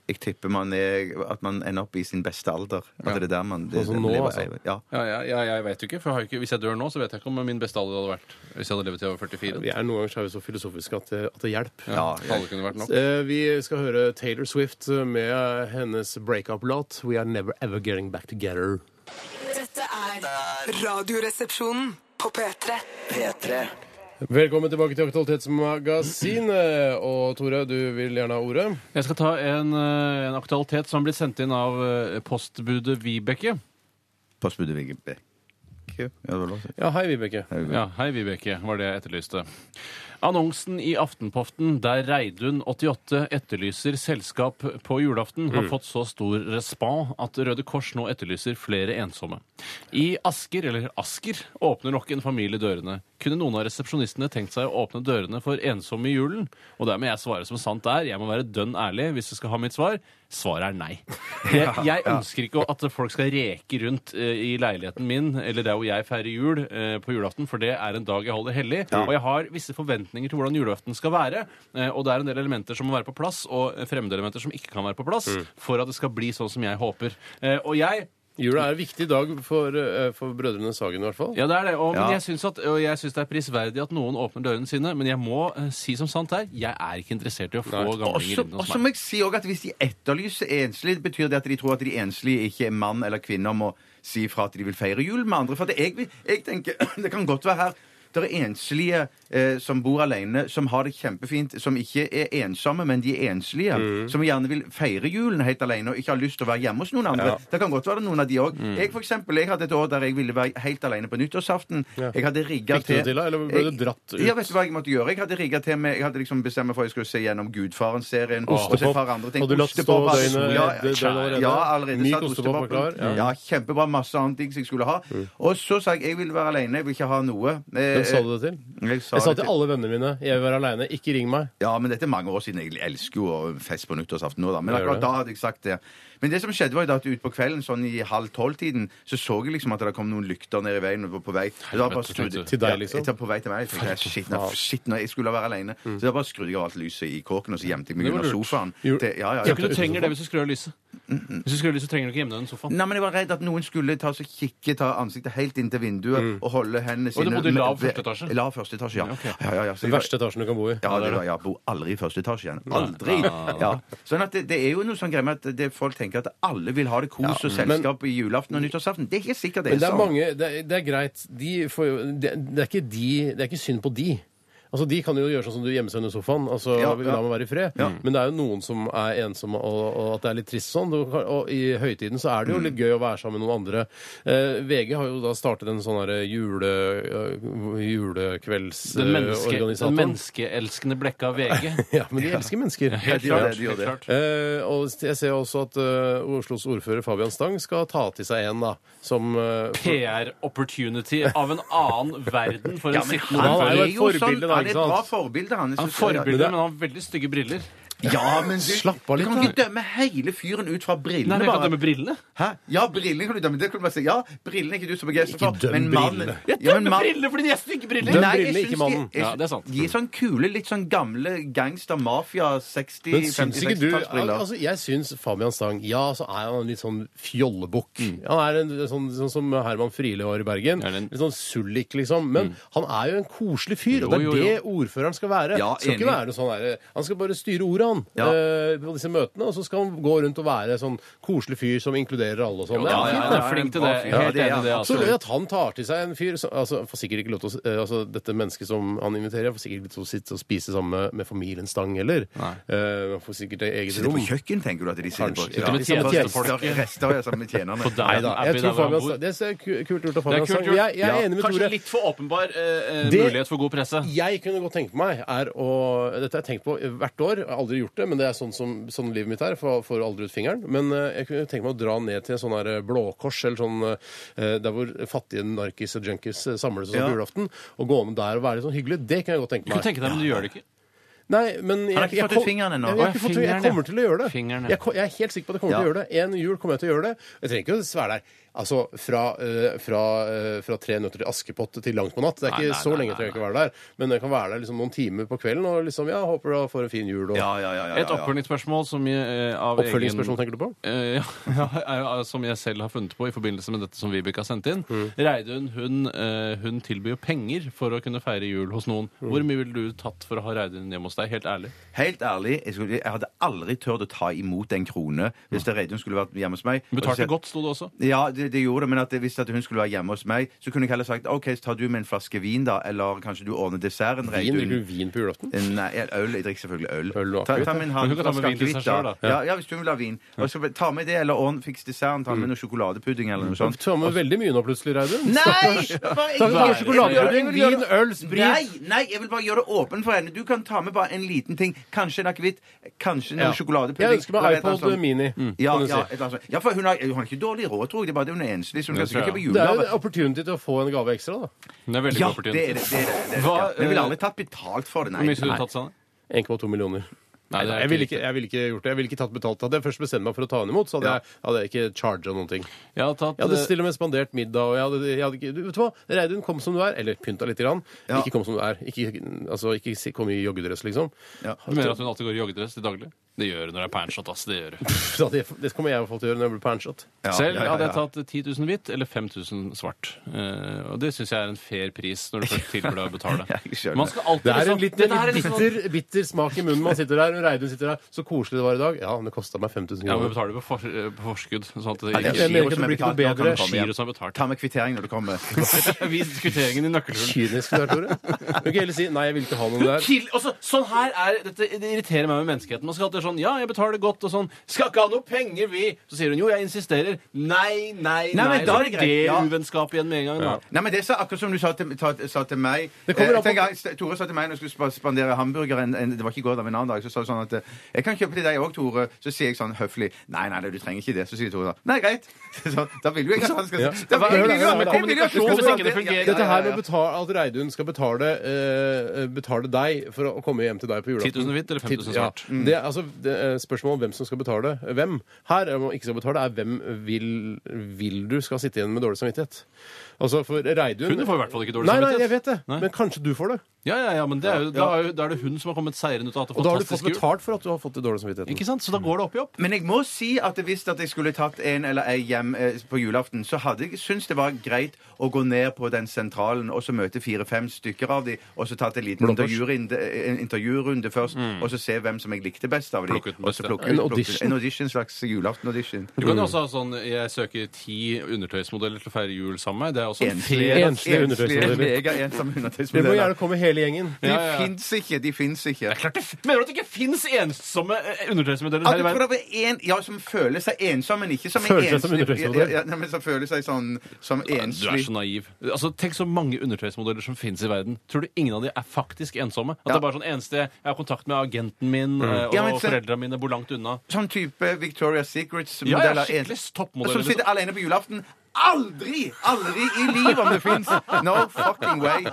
Speaker 4: Jeg tipper man er, at man ender opp i sin beste alder. At det er der man det,
Speaker 3: Altså
Speaker 4: det-
Speaker 3: nå,
Speaker 4: lever
Speaker 3: altså.
Speaker 4: evig. Ja.
Speaker 5: Ja, ja, ja, jeg vet jo ikke, for jeg har jo ikke, Hvis jeg dør nå, så vet jeg ikke om min beste alder hadde vært hvis jeg hadde levd til jeg var 44.
Speaker 3: Vi er noen ganger så er vi så filosofiske at det, at det hjelper.
Speaker 5: Ja, Alle kunne vært nok.
Speaker 3: Eh, Vi skal høre Taylor Swift med hennes breakup-låt 'We Are Never Ever Getting Back Together'.
Speaker 1: Dette er Radioresepsjonen på P3.
Speaker 2: P3.
Speaker 3: Velkommen tilbake til Aktualitetsmagasinet. Og Tore, du vil gjerne ha ordet?
Speaker 5: Jeg skal ta en, eh, en aktualitet som har blitt sendt inn av eh, postbudet Vibeke.
Speaker 4: Pass på du, Vigge. Bekk. Ja, det var lov.
Speaker 3: Ja, hei, Vibeke.
Speaker 5: Ja, Hei, Vibeke, var det jeg etterlyste. Annonsen i Aftenpoften der Reidun 88 etterlyser selskap på julaften,
Speaker 3: Mm.
Speaker 5: har fått så stor respons at Røde Kors nå etterlyser flere ensomme. I Asker, eller Asker, åpner nok en familie dørene. Kunne noen av resepsjonistene tenkt seg å åpne dørene for ensomme i julen? Og der må jeg svare som sant er. Jeg må være dønn ærlig hvis jeg skal ha mitt svar. Svaret er nei. Jeg, jeg ønsker ikke at folk skal reke rundt eh, i leiligheten min eller der hvor jeg feirer jul eh, på julaften, for det er en dag jeg holder hellig. Og jeg har visse forventninger til hvordan julaften skal være. eh, Og det er en del elementer som må være på plass, og fremmede elementer som ikke kan være på plass, for at det skal bli sånn som jeg håper. Eh, Og jeg
Speaker 3: Jula er en viktig dag for, eh, for brødrene Sagen, i hvert fall.
Speaker 5: ja, det er det. Og,
Speaker 4: Ja.
Speaker 5: men jeg synes at, og jeg syns det er prisverdig at noen åpner dørene sine, men jeg må eh, si som sant er, jeg er ikke interessert i å få gamlinger inn
Speaker 4: Og
Speaker 5: hos
Speaker 4: så
Speaker 5: meg.
Speaker 4: må jeg si også at hvis de etterlyser enslige, betyr det at de tror at de enslige ikke er mann eller kvinne om å si fra at de vil feire jul med andre. For det, jeg, jeg tenker, det kan godt være her det er enslige eh, som bor alene, som har det kjempefint, som ikke er ensomme, men de er enslige. Som gjerne vil feire julen helt alene og ikke har lyst til å være hjemme hos noen andre. Det kan godt være noen av de òg. Jeg, for eksempel, jeg hadde et år der jeg ville være helt alene på nyttårsaften. Jeg hadde rigga
Speaker 3: Fikk du det til, da, eller ble du dratt ut?
Speaker 4: Ja, vet du hva jeg måtte gjøre? Jeg hadde rigget til med Jeg hadde liksom bestemt meg for at jeg skulle se gjennom Gudfaren-serien. Og se et par andre ting.
Speaker 3: Hadde du latt stå
Speaker 4: Ostepop,
Speaker 3: døgnet
Speaker 4: altså,
Speaker 3: døgnet allerede?
Speaker 4: Ja, allerede
Speaker 3: Myk
Speaker 4: satt
Speaker 3: ostepop var
Speaker 4: ostepopen.
Speaker 3: klar, ja. Mm.
Speaker 4: Ja, kjempebra. Masse annet ting som jeg skulle ha. Og så sa jeg jeg vil være alene, jeg vil ikke ha noe. Eh,
Speaker 3: Hvem sa du det til?
Speaker 4: Jeg sa,
Speaker 3: Jeg sa
Speaker 4: det
Speaker 3: til alle vennene mine jeg vil være aleine, ikke ring meg.
Speaker 4: Ja, men dette er mange år siden. Jeg elsker jo å fest på nyttårsaften nå, da. Men
Speaker 3: Gjør
Speaker 4: akkurat
Speaker 3: det.
Speaker 4: da hadde jeg sagt det. Men det som skjedde, var jo da at utpå kvelden, sånn i halv tolv-tiden, så så jeg liksom at det kom noen lykter ned i veien og var på vei. Og da bare
Speaker 5: Helvete,
Speaker 4: skrudde
Speaker 5: tenkte
Speaker 3: du. Til deg, liksom?
Speaker 4: Ja, jeg tar på vei til meg. Jeg tenkte, shit, nå, shit, nå, jeg skulle være alene. Så da bare skrudde jeg av alt lyset i kåken, og så gjemte jeg meg
Speaker 5: Mm. Det var
Speaker 4: under
Speaker 5: lurt.
Speaker 4: sofaen.
Speaker 3: Jo.
Speaker 4: Til, ja, ja,
Speaker 5: Jeg
Speaker 4: ja.
Speaker 5: tror ikke du trenger det hvis du skrur av lyset. Hvis du skulle lyst, så trenger du ikke gjemme deg under sofaen.
Speaker 4: Nei, men jeg var redd at noen skulle ta så kikke, ta ansiktet helt inntil vinduet og holde hendene sine
Speaker 5: Mm. bodde i lav
Speaker 4: ved-
Speaker 5: første etasje?
Speaker 4: Lav første etasje, ja.
Speaker 5: Ja, ok.
Speaker 4: ja, ja, ja. Så
Speaker 3: Den
Speaker 4: jeg var-
Speaker 3: verste etasjen du kan bo i.
Speaker 4: Ja, det var, jeg bor aldri i første etasje igjen. Aldri! Ja. Sånn at det, det er jo noe sånn greie med at det, folk tenker at alle vil ha det kos og selskap i julaften og nyttårsaften. Det er ikke sikkert det
Speaker 3: Men
Speaker 4: er
Speaker 3: det er
Speaker 4: sånn.
Speaker 3: mange Det er, det er greit. De får jo det, det er ikke de Det er ikke synd på de. Altså, De kan jo gjøre sånn som du gjemmer seg under sofaen. altså
Speaker 4: Ja, ja.
Speaker 3: La meg være i fred. Men det er jo noen som er ensomme, og, og at det er litt trist sånn. Du kan- Og i høytiden så er
Speaker 4: Mm.
Speaker 3: det jo litt gøy å være sammen med noen andre. Eh, VG har jo da startet en sånn herre jule, eh,
Speaker 5: Den, menneske,
Speaker 3: julekveldsorganisator.
Speaker 5: den menneskeelskende blekka VG.
Speaker 3: ja, men de elsker mennesker.
Speaker 5: Helt
Speaker 4: Ja,
Speaker 5: klart.
Speaker 4: det- de gjør
Speaker 5: helt
Speaker 4: det.
Speaker 5: klart.
Speaker 3: Eh, og jeg ser også at eh, Oslos ordfører Fabian Stang skal ta til seg en, da. Som eh,
Speaker 5: PR-opportunity av en annen verden for en sittende
Speaker 3: han
Speaker 5: ordfører.
Speaker 3: er jo et
Speaker 4: er jo sånn,
Speaker 3: forbilde, da,
Speaker 4: han er
Speaker 3: ikke
Speaker 4: et
Speaker 3: sant?
Speaker 4: bra forbilde, han. Jeg
Speaker 5: Han er
Speaker 4: synes-
Speaker 5: forbilde, men han har veldig stygge briller.
Speaker 4: Ja, men du,
Speaker 3: Slapp av litt,
Speaker 4: du kan
Speaker 3: da.
Speaker 4: ikke dømme hele fyren ut fra brillene,
Speaker 5: Nei, men jeg kan
Speaker 4: bare.
Speaker 5: dømme brillene.
Speaker 4: Hæ? Ja, brillene kan du dømme. Det kan du bare si. Ja, brillene er ikke du så begeistret for.
Speaker 3: Ikke døm
Speaker 4: men mannen-
Speaker 3: brillene.
Speaker 5: Jeg
Speaker 4: Ja, men
Speaker 5: dømmer
Speaker 4: mann-
Speaker 5: briller fordi de er stygge briller!
Speaker 3: Døm
Speaker 4: Nei, jeg
Speaker 3: brillene,
Speaker 4: synes
Speaker 3: ikke mannen.
Speaker 4: jeg-
Speaker 5: Ja, det er sant.
Speaker 4: De er sånn kule, litt sånn gamle gangster-mafia-60-,
Speaker 3: Men syns ikke du
Speaker 4: 50-60-tallsbriller.
Speaker 3: altså, Jeg syns Fabian Stang Ja, så er han en litt sånn fjollebukk.
Speaker 5: Mm.
Speaker 3: Han er en, sånn, sånn som Herman Friele var i Bergen.
Speaker 5: Er det en-
Speaker 3: Litt sånn sullik, liksom. Men han er jo en koselig fyr, og det er
Speaker 5: Mm. Jo, jo, jo.
Speaker 3: det ordføreren skal være.
Speaker 4: Ja,
Speaker 3: skal ikke
Speaker 4: enig.
Speaker 3: være noe sånn der, Han skal bare styre ordet, han,
Speaker 4: Ja.
Speaker 3: eh, på disse møtene. Og så skal han gå rundt og være sånn koselig fyr som inkluderer alle og sånn. Det
Speaker 5: Ja,
Speaker 3: er
Speaker 5: ja,
Speaker 3: fint,
Speaker 5: han
Speaker 3: det.
Speaker 5: er flink til det. Jeg er
Speaker 4: Ja,
Speaker 5: Helt
Speaker 4: det er
Speaker 5: enig i det.
Speaker 4: han.
Speaker 3: Absolutt.
Speaker 5: Altså.
Speaker 3: At han tar til seg en fyr som, altså, får sikkert ikke lov til å, eh, altså, Dette mennesket som han inviterer, får sikkert ikke lov til å sitte og spise sammen med, med familien Stang heller. Eh, han får sikkert eget
Speaker 4: Sitter
Speaker 3: rom.
Speaker 4: på kjøkken, tenker du at de sitter
Speaker 3: Kanskje.
Speaker 4: på?
Speaker 3: Sitter med
Speaker 4: de sitter på
Speaker 5: tjenestefolk.
Speaker 4: rester- Rester ja, sammen med tjenerne.
Speaker 5: På Downton
Speaker 3: Neida,
Speaker 5: Abbey,
Speaker 3: Jeg
Speaker 5: der
Speaker 3: tror
Speaker 5: hvor han
Speaker 3: Fabian
Speaker 5: bor.
Speaker 3: Stang- Det ser ku- kult ut av
Speaker 5: Det er
Speaker 3: Fabian
Speaker 5: kult
Speaker 3: Stang.
Speaker 5: gjort.
Speaker 3: Jeg, jeg er
Speaker 5: Ja.
Speaker 3: enig med
Speaker 5: Kanskje
Speaker 3: Tore.
Speaker 5: litt for åpenbar eh, eh,
Speaker 3: Det-
Speaker 5: mulighet for god presse.
Speaker 3: Jeg kunne godt tenkt meg er å Dette har jeg tenkt på hvert år. Jeg har aldri gjort det, men det er sånn som sånn livet mitt er. for- Får aldri ut fingeren. Men eh, jeg kunne tenkt meg å dra ned til sånn her eh, blåkors, eller sånn eh, der hvor fattige narkis og junkies eh, samles og sånn
Speaker 4: Ja.
Speaker 3: på julaften. Og gå med der og være litt sånn hyggelig. Det kan jeg godt tenke
Speaker 5: Du kunne
Speaker 3: meg.
Speaker 5: tenke deg, men du gjør det ikke.
Speaker 3: Nei, men jeg,
Speaker 4: har ikke
Speaker 3: jeg
Speaker 4: fått ut
Speaker 3: kom-
Speaker 4: fingeren ennå.
Speaker 3: Jeg, jeg, har ikke
Speaker 5: Å, ja,
Speaker 3: fått ut- jeg
Speaker 5: fingeren, ja.
Speaker 3: kommer til å gjøre det.
Speaker 5: Fingeren, ja.
Speaker 3: Jeg, ko- jeg er helt sikker på at jeg kommer til å gjøre det. En jul kommer jeg til å gjøre det. Jeg trenger ikke å svære der. Altså, fra, eh, fra, eh, fra Tre nøtter til Askepott til langt på natt. Det er
Speaker 5: Nei,
Speaker 3: ikke
Speaker 5: nei,
Speaker 3: så
Speaker 5: nei,
Speaker 3: lenge til jeg
Speaker 5: nei,
Speaker 3: kan være der. Men jeg kan være der liksom noen timer på kvelden og liksom, ja, håper du får en fin jul. Og...
Speaker 4: Ja, ja, ja, ja,
Speaker 5: Et
Speaker 4: ja, ja.
Speaker 5: oppfølgingsspørsmål som jeg, eh, av
Speaker 3: Oppfølgingsspørsmål tenker du på?
Speaker 5: Eh, ja, er jo, eh, som jeg selv har funnet på i forbindelse med dette som Vibeke har sendt inn. Reidun hun, eh, hun tilbyr jo penger for å kunne feire jul hos noen. Hvor mye ville du tatt for å ha Reidun hjemme hos deg? Helt ærlig.
Speaker 4: Helt ærlig, jeg, skulle, jeg hadde aldri tørt å ta imot en krone hvis det Reidun skulle vært hjemme hos meg.
Speaker 5: Hun
Speaker 4: Og så sier-
Speaker 5: Mm. Betalte godt, sto det også.
Speaker 4: Ja, det, det gjorde det, men at jeg visste at hun skulle være hjemme hos meg, så kunne jeg heller sagt OK, så tar du med en flaske vin, da, eller kanskje du ordner desserten,
Speaker 3: Vin,
Speaker 4: Reidun. Eh,
Speaker 3: drikker du vin på julaften?
Speaker 4: Nei, jeg- øl. Jeg drikker selvfølgelig øl.
Speaker 3: Øl og
Speaker 4: ta,
Speaker 3: akevitt,
Speaker 4: ta med en halv
Speaker 5: Men hun kan ta med
Speaker 4: flaske
Speaker 5: vin til seg
Speaker 4: akevitt, da.
Speaker 5: selv, da.
Speaker 4: Ja, ja, hvis du vil ha vin. Og så ta med det, eller ordn, fiks desserten. Ta
Speaker 5: Mm.
Speaker 4: med noe sjokoladepudding eller noe
Speaker 3: Du
Speaker 4: sånt.
Speaker 5: Altså-
Speaker 3: tar med veldig mye nå plutselig, Reidun.
Speaker 4: Nei!
Speaker 3: Ta med sjokoladepudding, vin, øl, sprit.
Speaker 4: Nei, nei, jeg vil bare gjøre det åpen for henne. Du kan ta med bare en liten ting. Kanskje en akevitt, kanskje noe
Speaker 3: Ja.
Speaker 4: sjokoladepudding.
Speaker 3: Jeg ønsker meg
Speaker 4: eller et eller
Speaker 3: iPod
Speaker 4: annet sånt. Mm.
Speaker 3: Mini.
Speaker 4: Ja,
Speaker 3: kan du
Speaker 4: ja,
Speaker 3: si.
Speaker 4: et eller annet sånt. ja, for hun har, hun har ikke dårlig råd, tror jeg. Det er bare det hun er enslig, så hun kan
Speaker 5: Det tror
Speaker 4: sikkert
Speaker 5: jeg.
Speaker 4: ikke på
Speaker 3: Det er jo
Speaker 4: julegave.
Speaker 3: en opportunity til å få en gave ekstra, da.
Speaker 5: Hun er veldig
Speaker 4: Ja, det
Speaker 5: god for
Speaker 4: er det.
Speaker 5: tiden.
Speaker 4: det, er det, det, er det.
Speaker 5: Hva,
Speaker 4: Ja. Men Jeg ville
Speaker 5: eh,
Speaker 4: aldri tatt betalt for det, nei.
Speaker 5: Hvor mye skulle
Speaker 4: Nei.
Speaker 5: du tatt, Sanne?
Speaker 3: 1,2 millioner.
Speaker 5: Nei,
Speaker 3: jeg
Speaker 5: det er ikke
Speaker 3: ville ikke,
Speaker 5: riktig.
Speaker 3: jeg ville ikke gjort det. Jeg ville ikke tatt betalt. Hadde jeg først bestemt meg for å ta henne imot, så hadde
Speaker 4: Ja.
Speaker 3: jeg, hadde jeg ikke charga noen ting.
Speaker 5: Jeg hadde tatt,
Speaker 3: Jeg hadde
Speaker 5: eh,
Speaker 3: til og med spandert middag. Og jeg hadde, jeg hadde, ikke- du, vet du hva? Reidun, kom som du er. Eller pynta litt. Grann.
Speaker 4: Ja.
Speaker 3: Ikke kom som du er. Ikke, altså, ikke si- kom i joggedress, liksom.
Speaker 4: Ja.
Speaker 5: eh, du mener at hun alltid går i joggedress til daglig? Det gjør hun når det er pernshot. ass, det gjør hun.
Speaker 3: Så det, det kommer jeg i hvert fall til å gjøre når jeg blir panshot.
Speaker 4: Ja,
Speaker 5: Selv
Speaker 4: ja, ja,
Speaker 5: hadde
Speaker 4: ja.
Speaker 5: jeg tatt 10 000 hvitt eller 5000 svart. Eh, og det syns jeg er en fair pris når du først tilbyr deg å betale.
Speaker 4: Jeg skjønner.
Speaker 5: Man skal alltid
Speaker 3: Det er en
Speaker 5: liksom-
Speaker 3: litt,
Speaker 5: Dette her er liksom-
Speaker 3: bitter, bitter smak i munnen man sitter der. Og Reidun sitter der. Så koselig det var i dag. Ja, men det kosta meg 5000
Speaker 5: Ja, men
Speaker 3: kroner.
Speaker 5: betaler du på, for, på forskudd? Sånn at det
Speaker 4: Nei, det er
Speaker 5: ikke
Speaker 3: jeg mener ikke at
Speaker 4: Giro som
Speaker 3: det blir ikke noe
Speaker 4: er betalt,
Speaker 3: bedre.
Speaker 4: da kan
Speaker 5: Giro som har betalt.
Speaker 4: Ta med kvittering når du kommer.
Speaker 5: Vis kvitteringen i nøkkelhullet.
Speaker 3: Kynisk du er, Tore. Du kan heller si nei, jeg vil ikke ha noen
Speaker 5: Hun
Speaker 3: der.
Speaker 5: kill- også, sånn her er, dette, Det irriterer meg med menneskeheten. Man skal alltid sånn Ja, jeg betaler godt, og sånn Skal ikke ha noe penger, vi! Så sier hun jo, jeg insisterer. Nei, nei, nei.
Speaker 4: Nei, men da er det
Speaker 5: Så
Speaker 4: greit, ja.
Speaker 5: uvennskap igjen med en gang. Da.
Speaker 4: Nei, men det er så akkurat som du sa til, ta, sa til meg
Speaker 3: Det kommer
Speaker 4: Eh,
Speaker 3: an på-
Speaker 4: tenk, jeg- Tore sa til meg når jeg skulle spa- spandere hamburger en, en, Det var ikke i går, det var en annen dag. Så sa hun sånn at eh, Jeg kan kjøpe til deg òg, Tore. Så sier jeg sånn høflig Nei, nei, du trenger ikke det. Så sier Tore da Nei, greit. Så, da vil jo jeg at han skal
Speaker 3: Ja.
Speaker 4: Da vil jeg
Speaker 3: Det er jo
Speaker 4: jo at- jeg vil jo at du skal
Speaker 5: kommunikasjon, hvis ikke det
Speaker 4: spandere-
Speaker 5: fungerer.
Speaker 4: Ja, ja,
Speaker 3: Dette
Speaker 4: ja,
Speaker 3: her
Speaker 4: ja.
Speaker 3: med betal, at Reidun skal betale, eh, betale deg for å komme hjem til deg på julaften
Speaker 5: 10 000 hvitt eller 5 000 svart?
Speaker 3: Ja. Det, er- altså, det er spørsmål om hvem som skal betale hvem. Her er det om man ikke skal betale, er hvem vil, vil du skal sitte igjen med dårlig samvittighet. Altså, for Reidun
Speaker 5: Hun får i hvert fall ikke dårlig
Speaker 3: Nei, nei,
Speaker 5: samvittighet.
Speaker 3: jeg vet det.
Speaker 5: Nei.
Speaker 3: Men kanskje du får det.
Speaker 5: Ja, ja, ja, men det er jo, da, er jo, da er det hun som har kommet seirende ut av dette
Speaker 3: Og da har du fått
Speaker 5: fantastiske jul.
Speaker 3: betalt for at du har fått det dårlig samvittigheten.
Speaker 5: Ikke sant? Så da går det opp i opp.
Speaker 4: Men jeg må si at hvis at jeg skulle tatt en eller ei hjem eh, på julaften, så hadde jeg syntes det var greit å gå ned på den sentralen og så møte fire-fem stykker av de, og så tatt en liten
Speaker 3: Blåbærs.
Speaker 4: intervjurinde- eh, en intervjurunde først, og så se hvem som jeg likte best av de.
Speaker 5: Mm. Plukke ut den
Speaker 4: Og så
Speaker 5: beste.
Speaker 4: plukke
Speaker 3: En
Speaker 4: ut- plukke ut-
Speaker 3: audition.
Speaker 4: En audition, slags julaften-audition.
Speaker 5: Du kan jo også ha sånn Jeg søker ti undertøysmodeller til å feire jul sammen med meg. Det er også en
Speaker 4: Enslige,
Speaker 5: fair-
Speaker 3: Enslige undertøysmodeller.
Speaker 4: Mega-ensomme
Speaker 3: Dere må
Speaker 4: undertøysmodeller.
Speaker 3: gjerne komme hele gjengen.
Speaker 4: De
Speaker 5: Ja, ja.
Speaker 4: fins ikke. de finnes ikke.
Speaker 5: Klart det f- Mener du at det ikke fins ensomme eh, undertøysmodeller
Speaker 4: At
Speaker 5: her
Speaker 4: du tror
Speaker 5: i verden?
Speaker 4: det var en ja, som føler seg ensom, men ikke som en
Speaker 3: Føler seg som
Speaker 4: enslig-
Speaker 3: undertøysmodell.
Speaker 4: Ja, ja, nei, men som føler seg sånn som
Speaker 5: Du er
Speaker 4: enslig.
Speaker 5: så naiv. Altså, Tenk så mange undertøysmodeller som fins i verden. Tror du ingen av de er faktisk ensomme? At det er bare sånn eneste Jeg har kontakt med agenten min, eh, og
Speaker 4: Ja, men se-
Speaker 5: foreldrene mine bor langt unna.
Speaker 4: Sånn type Victoria's
Speaker 5: Ja, jeg
Speaker 4: Secrets-modeller.
Speaker 5: er skikkelig toppmodell.
Speaker 4: som sitter
Speaker 5: liksom.
Speaker 4: alene på julaften. Aldri! Aldri i livet om det fins! No fucking way.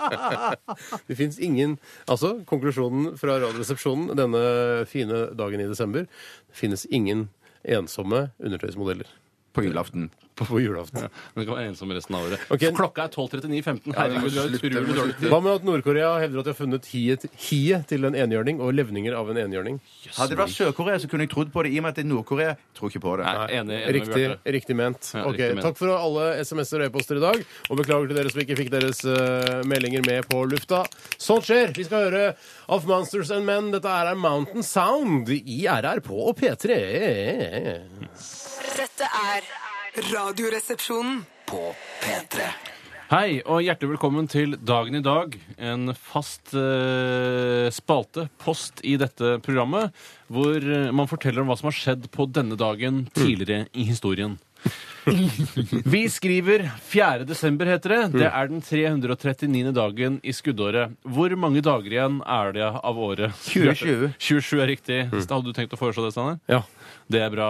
Speaker 3: Det fins ingen Altså, konklusjonen fra Radioresepsjonen denne fine dagen i desember Det finnes ingen ensomme undertøysmodeller
Speaker 4: På julaften.
Speaker 3: på, på julaften.
Speaker 5: Men du kan være ensom resten av året.
Speaker 3: Ok.
Speaker 5: Klokka er 12.39,15. Herregud, vi har utrolig dårlig tid.
Speaker 3: Hva med at Nord-Korea hevder at de har funnet hiet, hiet til en enhjørning og levninger av en enhjørning?
Speaker 4: Hadde det vært Sør-Korea, så kunne jeg trodd på det. I og med at det er Nord-Korea, tror ikke på det.
Speaker 5: Nei, enig, enig med
Speaker 3: Riktig,
Speaker 5: Bjarte.
Speaker 3: riktig ment.
Speaker 5: Ja,
Speaker 3: Ok,
Speaker 5: riktig ment.
Speaker 3: Takk for alle SMS-er og e-poster i dag. Og beklager til dere som ikke fikk deres eh, meldinger med på lufta. Sånt skjer! Vi skal høre Of Monsters and Men. Dette er Mountain Sound i RR på P3.
Speaker 1: Dette er Radioresepsjonen.
Speaker 2: På P3.
Speaker 5: Hei, og hjertelig velkommen til Dagen i dag. En fast eh, spalte, post, i dette programmet, hvor eh, man forteller om hva som har skjedd på denne dagen
Speaker 3: Mm.
Speaker 5: tidligere i historien. Vi skriver 4. desember, heter det. Det
Speaker 3: Mm.
Speaker 5: er den 339. dagen i skuddåret. Hvor mange dager igjen er det av året?
Speaker 4: 20.
Speaker 5: 27 er riktig.
Speaker 3: Mm.
Speaker 5: Hadde du tenkt å foreslå det, Steinar?
Speaker 3: Ja.
Speaker 5: Det er bra.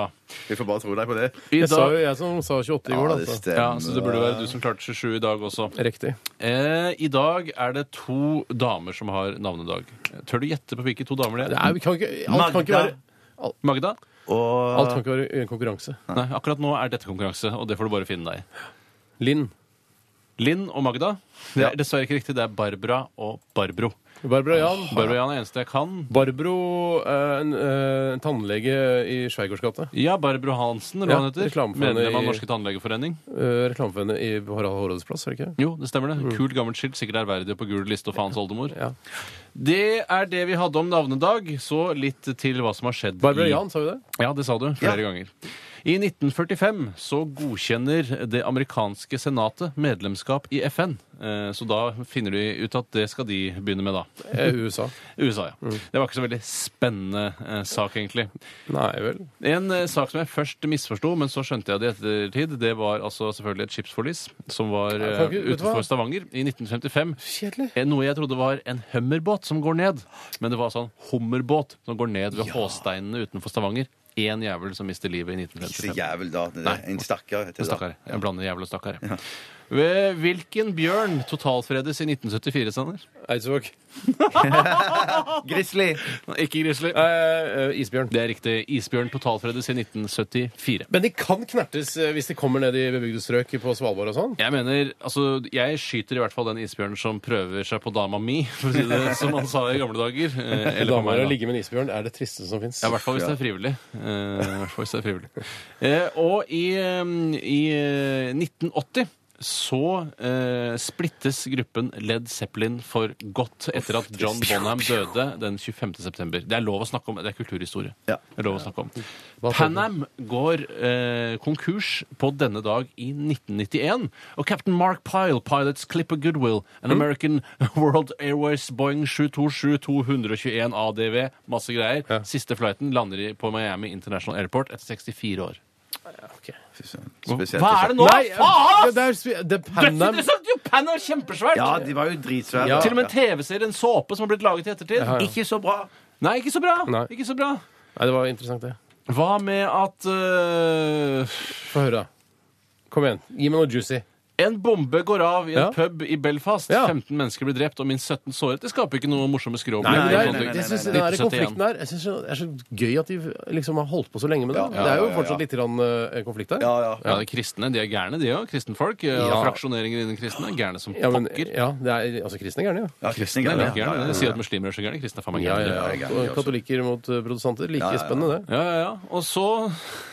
Speaker 4: Vi får bare tro deg på det.
Speaker 5: I
Speaker 3: Jeg sa
Speaker 5: dag-
Speaker 3: jo jeg som sa 28 i går, da. altså. Så.
Speaker 5: ja, altså. så det burde være du som klarte 27 i dag også.
Speaker 3: Riktig.
Speaker 5: Eh, I dag er det to damer som har navnedag. Tør du gjette på hvilke to damer det er?
Speaker 3: Nei, vi kan ikke, alt, kan ikke være,
Speaker 5: Magda?
Speaker 3: alt kan ikke være en konkurranse.
Speaker 5: Nei, akkurat nå er dette konkurranse, og det får du bare finne deg i.
Speaker 3: Linn.
Speaker 5: Linn og Magda. Det er dessverre ikke riktig. Det er Barbara og Barbro.
Speaker 3: Barbara Jan.
Speaker 5: Barbara Jan er eneste jeg kan.
Speaker 3: Barbro, eh, en, eh, en tannlege i Schweigaards gate.
Speaker 5: Ja, Barbro Hansen, eller hva
Speaker 3: Ja,
Speaker 5: hun heter.
Speaker 3: reklamefondet
Speaker 5: Medlem av
Speaker 3: i-
Speaker 5: Norske Tannlegeforening.
Speaker 3: Eh, Reklame for henne i Harald Hårrådes plass, er det ikke? det?
Speaker 5: Jo, det stemmer det. Kult gammelt skilt, sikkert ærverdig og på gul liste og faens oldemor.
Speaker 3: Mm. Ja.
Speaker 5: Det er det vi hadde om navnedag. Så litt til hva som har skjedd
Speaker 3: Barbara
Speaker 5: i-
Speaker 3: Jan, sa vi det?
Speaker 5: Ja, det sa du flere ganger. I 1945 så godkjenner det amerikanske senatet medlemskap i FN. Eh, Så da finner de ut at det skal de begynne med, da.
Speaker 3: Eh, USA.
Speaker 5: USA, ja. Det var ikke så veldig spennende eh, sak, egentlig.
Speaker 3: Nei vel.
Speaker 5: En eh, sak som jeg først misforsto, men så skjønte jeg det i ettertid, det var altså selvfølgelig et skipsforlis som var
Speaker 3: Jeg kan
Speaker 5: eh,
Speaker 3: ikke- vet du hva?
Speaker 5: utenfor Stavanger i 1955.
Speaker 3: Kjedelig.
Speaker 5: Eh, Noe jeg trodde var en hummerbåt som går ned, men det var sånn hummerbåt som går ned ved Håsteinene utenfor Stavanger. Én jævel som mister livet i 1955.
Speaker 4: jævel, da.
Speaker 5: Nei.
Speaker 4: En stakkar. heter det da.
Speaker 5: Stakkar. Jeg blander jævel og stakkar. jeg. Ved Hvilken bjørn totalfredes i 1974, Sander?
Speaker 3: Eidsvåg.
Speaker 4: Grizzly.
Speaker 5: Ikke grizzly.
Speaker 3: Eh, eh, isbjørn.
Speaker 5: Det er riktig. Isbjørn totalfredes i 1974.
Speaker 3: Men de kan knertes eh, hvis de kommer ned i bebygde strøk på Svalbard og sånn.
Speaker 5: Jeg mener, altså, jeg skyter i hvert fall den isbjørnen som prøver seg på dama mi, for å si det som man sa i gamle dager. Eh, Eller på
Speaker 3: Damer
Speaker 5: meg,
Speaker 3: å
Speaker 5: da.
Speaker 3: ligge med en isbjørn er det tristeste som fins.
Speaker 5: Ja, I hvert fall hvis det er frivillig. Eh, i hvert fall hvis det er frivillig. Eh, og i, eh, i eh, 1980 så eh, splittes gruppen Led Zeppelin for godt etter at John Bonham døde den 25. september. Det er lov å snakke om, det er kulturhistorie.
Speaker 4: Ja.
Speaker 5: Det er lov å snakke om.
Speaker 3: Hva skjedde?
Speaker 5: Panam går eh, konkurs på denne dag i 1991, og cap'n Mark Pyle pilots Clipper Goodwill, an
Speaker 3: Hm?
Speaker 5: American World Airways Boeing 727-221 ADV, masse greier. Siste flighten lander i- på Miami International Airport etter 64 år.
Speaker 4: Fy søren.
Speaker 5: Hva er det nå?
Speaker 3: Nei, eh,
Speaker 5: Faen!
Speaker 3: ja, det er sp- det er Pan Am.
Speaker 5: Dødsinteressant! Jo, Pan Am er kjempesvært!
Speaker 4: Ja, de var jo dritsvære.
Speaker 3: Ja.
Speaker 5: Til og med en TV-serie, en såpe, som har blitt laget i ettertid.
Speaker 3: Ja, ja.
Speaker 5: Ikke så bra. Nei, ikke så bra.
Speaker 3: Nei.
Speaker 5: Ikke så bra.
Speaker 3: Nei, det var interessant, det.
Speaker 5: Hva med at eh,
Speaker 3: Få høre, da. Kom igjen. Gi meg noe juicy.
Speaker 5: En bombe går av i en
Speaker 3: Ja.
Speaker 5: pub i Belfast.
Speaker 3: Ja.
Speaker 5: 15 mennesker blir drept og minst 17 såret. Det skaper ikke noe morsomme Sånn
Speaker 3: Nei,
Speaker 5: skråblikk.
Speaker 3: men det er-
Speaker 4: nei, nei, nei,
Speaker 3: jeg synes
Speaker 4: nei,
Speaker 3: Den
Speaker 5: nei.
Speaker 3: der konflikten der jeg synes det er så gøy at de liksom har holdt på så lenge med det. da.
Speaker 4: ja,
Speaker 3: det er jo
Speaker 4: ja, ja, ja.
Speaker 3: fortsatt litt grann, eh, konflikt der.
Speaker 4: Ja, ja.
Speaker 5: Ja, de kristne de er gærne, de òg. Kristenfolk. Ja.
Speaker 3: Ja.
Speaker 5: eh, Fraksjoneringer innen kristne. Gærne som
Speaker 3: Ja, men,
Speaker 5: pokker.
Speaker 3: ja, det er, altså kristne er gærne, ja.
Speaker 4: Ja, kristne
Speaker 5: Nei,
Speaker 4: greier,
Speaker 5: det er
Speaker 4: ja.
Speaker 5: ikke gærne. De sier at muslimer er så gærne. Kristne er faen meg
Speaker 3: Ja,
Speaker 5: gærne.
Speaker 3: ja,
Speaker 4: ja,
Speaker 3: ja.
Speaker 4: ja, ja.
Speaker 3: Katolikker mot eh, protestanter. Like spennende, det.
Speaker 5: Ja, ja, ja. Og så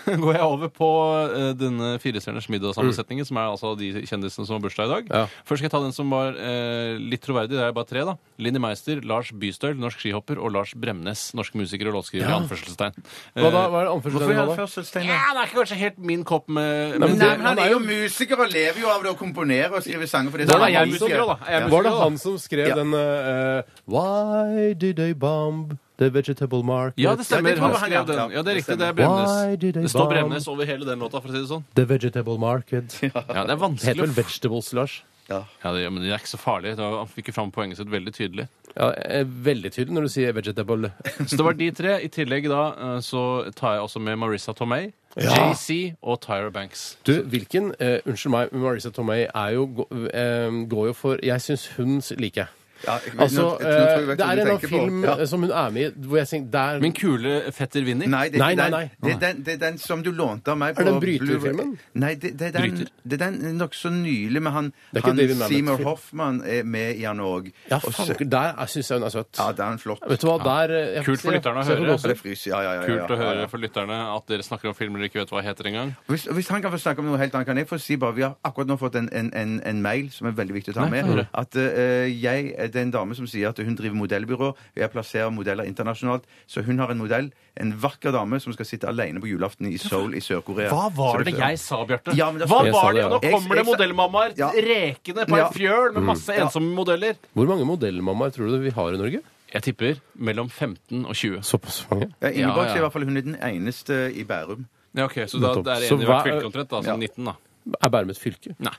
Speaker 5: går jeg over på eh, denne firestjerners middagssammensetningen, som er altså de kjendisene som har bursdag i dag.
Speaker 3: Ja.
Speaker 5: Først skal jeg ta den som var eh, litt troverdig. Det er bare tre, da. Linni Meister, Lars Bystøl, norsk skihopper, og Lars Bremnes, norsk musiker og låtskriver. i Anførselstegn. Eh,
Speaker 3: Hva da? Hva er det anførselstegnet
Speaker 4: Hvorfor er
Speaker 3: han
Speaker 4: det
Speaker 3: da?
Speaker 4: førselstegn?
Speaker 5: Ja,
Speaker 4: da?
Speaker 5: det er ikke kanskje helt min kopp med
Speaker 3: Nei, men
Speaker 4: Nei,
Speaker 3: det-
Speaker 4: men han er jo musiker og lever jo av det å komponere og skrive sanger. For det
Speaker 5: Da
Speaker 4: han
Speaker 5: er
Speaker 4: gjør.
Speaker 5: jeg musiker også, da. Er jeg
Speaker 4: Ja.
Speaker 3: Var det
Speaker 5: da?
Speaker 3: han som skrev
Speaker 4: Ja.
Speaker 3: den eh, Why did they bomb the vegetable market?
Speaker 5: Ja, det stemmer.
Speaker 4: Ja, det tror
Speaker 5: Han
Speaker 4: jeg han
Speaker 5: skrev
Speaker 4: gjør.
Speaker 5: den. Ja, det er
Speaker 4: Det
Speaker 5: riktig. Det er
Speaker 4: stemmer.
Speaker 3: Why
Speaker 5: Bremnes.
Speaker 3: did they
Speaker 5: Det står
Speaker 3: bomb?
Speaker 5: Bremnes over hele den låta, for å si det sånn.
Speaker 3: The vegetable market. Det
Speaker 5: Ja, det er vanskelig
Speaker 3: heter
Speaker 5: å
Speaker 3: vel vegetables, Lars?
Speaker 4: Ja.
Speaker 5: Ja, det, men det er ikke så farlig. Da- Han fikk jo fram poenget sitt veldig tydelig.
Speaker 3: Ja, eh, Veldig tydelig når du sier vegetable.
Speaker 5: Så det var de tre. I tillegg da eh, så tar jeg også med Marissa Tomei, JC og Tyra Banks.
Speaker 3: Du, hvilken eh, Unnskyld meg, Marisa Tomei er jo, gå- eh, går jo for Jeg syns hun liker jeg.
Speaker 4: Ja, jeg- nå-
Speaker 3: Altså,
Speaker 4: nå tror jeg
Speaker 3: eh, det
Speaker 4: jeg vet hva
Speaker 3: er
Speaker 4: du
Speaker 3: en eller annen
Speaker 4: tenker på.
Speaker 3: film
Speaker 4: Ja.
Speaker 3: eh, som hun er med i hvor jeg tenker der,
Speaker 5: Min kule fetter vinner.
Speaker 4: Nei, det er
Speaker 3: Nei,
Speaker 4: ikke
Speaker 3: nei,
Speaker 4: den. Det er den, det er den som du lånte av meg
Speaker 3: Er
Speaker 4: på
Speaker 3: det den bryterfilmen?
Speaker 4: Blu-ray. Nei, det, det er den,
Speaker 5: Bryter?
Speaker 4: det er den nokså nylig, men han,
Speaker 3: Det er ikke
Speaker 4: han
Speaker 3: David Mamet-film.
Speaker 4: Seymour Hoffman er med i han òg.
Speaker 3: Ja, fanker, der er- syns jeg hun er søt.
Speaker 4: Ja, det er en flott.
Speaker 3: Vet du hva, der eh, jeg-
Speaker 5: Kult for lytterne å
Speaker 3: jeg- jeg-
Speaker 5: høre.
Speaker 4: Ja, det fryser, ja, ja, ja, ja, ja.
Speaker 5: Kult å høre for lytterne at dere snakker om filmer dere ikke vet hva heter engang.
Speaker 4: Hvis, hvis han kan få snakke om noe helt annet, kan jeg få si bare Vi har akkurat nå fått en, en, en, en mail som er veldig viktig å ta
Speaker 5: Nei,
Speaker 4: med.
Speaker 5: få høre.
Speaker 4: At eh, jeg Det er en dame som sier at hun driver modellbyrå. Jeg plasserer modeller internasjonalt. Så hun har en modell, en vakker dame, som skal sitte alene på julaften i Seoul i Sør-Korea.
Speaker 5: Hva var
Speaker 4: Så
Speaker 5: det jeg sa, Bjarte?
Speaker 4: Ja, men det-
Speaker 5: Hva
Speaker 3: Jeg sa
Speaker 5: var
Speaker 3: det,
Speaker 5: det?
Speaker 3: ja.
Speaker 5: Nå
Speaker 4: Jeg-
Speaker 5: kommer
Speaker 4: jeg
Speaker 5: det
Speaker 4: sa-
Speaker 5: modellmammaer
Speaker 4: Ja.
Speaker 5: rekende på
Speaker 4: Ja.
Speaker 5: en fjøl med masse ensomme modeller.
Speaker 3: Hvor mange modellmammaer tror du vi har i Norge?
Speaker 5: Jeg tipper mellom 15 og 20.
Speaker 3: Såpass mange.
Speaker 4: Ja, Ingeborg
Speaker 5: Ja, ja.
Speaker 4: sier i hvert fall hun er den eneste i Bærum.
Speaker 5: Ja, ok, Så da,
Speaker 3: Nettopp.
Speaker 5: det er
Speaker 3: Så
Speaker 5: en i hvert
Speaker 3: hva-
Speaker 5: fylke omtrent? Da, så
Speaker 4: Ja.
Speaker 5: 19, da.
Speaker 3: Er Bærum et fylke?
Speaker 5: Nei.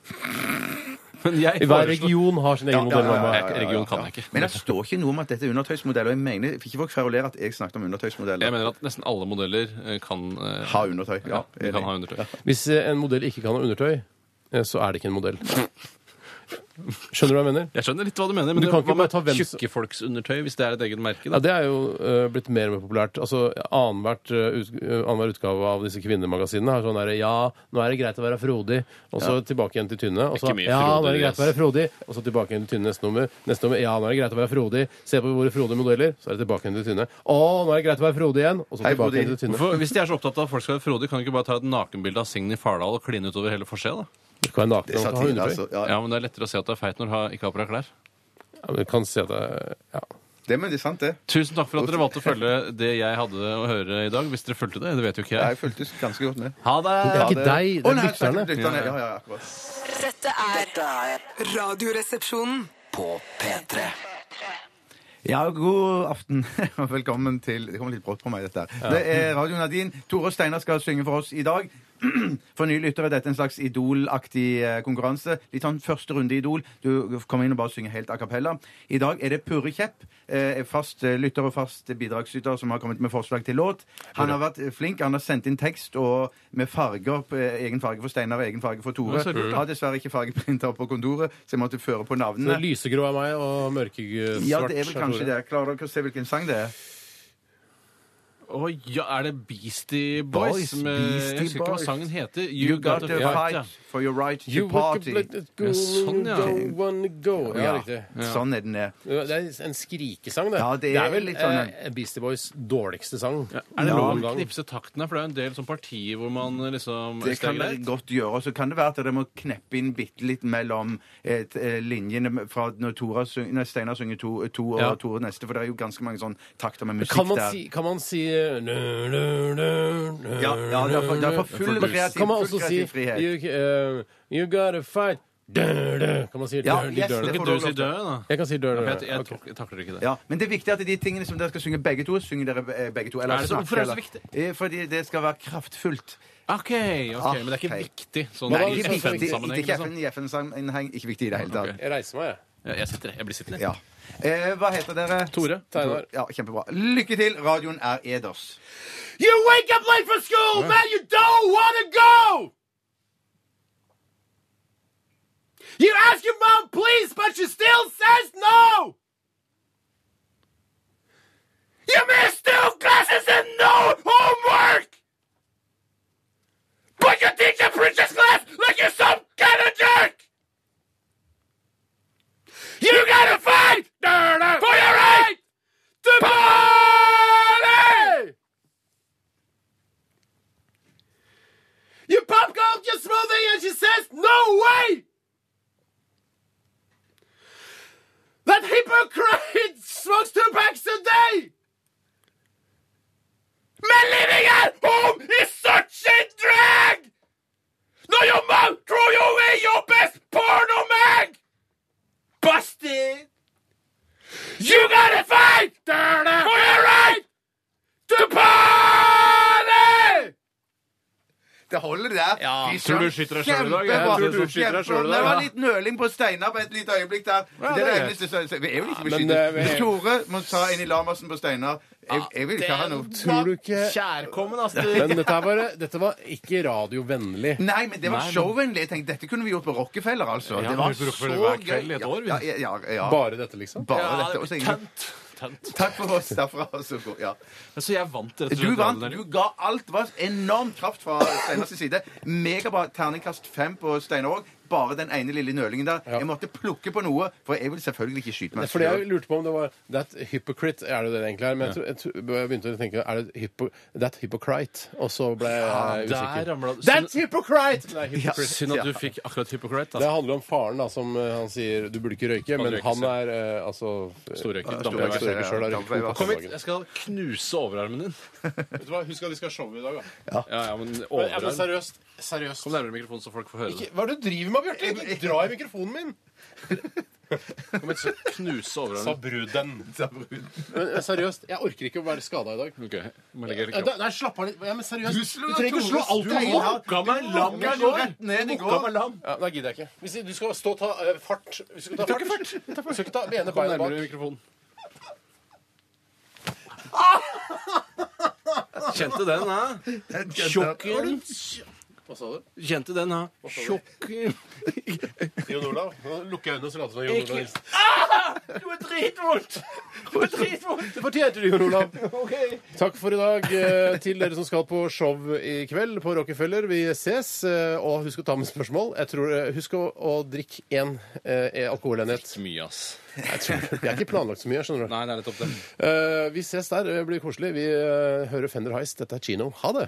Speaker 5: Men jeg
Speaker 3: I hver
Speaker 5: foreslår
Speaker 3: region har sin egen modellmamma.
Speaker 5: ja, ja. Region kan jeg ikke.
Speaker 4: Men det står ikke noe om at dette er undertøysmodell. Og jeg mener, fikk ikke folk kverulere at jeg snakket om
Speaker 5: Jeg
Speaker 4: undertøysmodeller.
Speaker 5: mener at nesten alle modeller eh, kan eh,
Speaker 4: Ha undertøy. Ja,
Speaker 5: ja, de kan ha undertøy.
Speaker 3: Hvis eh, en modell ikke kan ha undertøy, eh, så er det ikke en modell. Skjønner du hva jeg mener?
Speaker 5: Jeg skjønner litt hva du mener, men
Speaker 3: Du
Speaker 5: det-
Speaker 3: kan ikke
Speaker 5: hva med
Speaker 3: bare ta hvem som-
Speaker 5: tjukke folks undertøy hvis det er et eget merke?
Speaker 3: Ja,
Speaker 5: Da?
Speaker 3: Det er jo eh, blitt mer og mer populært. Altså, Annenhver ut, eh, annenhver utgave av disse kvinnemagasinene har sånn derre Ja, nå er det greit å være frodig. Og så tilbake igjen til tynne. Og så
Speaker 5: Ikke mye
Speaker 3: Ja, nå er det
Speaker 5: frodig,
Speaker 3: greit å være frodig. Og så tilbake igjen til tynne neste nummer. Neste nummer. Ja, nå er det greit å være frodig. Se på våre frodige modeller. Så er det tilbake igjen til tynne. Å, nå er det greit å være frodig igjen. Og så
Speaker 4: Hei,
Speaker 3: tilbake
Speaker 4: Frodi.
Speaker 3: igjen til tynne.
Speaker 5: Hvorfor, hvis de er så opptatt av at folk skal være frodige, kan de ikke bare ta et nakenbilde av Signy Fardal og kline utover hele forsida? da?
Speaker 3: Du kan være naken og ha
Speaker 4: Satire,
Speaker 3: undertøy.
Speaker 4: altså. Ja,
Speaker 5: Ja, men det er lettere å se at du er feit når du har- ikke har på deg klær.
Speaker 3: Ja, men du kan si at det Ja.
Speaker 4: det, men det er sant, det.
Speaker 5: Tusen takk for at dere valgte å følge det jeg hadde å høre i dag. Hvis dere fulgte det, det vet jo ikke
Speaker 4: Jeg
Speaker 5: jeg.
Speaker 4: føltes ganske godt med.
Speaker 5: Ha
Speaker 3: Det er
Speaker 5: det!
Speaker 3: ikke deg,
Speaker 4: Å,
Speaker 3: det er
Speaker 4: nei, jeg snakket
Speaker 3: lytterne.
Speaker 4: om lytterne. Ja, ja, ja, akkurat.
Speaker 1: Dette er
Speaker 2: Dette er
Speaker 1: Radioresepsjonen.
Speaker 2: på P3.
Speaker 4: Ja, god aften og velkommen til Det kommer litt brått på meg, dette her. Det er Radio Nadine. Tore og Steinar skal synge for oss i dag. For nye lyttere dette er en slags Idol-aktig eh, konkurranse. Litt sånn første runde i Idol. Du kommer inn og bare synger helt a cappella. I dag er det Purre Kjepp, eh, fast eh, lytter og fast bidragsyter, som har kommet med forslag til låt. Han har vært eh, flink. Han har sendt inn tekst og med farger, på- eh, egen farge for Steinar og egen farge for Tore.
Speaker 5: Ja, så lurt, da.
Speaker 4: Har dessverre ikke fargeprinter på kontoret, så jeg måtte føre
Speaker 3: Det
Speaker 4: på navnene.
Speaker 3: er lysegrå er meg, og mørkesvart
Speaker 4: Ja, det er vel kanskje
Speaker 3: Tore.
Speaker 4: det. Klarer dere å se hvilken sang det er?
Speaker 5: Å ja, er det Beastie Boys?
Speaker 4: Boys,
Speaker 5: som, eh,
Speaker 4: Beastie
Speaker 5: jeg husker ikke hva
Speaker 4: Boys.
Speaker 5: sangen heter.
Speaker 4: You got to
Speaker 5: fight, ja.
Speaker 4: fight for your right to
Speaker 3: You walk
Speaker 4: party.
Speaker 3: up like a girl,
Speaker 5: Ja, sånn, ja.
Speaker 3: you don't wanna go. Ja,
Speaker 4: Ja,
Speaker 3: riktig.
Speaker 4: sånn er den. eh.
Speaker 3: Det er en skrikesang, det.
Speaker 4: Ja, det er
Speaker 3: vel
Speaker 4: litt sånn,
Speaker 3: eh, Beastie Boys dårligste sang.
Speaker 5: Er det
Speaker 3: noen
Speaker 5: lov å
Speaker 3: gang.
Speaker 5: knipse takten her? For det er jo en del sånn partier hvor man eh, liksom
Speaker 4: Det kan
Speaker 5: er
Speaker 4: dere
Speaker 5: greit.
Speaker 4: godt gjøre. og Så kan det være at dere må kneppe inn bitte litt mellom eh, t- eh, linjene fra når, Tora syng, når Steinar synger to, to og
Speaker 3: Ja.
Speaker 4: Tore neste, for det er jo ganske mange sånn takter med musikk
Speaker 3: Kan man
Speaker 4: der.
Speaker 3: si, kan man si eh, nu, nu, nu, nu,
Speaker 4: Ja, ja, det er for- det er for full
Speaker 3: nu.
Speaker 4: kreativ-
Speaker 3: Kan man
Speaker 4: full
Speaker 3: også si
Speaker 4: kreativ frihet.
Speaker 3: you, eh, you gotta fight du, du. Kan man si
Speaker 4: Ja,
Speaker 3: du, du,
Speaker 4: yes,
Speaker 3: du,
Speaker 4: det
Speaker 3: du.
Speaker 4: får
Speaker 5: Kan
Speaker 4: du
Speaker 5: du si
Speaker 4: lov til.
Speaker 5: død, da?
Speaker 3: Jeg kan si dø, dø, dø.
Speaker 5: For jeg, jeg,
Speaker 3: Ok.
Speaker 5: tok- jeg takler ikke det.
Speaker 4: Ja, men det er viktig at de tingene som dere skal synge begge to, synger dere eh, begge to. Eller
Speaker 5: Er det så-
Speaker 4: snakker,
Speaker 5: hvorfor er det så
Speaker 4: eller-
Speaker 5: viktig?
Speaker 4: Eh, Fordi det skal være kraftfullt.
Speaker 5: OK,
Speaker 4: Ah,
Speaker 5: ok, men det er
Speaker 4: Ok.
Speaker 5: ikke viktig sånn
Speaker 3: Hva var
Speaker 5: i
Speaker 3: det
Speaker 4: Ikke
Speaker 3: som-
Speaker 4: viktig
Speaker 3: FN
Speaker 5: FN-sammenheng.
Speaker 4: ikke
Speaker 5: liksom.
Speaker 4: FN i FN-sammenheng, ikke viktig i det hele tatt.
Speaker 5: Ok.
Speaker 3: Jeg reiser meg, jeg.
Speaker 5: Ja, jeg sitter, jeg blir sittende.
Speaker 4: Ja. Eh, hva heter dere?
Speaker 5: Tore.
Speaker 3: Steinar.
Speaker 4: Ja, kjempebra. Lykke til. Radioen er eders.
Speaker 5: You wake up late for school, man, you don't wanna go!
Speaker 3: You ask your mom, please, but she still says no! You missed two classes and no homework! But you teach a princess class like you're some kind of jerk! You gotta fight for your right to party! You pop culture smoothie and she says, no way! That hypocrite smokes two packs a day! Men living at home is such a drag! Now your mom threw you away your best porno mag! Busted! You gotta fight for your right to party!
Speaker 4: Det holder, det der.
Speaker 5: Ja,
Speaker 4: Fy
Speaker 5: tror
Speaker 4: søren.
Speaker 5: du skyter deg selv i dag, jeg.
Speaker 4: Kjempebra.
Speaker 5: Tror du skyter deg selv
Speaker 4: Kjempebra.
Speaker 5: i dag,
Speaker 4: Det
Speaker 5: ja.
Speaker 4: var litt nøling på Steinar på et lite øyeblikk der. det er det
Speaker 5: det er
Speaker 4: eneste som så- Vi er jo ikke
Speaker 3: men,
Speaker 4: beskyttet.
Speaker 3: eh, vi-
Speaker 4: Hvis Tore må ta inn i Lamersen på Steinar jeg, jeg vil ikke ha noe
Speaker 3: Tror du ikke
Speaker 6: Kjærkommen, altså.
Speaker 3: Men dette, er bare, dette var ikke radiovennlig.
Speaker 4: Nei, men det var
Speaker 5: Nei, men-
Speaker 4: showvennlig. Jeg tenkte, Dette kunne vi gjort på Rockefeller, altså.
Speaker 5: Ja,
Speaker 4: det var
Speaker 5: vi brukte
Speaker 4: så
Speaker 5: det hver
Speaker 4: gøy.
Speaker 5: kveld i et år, vi.
Speaker 4: ja, ja, ja, ja.
Speaker 3: Bare dette, liksom?
Speaker 4: Bare
Speaker 5: Ja,
Speaker 4: dette. Også, ingen-
Speaker 5: tønt. tønt.
Speaker 4: takk for oss derfra. og Så, god- ja.
Speaker 5: Så jeg vant rett og
Speaker 4: Du
Speaker 5: slett.
Speaker 4: vant.
Speaker 5: den der.
Speaker 4: Du ga alt. Det var enorm kraft fra Steinars side. Megabra terningkast fem på Steinar òg. Bare den ene lille nølingen der. Jeg måtte plukke på noe, for jeg vil selvfølgelig ikke skyte meg
Speaker 3: Fordi jeg
Speaker 4: selv.
Speaker 3: lurte på om det var That hypocrite, er det det det egentlig er? Men jeg, tror, jeg, tror- jeg begynte å tenke er det hypo, That hypocrite? Og så ble jeg
Speaker 5: Der
Speaker 3: usikker.
Speaker 5: ramla du.
Speaker 3: That's hypocrite! Nei,
Speaker 5: Synd-
Speaker 3: hypocrite.
Speaker 5: Synd at du fikk akkurat Hippocrate.
Speaker 3: Det
Speaker 5: Altså.
Speaker 3: handler om faren, da, som eh, han sier du burde ikke røyke, men
Speaker 5: røyker
Speaker 3: han
Speaker 5: selv.
Speaker 3: er eh, altså
Speaker 5: Storrøyker.
Speaker 3: Damberg
Speaker 5: Storrøyker
Speaker 3: Storrøyker sjøl.
Speaker 4: Damberg, ja.
Speaker 5: Kom hit, jeg skal knuse overarmen din.
Speaker 3: Vet du hva, Husk at vi skal ha show i dag, da.
Speaker 5: Ja, ja,
Speaker 3: Ja,
Speaker 5: men
Speaker 3: men
Speaker 5: overarm.
Speaker 3: seriøst. seriøst.
Speaker 5: Kom nærmere mikrofonen, så folk får høre det.
Speaker 3: Ikke- Hva er det du driver med, Bjarte? Ikke Dra i mikrofonen min!
Speaker 5: Kom hit, så knuse overarmen.
Speaker 3: bruden. Men eh, seriøst, jeg orker ikke å være skada i dag.
Speaker 5: Ok, må jeg legge
Speaker 3: Ja,
Speaker 5: det
Speaker 3: da-
Speaker 5: i kroppen.
Speaker 3: Nei, slapp av litt. Ja, men seriøst.
Speaker 4: Du slår
Speaker 3: trenger ikke å slå
Speaker 4: Tore
Speaker 3: alt i
Speaker 4: Steinar.
Speaker 3: hånden.
Speaker 5: Ga meg
Speaker 4: Du logga jo rett ned i går.
Speaker 3: Ja, da gidder jeg ikke. Hvis du skal stå og ta eh, fart Vi skal ta fart. Vi skal ikke ta med ene
Speaker 5: Kom
Speaker 3: beinet
Speaker 5: nærmere
Speaker 3: bak.
Speaker 5: mikrofonen. Kjente den, hæ? Tjukken.
Speaker 3: Hva sa du?
Speaker 5: Kjente den, hæ? Tjukken.
Speaker 3: Jon Olav? Nå lukker jeg øynene, så later som Jon Olav Nilsen.
Speaker 5: Det var dritvondt! Det var dritvondt!
Speaker 3: Det fortjente du, Jon Olav. Takk for i dag eh, til dere som skal på show i kveld på Rockefeller. Vi ses. eh, Og husk å ta med spørsmål. Jeg tror, eh, husk å, å drikke én eh, alkoholenhet.
Speaker 5: Mye, ass.
Speaker 3: Jeg tror, det er ikke planlagt så mye, skjønner du.
Speaker 5: Nei, det er nettopp det.
Speaker 3: Eh, vi ses der. Det blir koselig. Vi eh, hører Fender Heist. Dette er Chino. Ha det!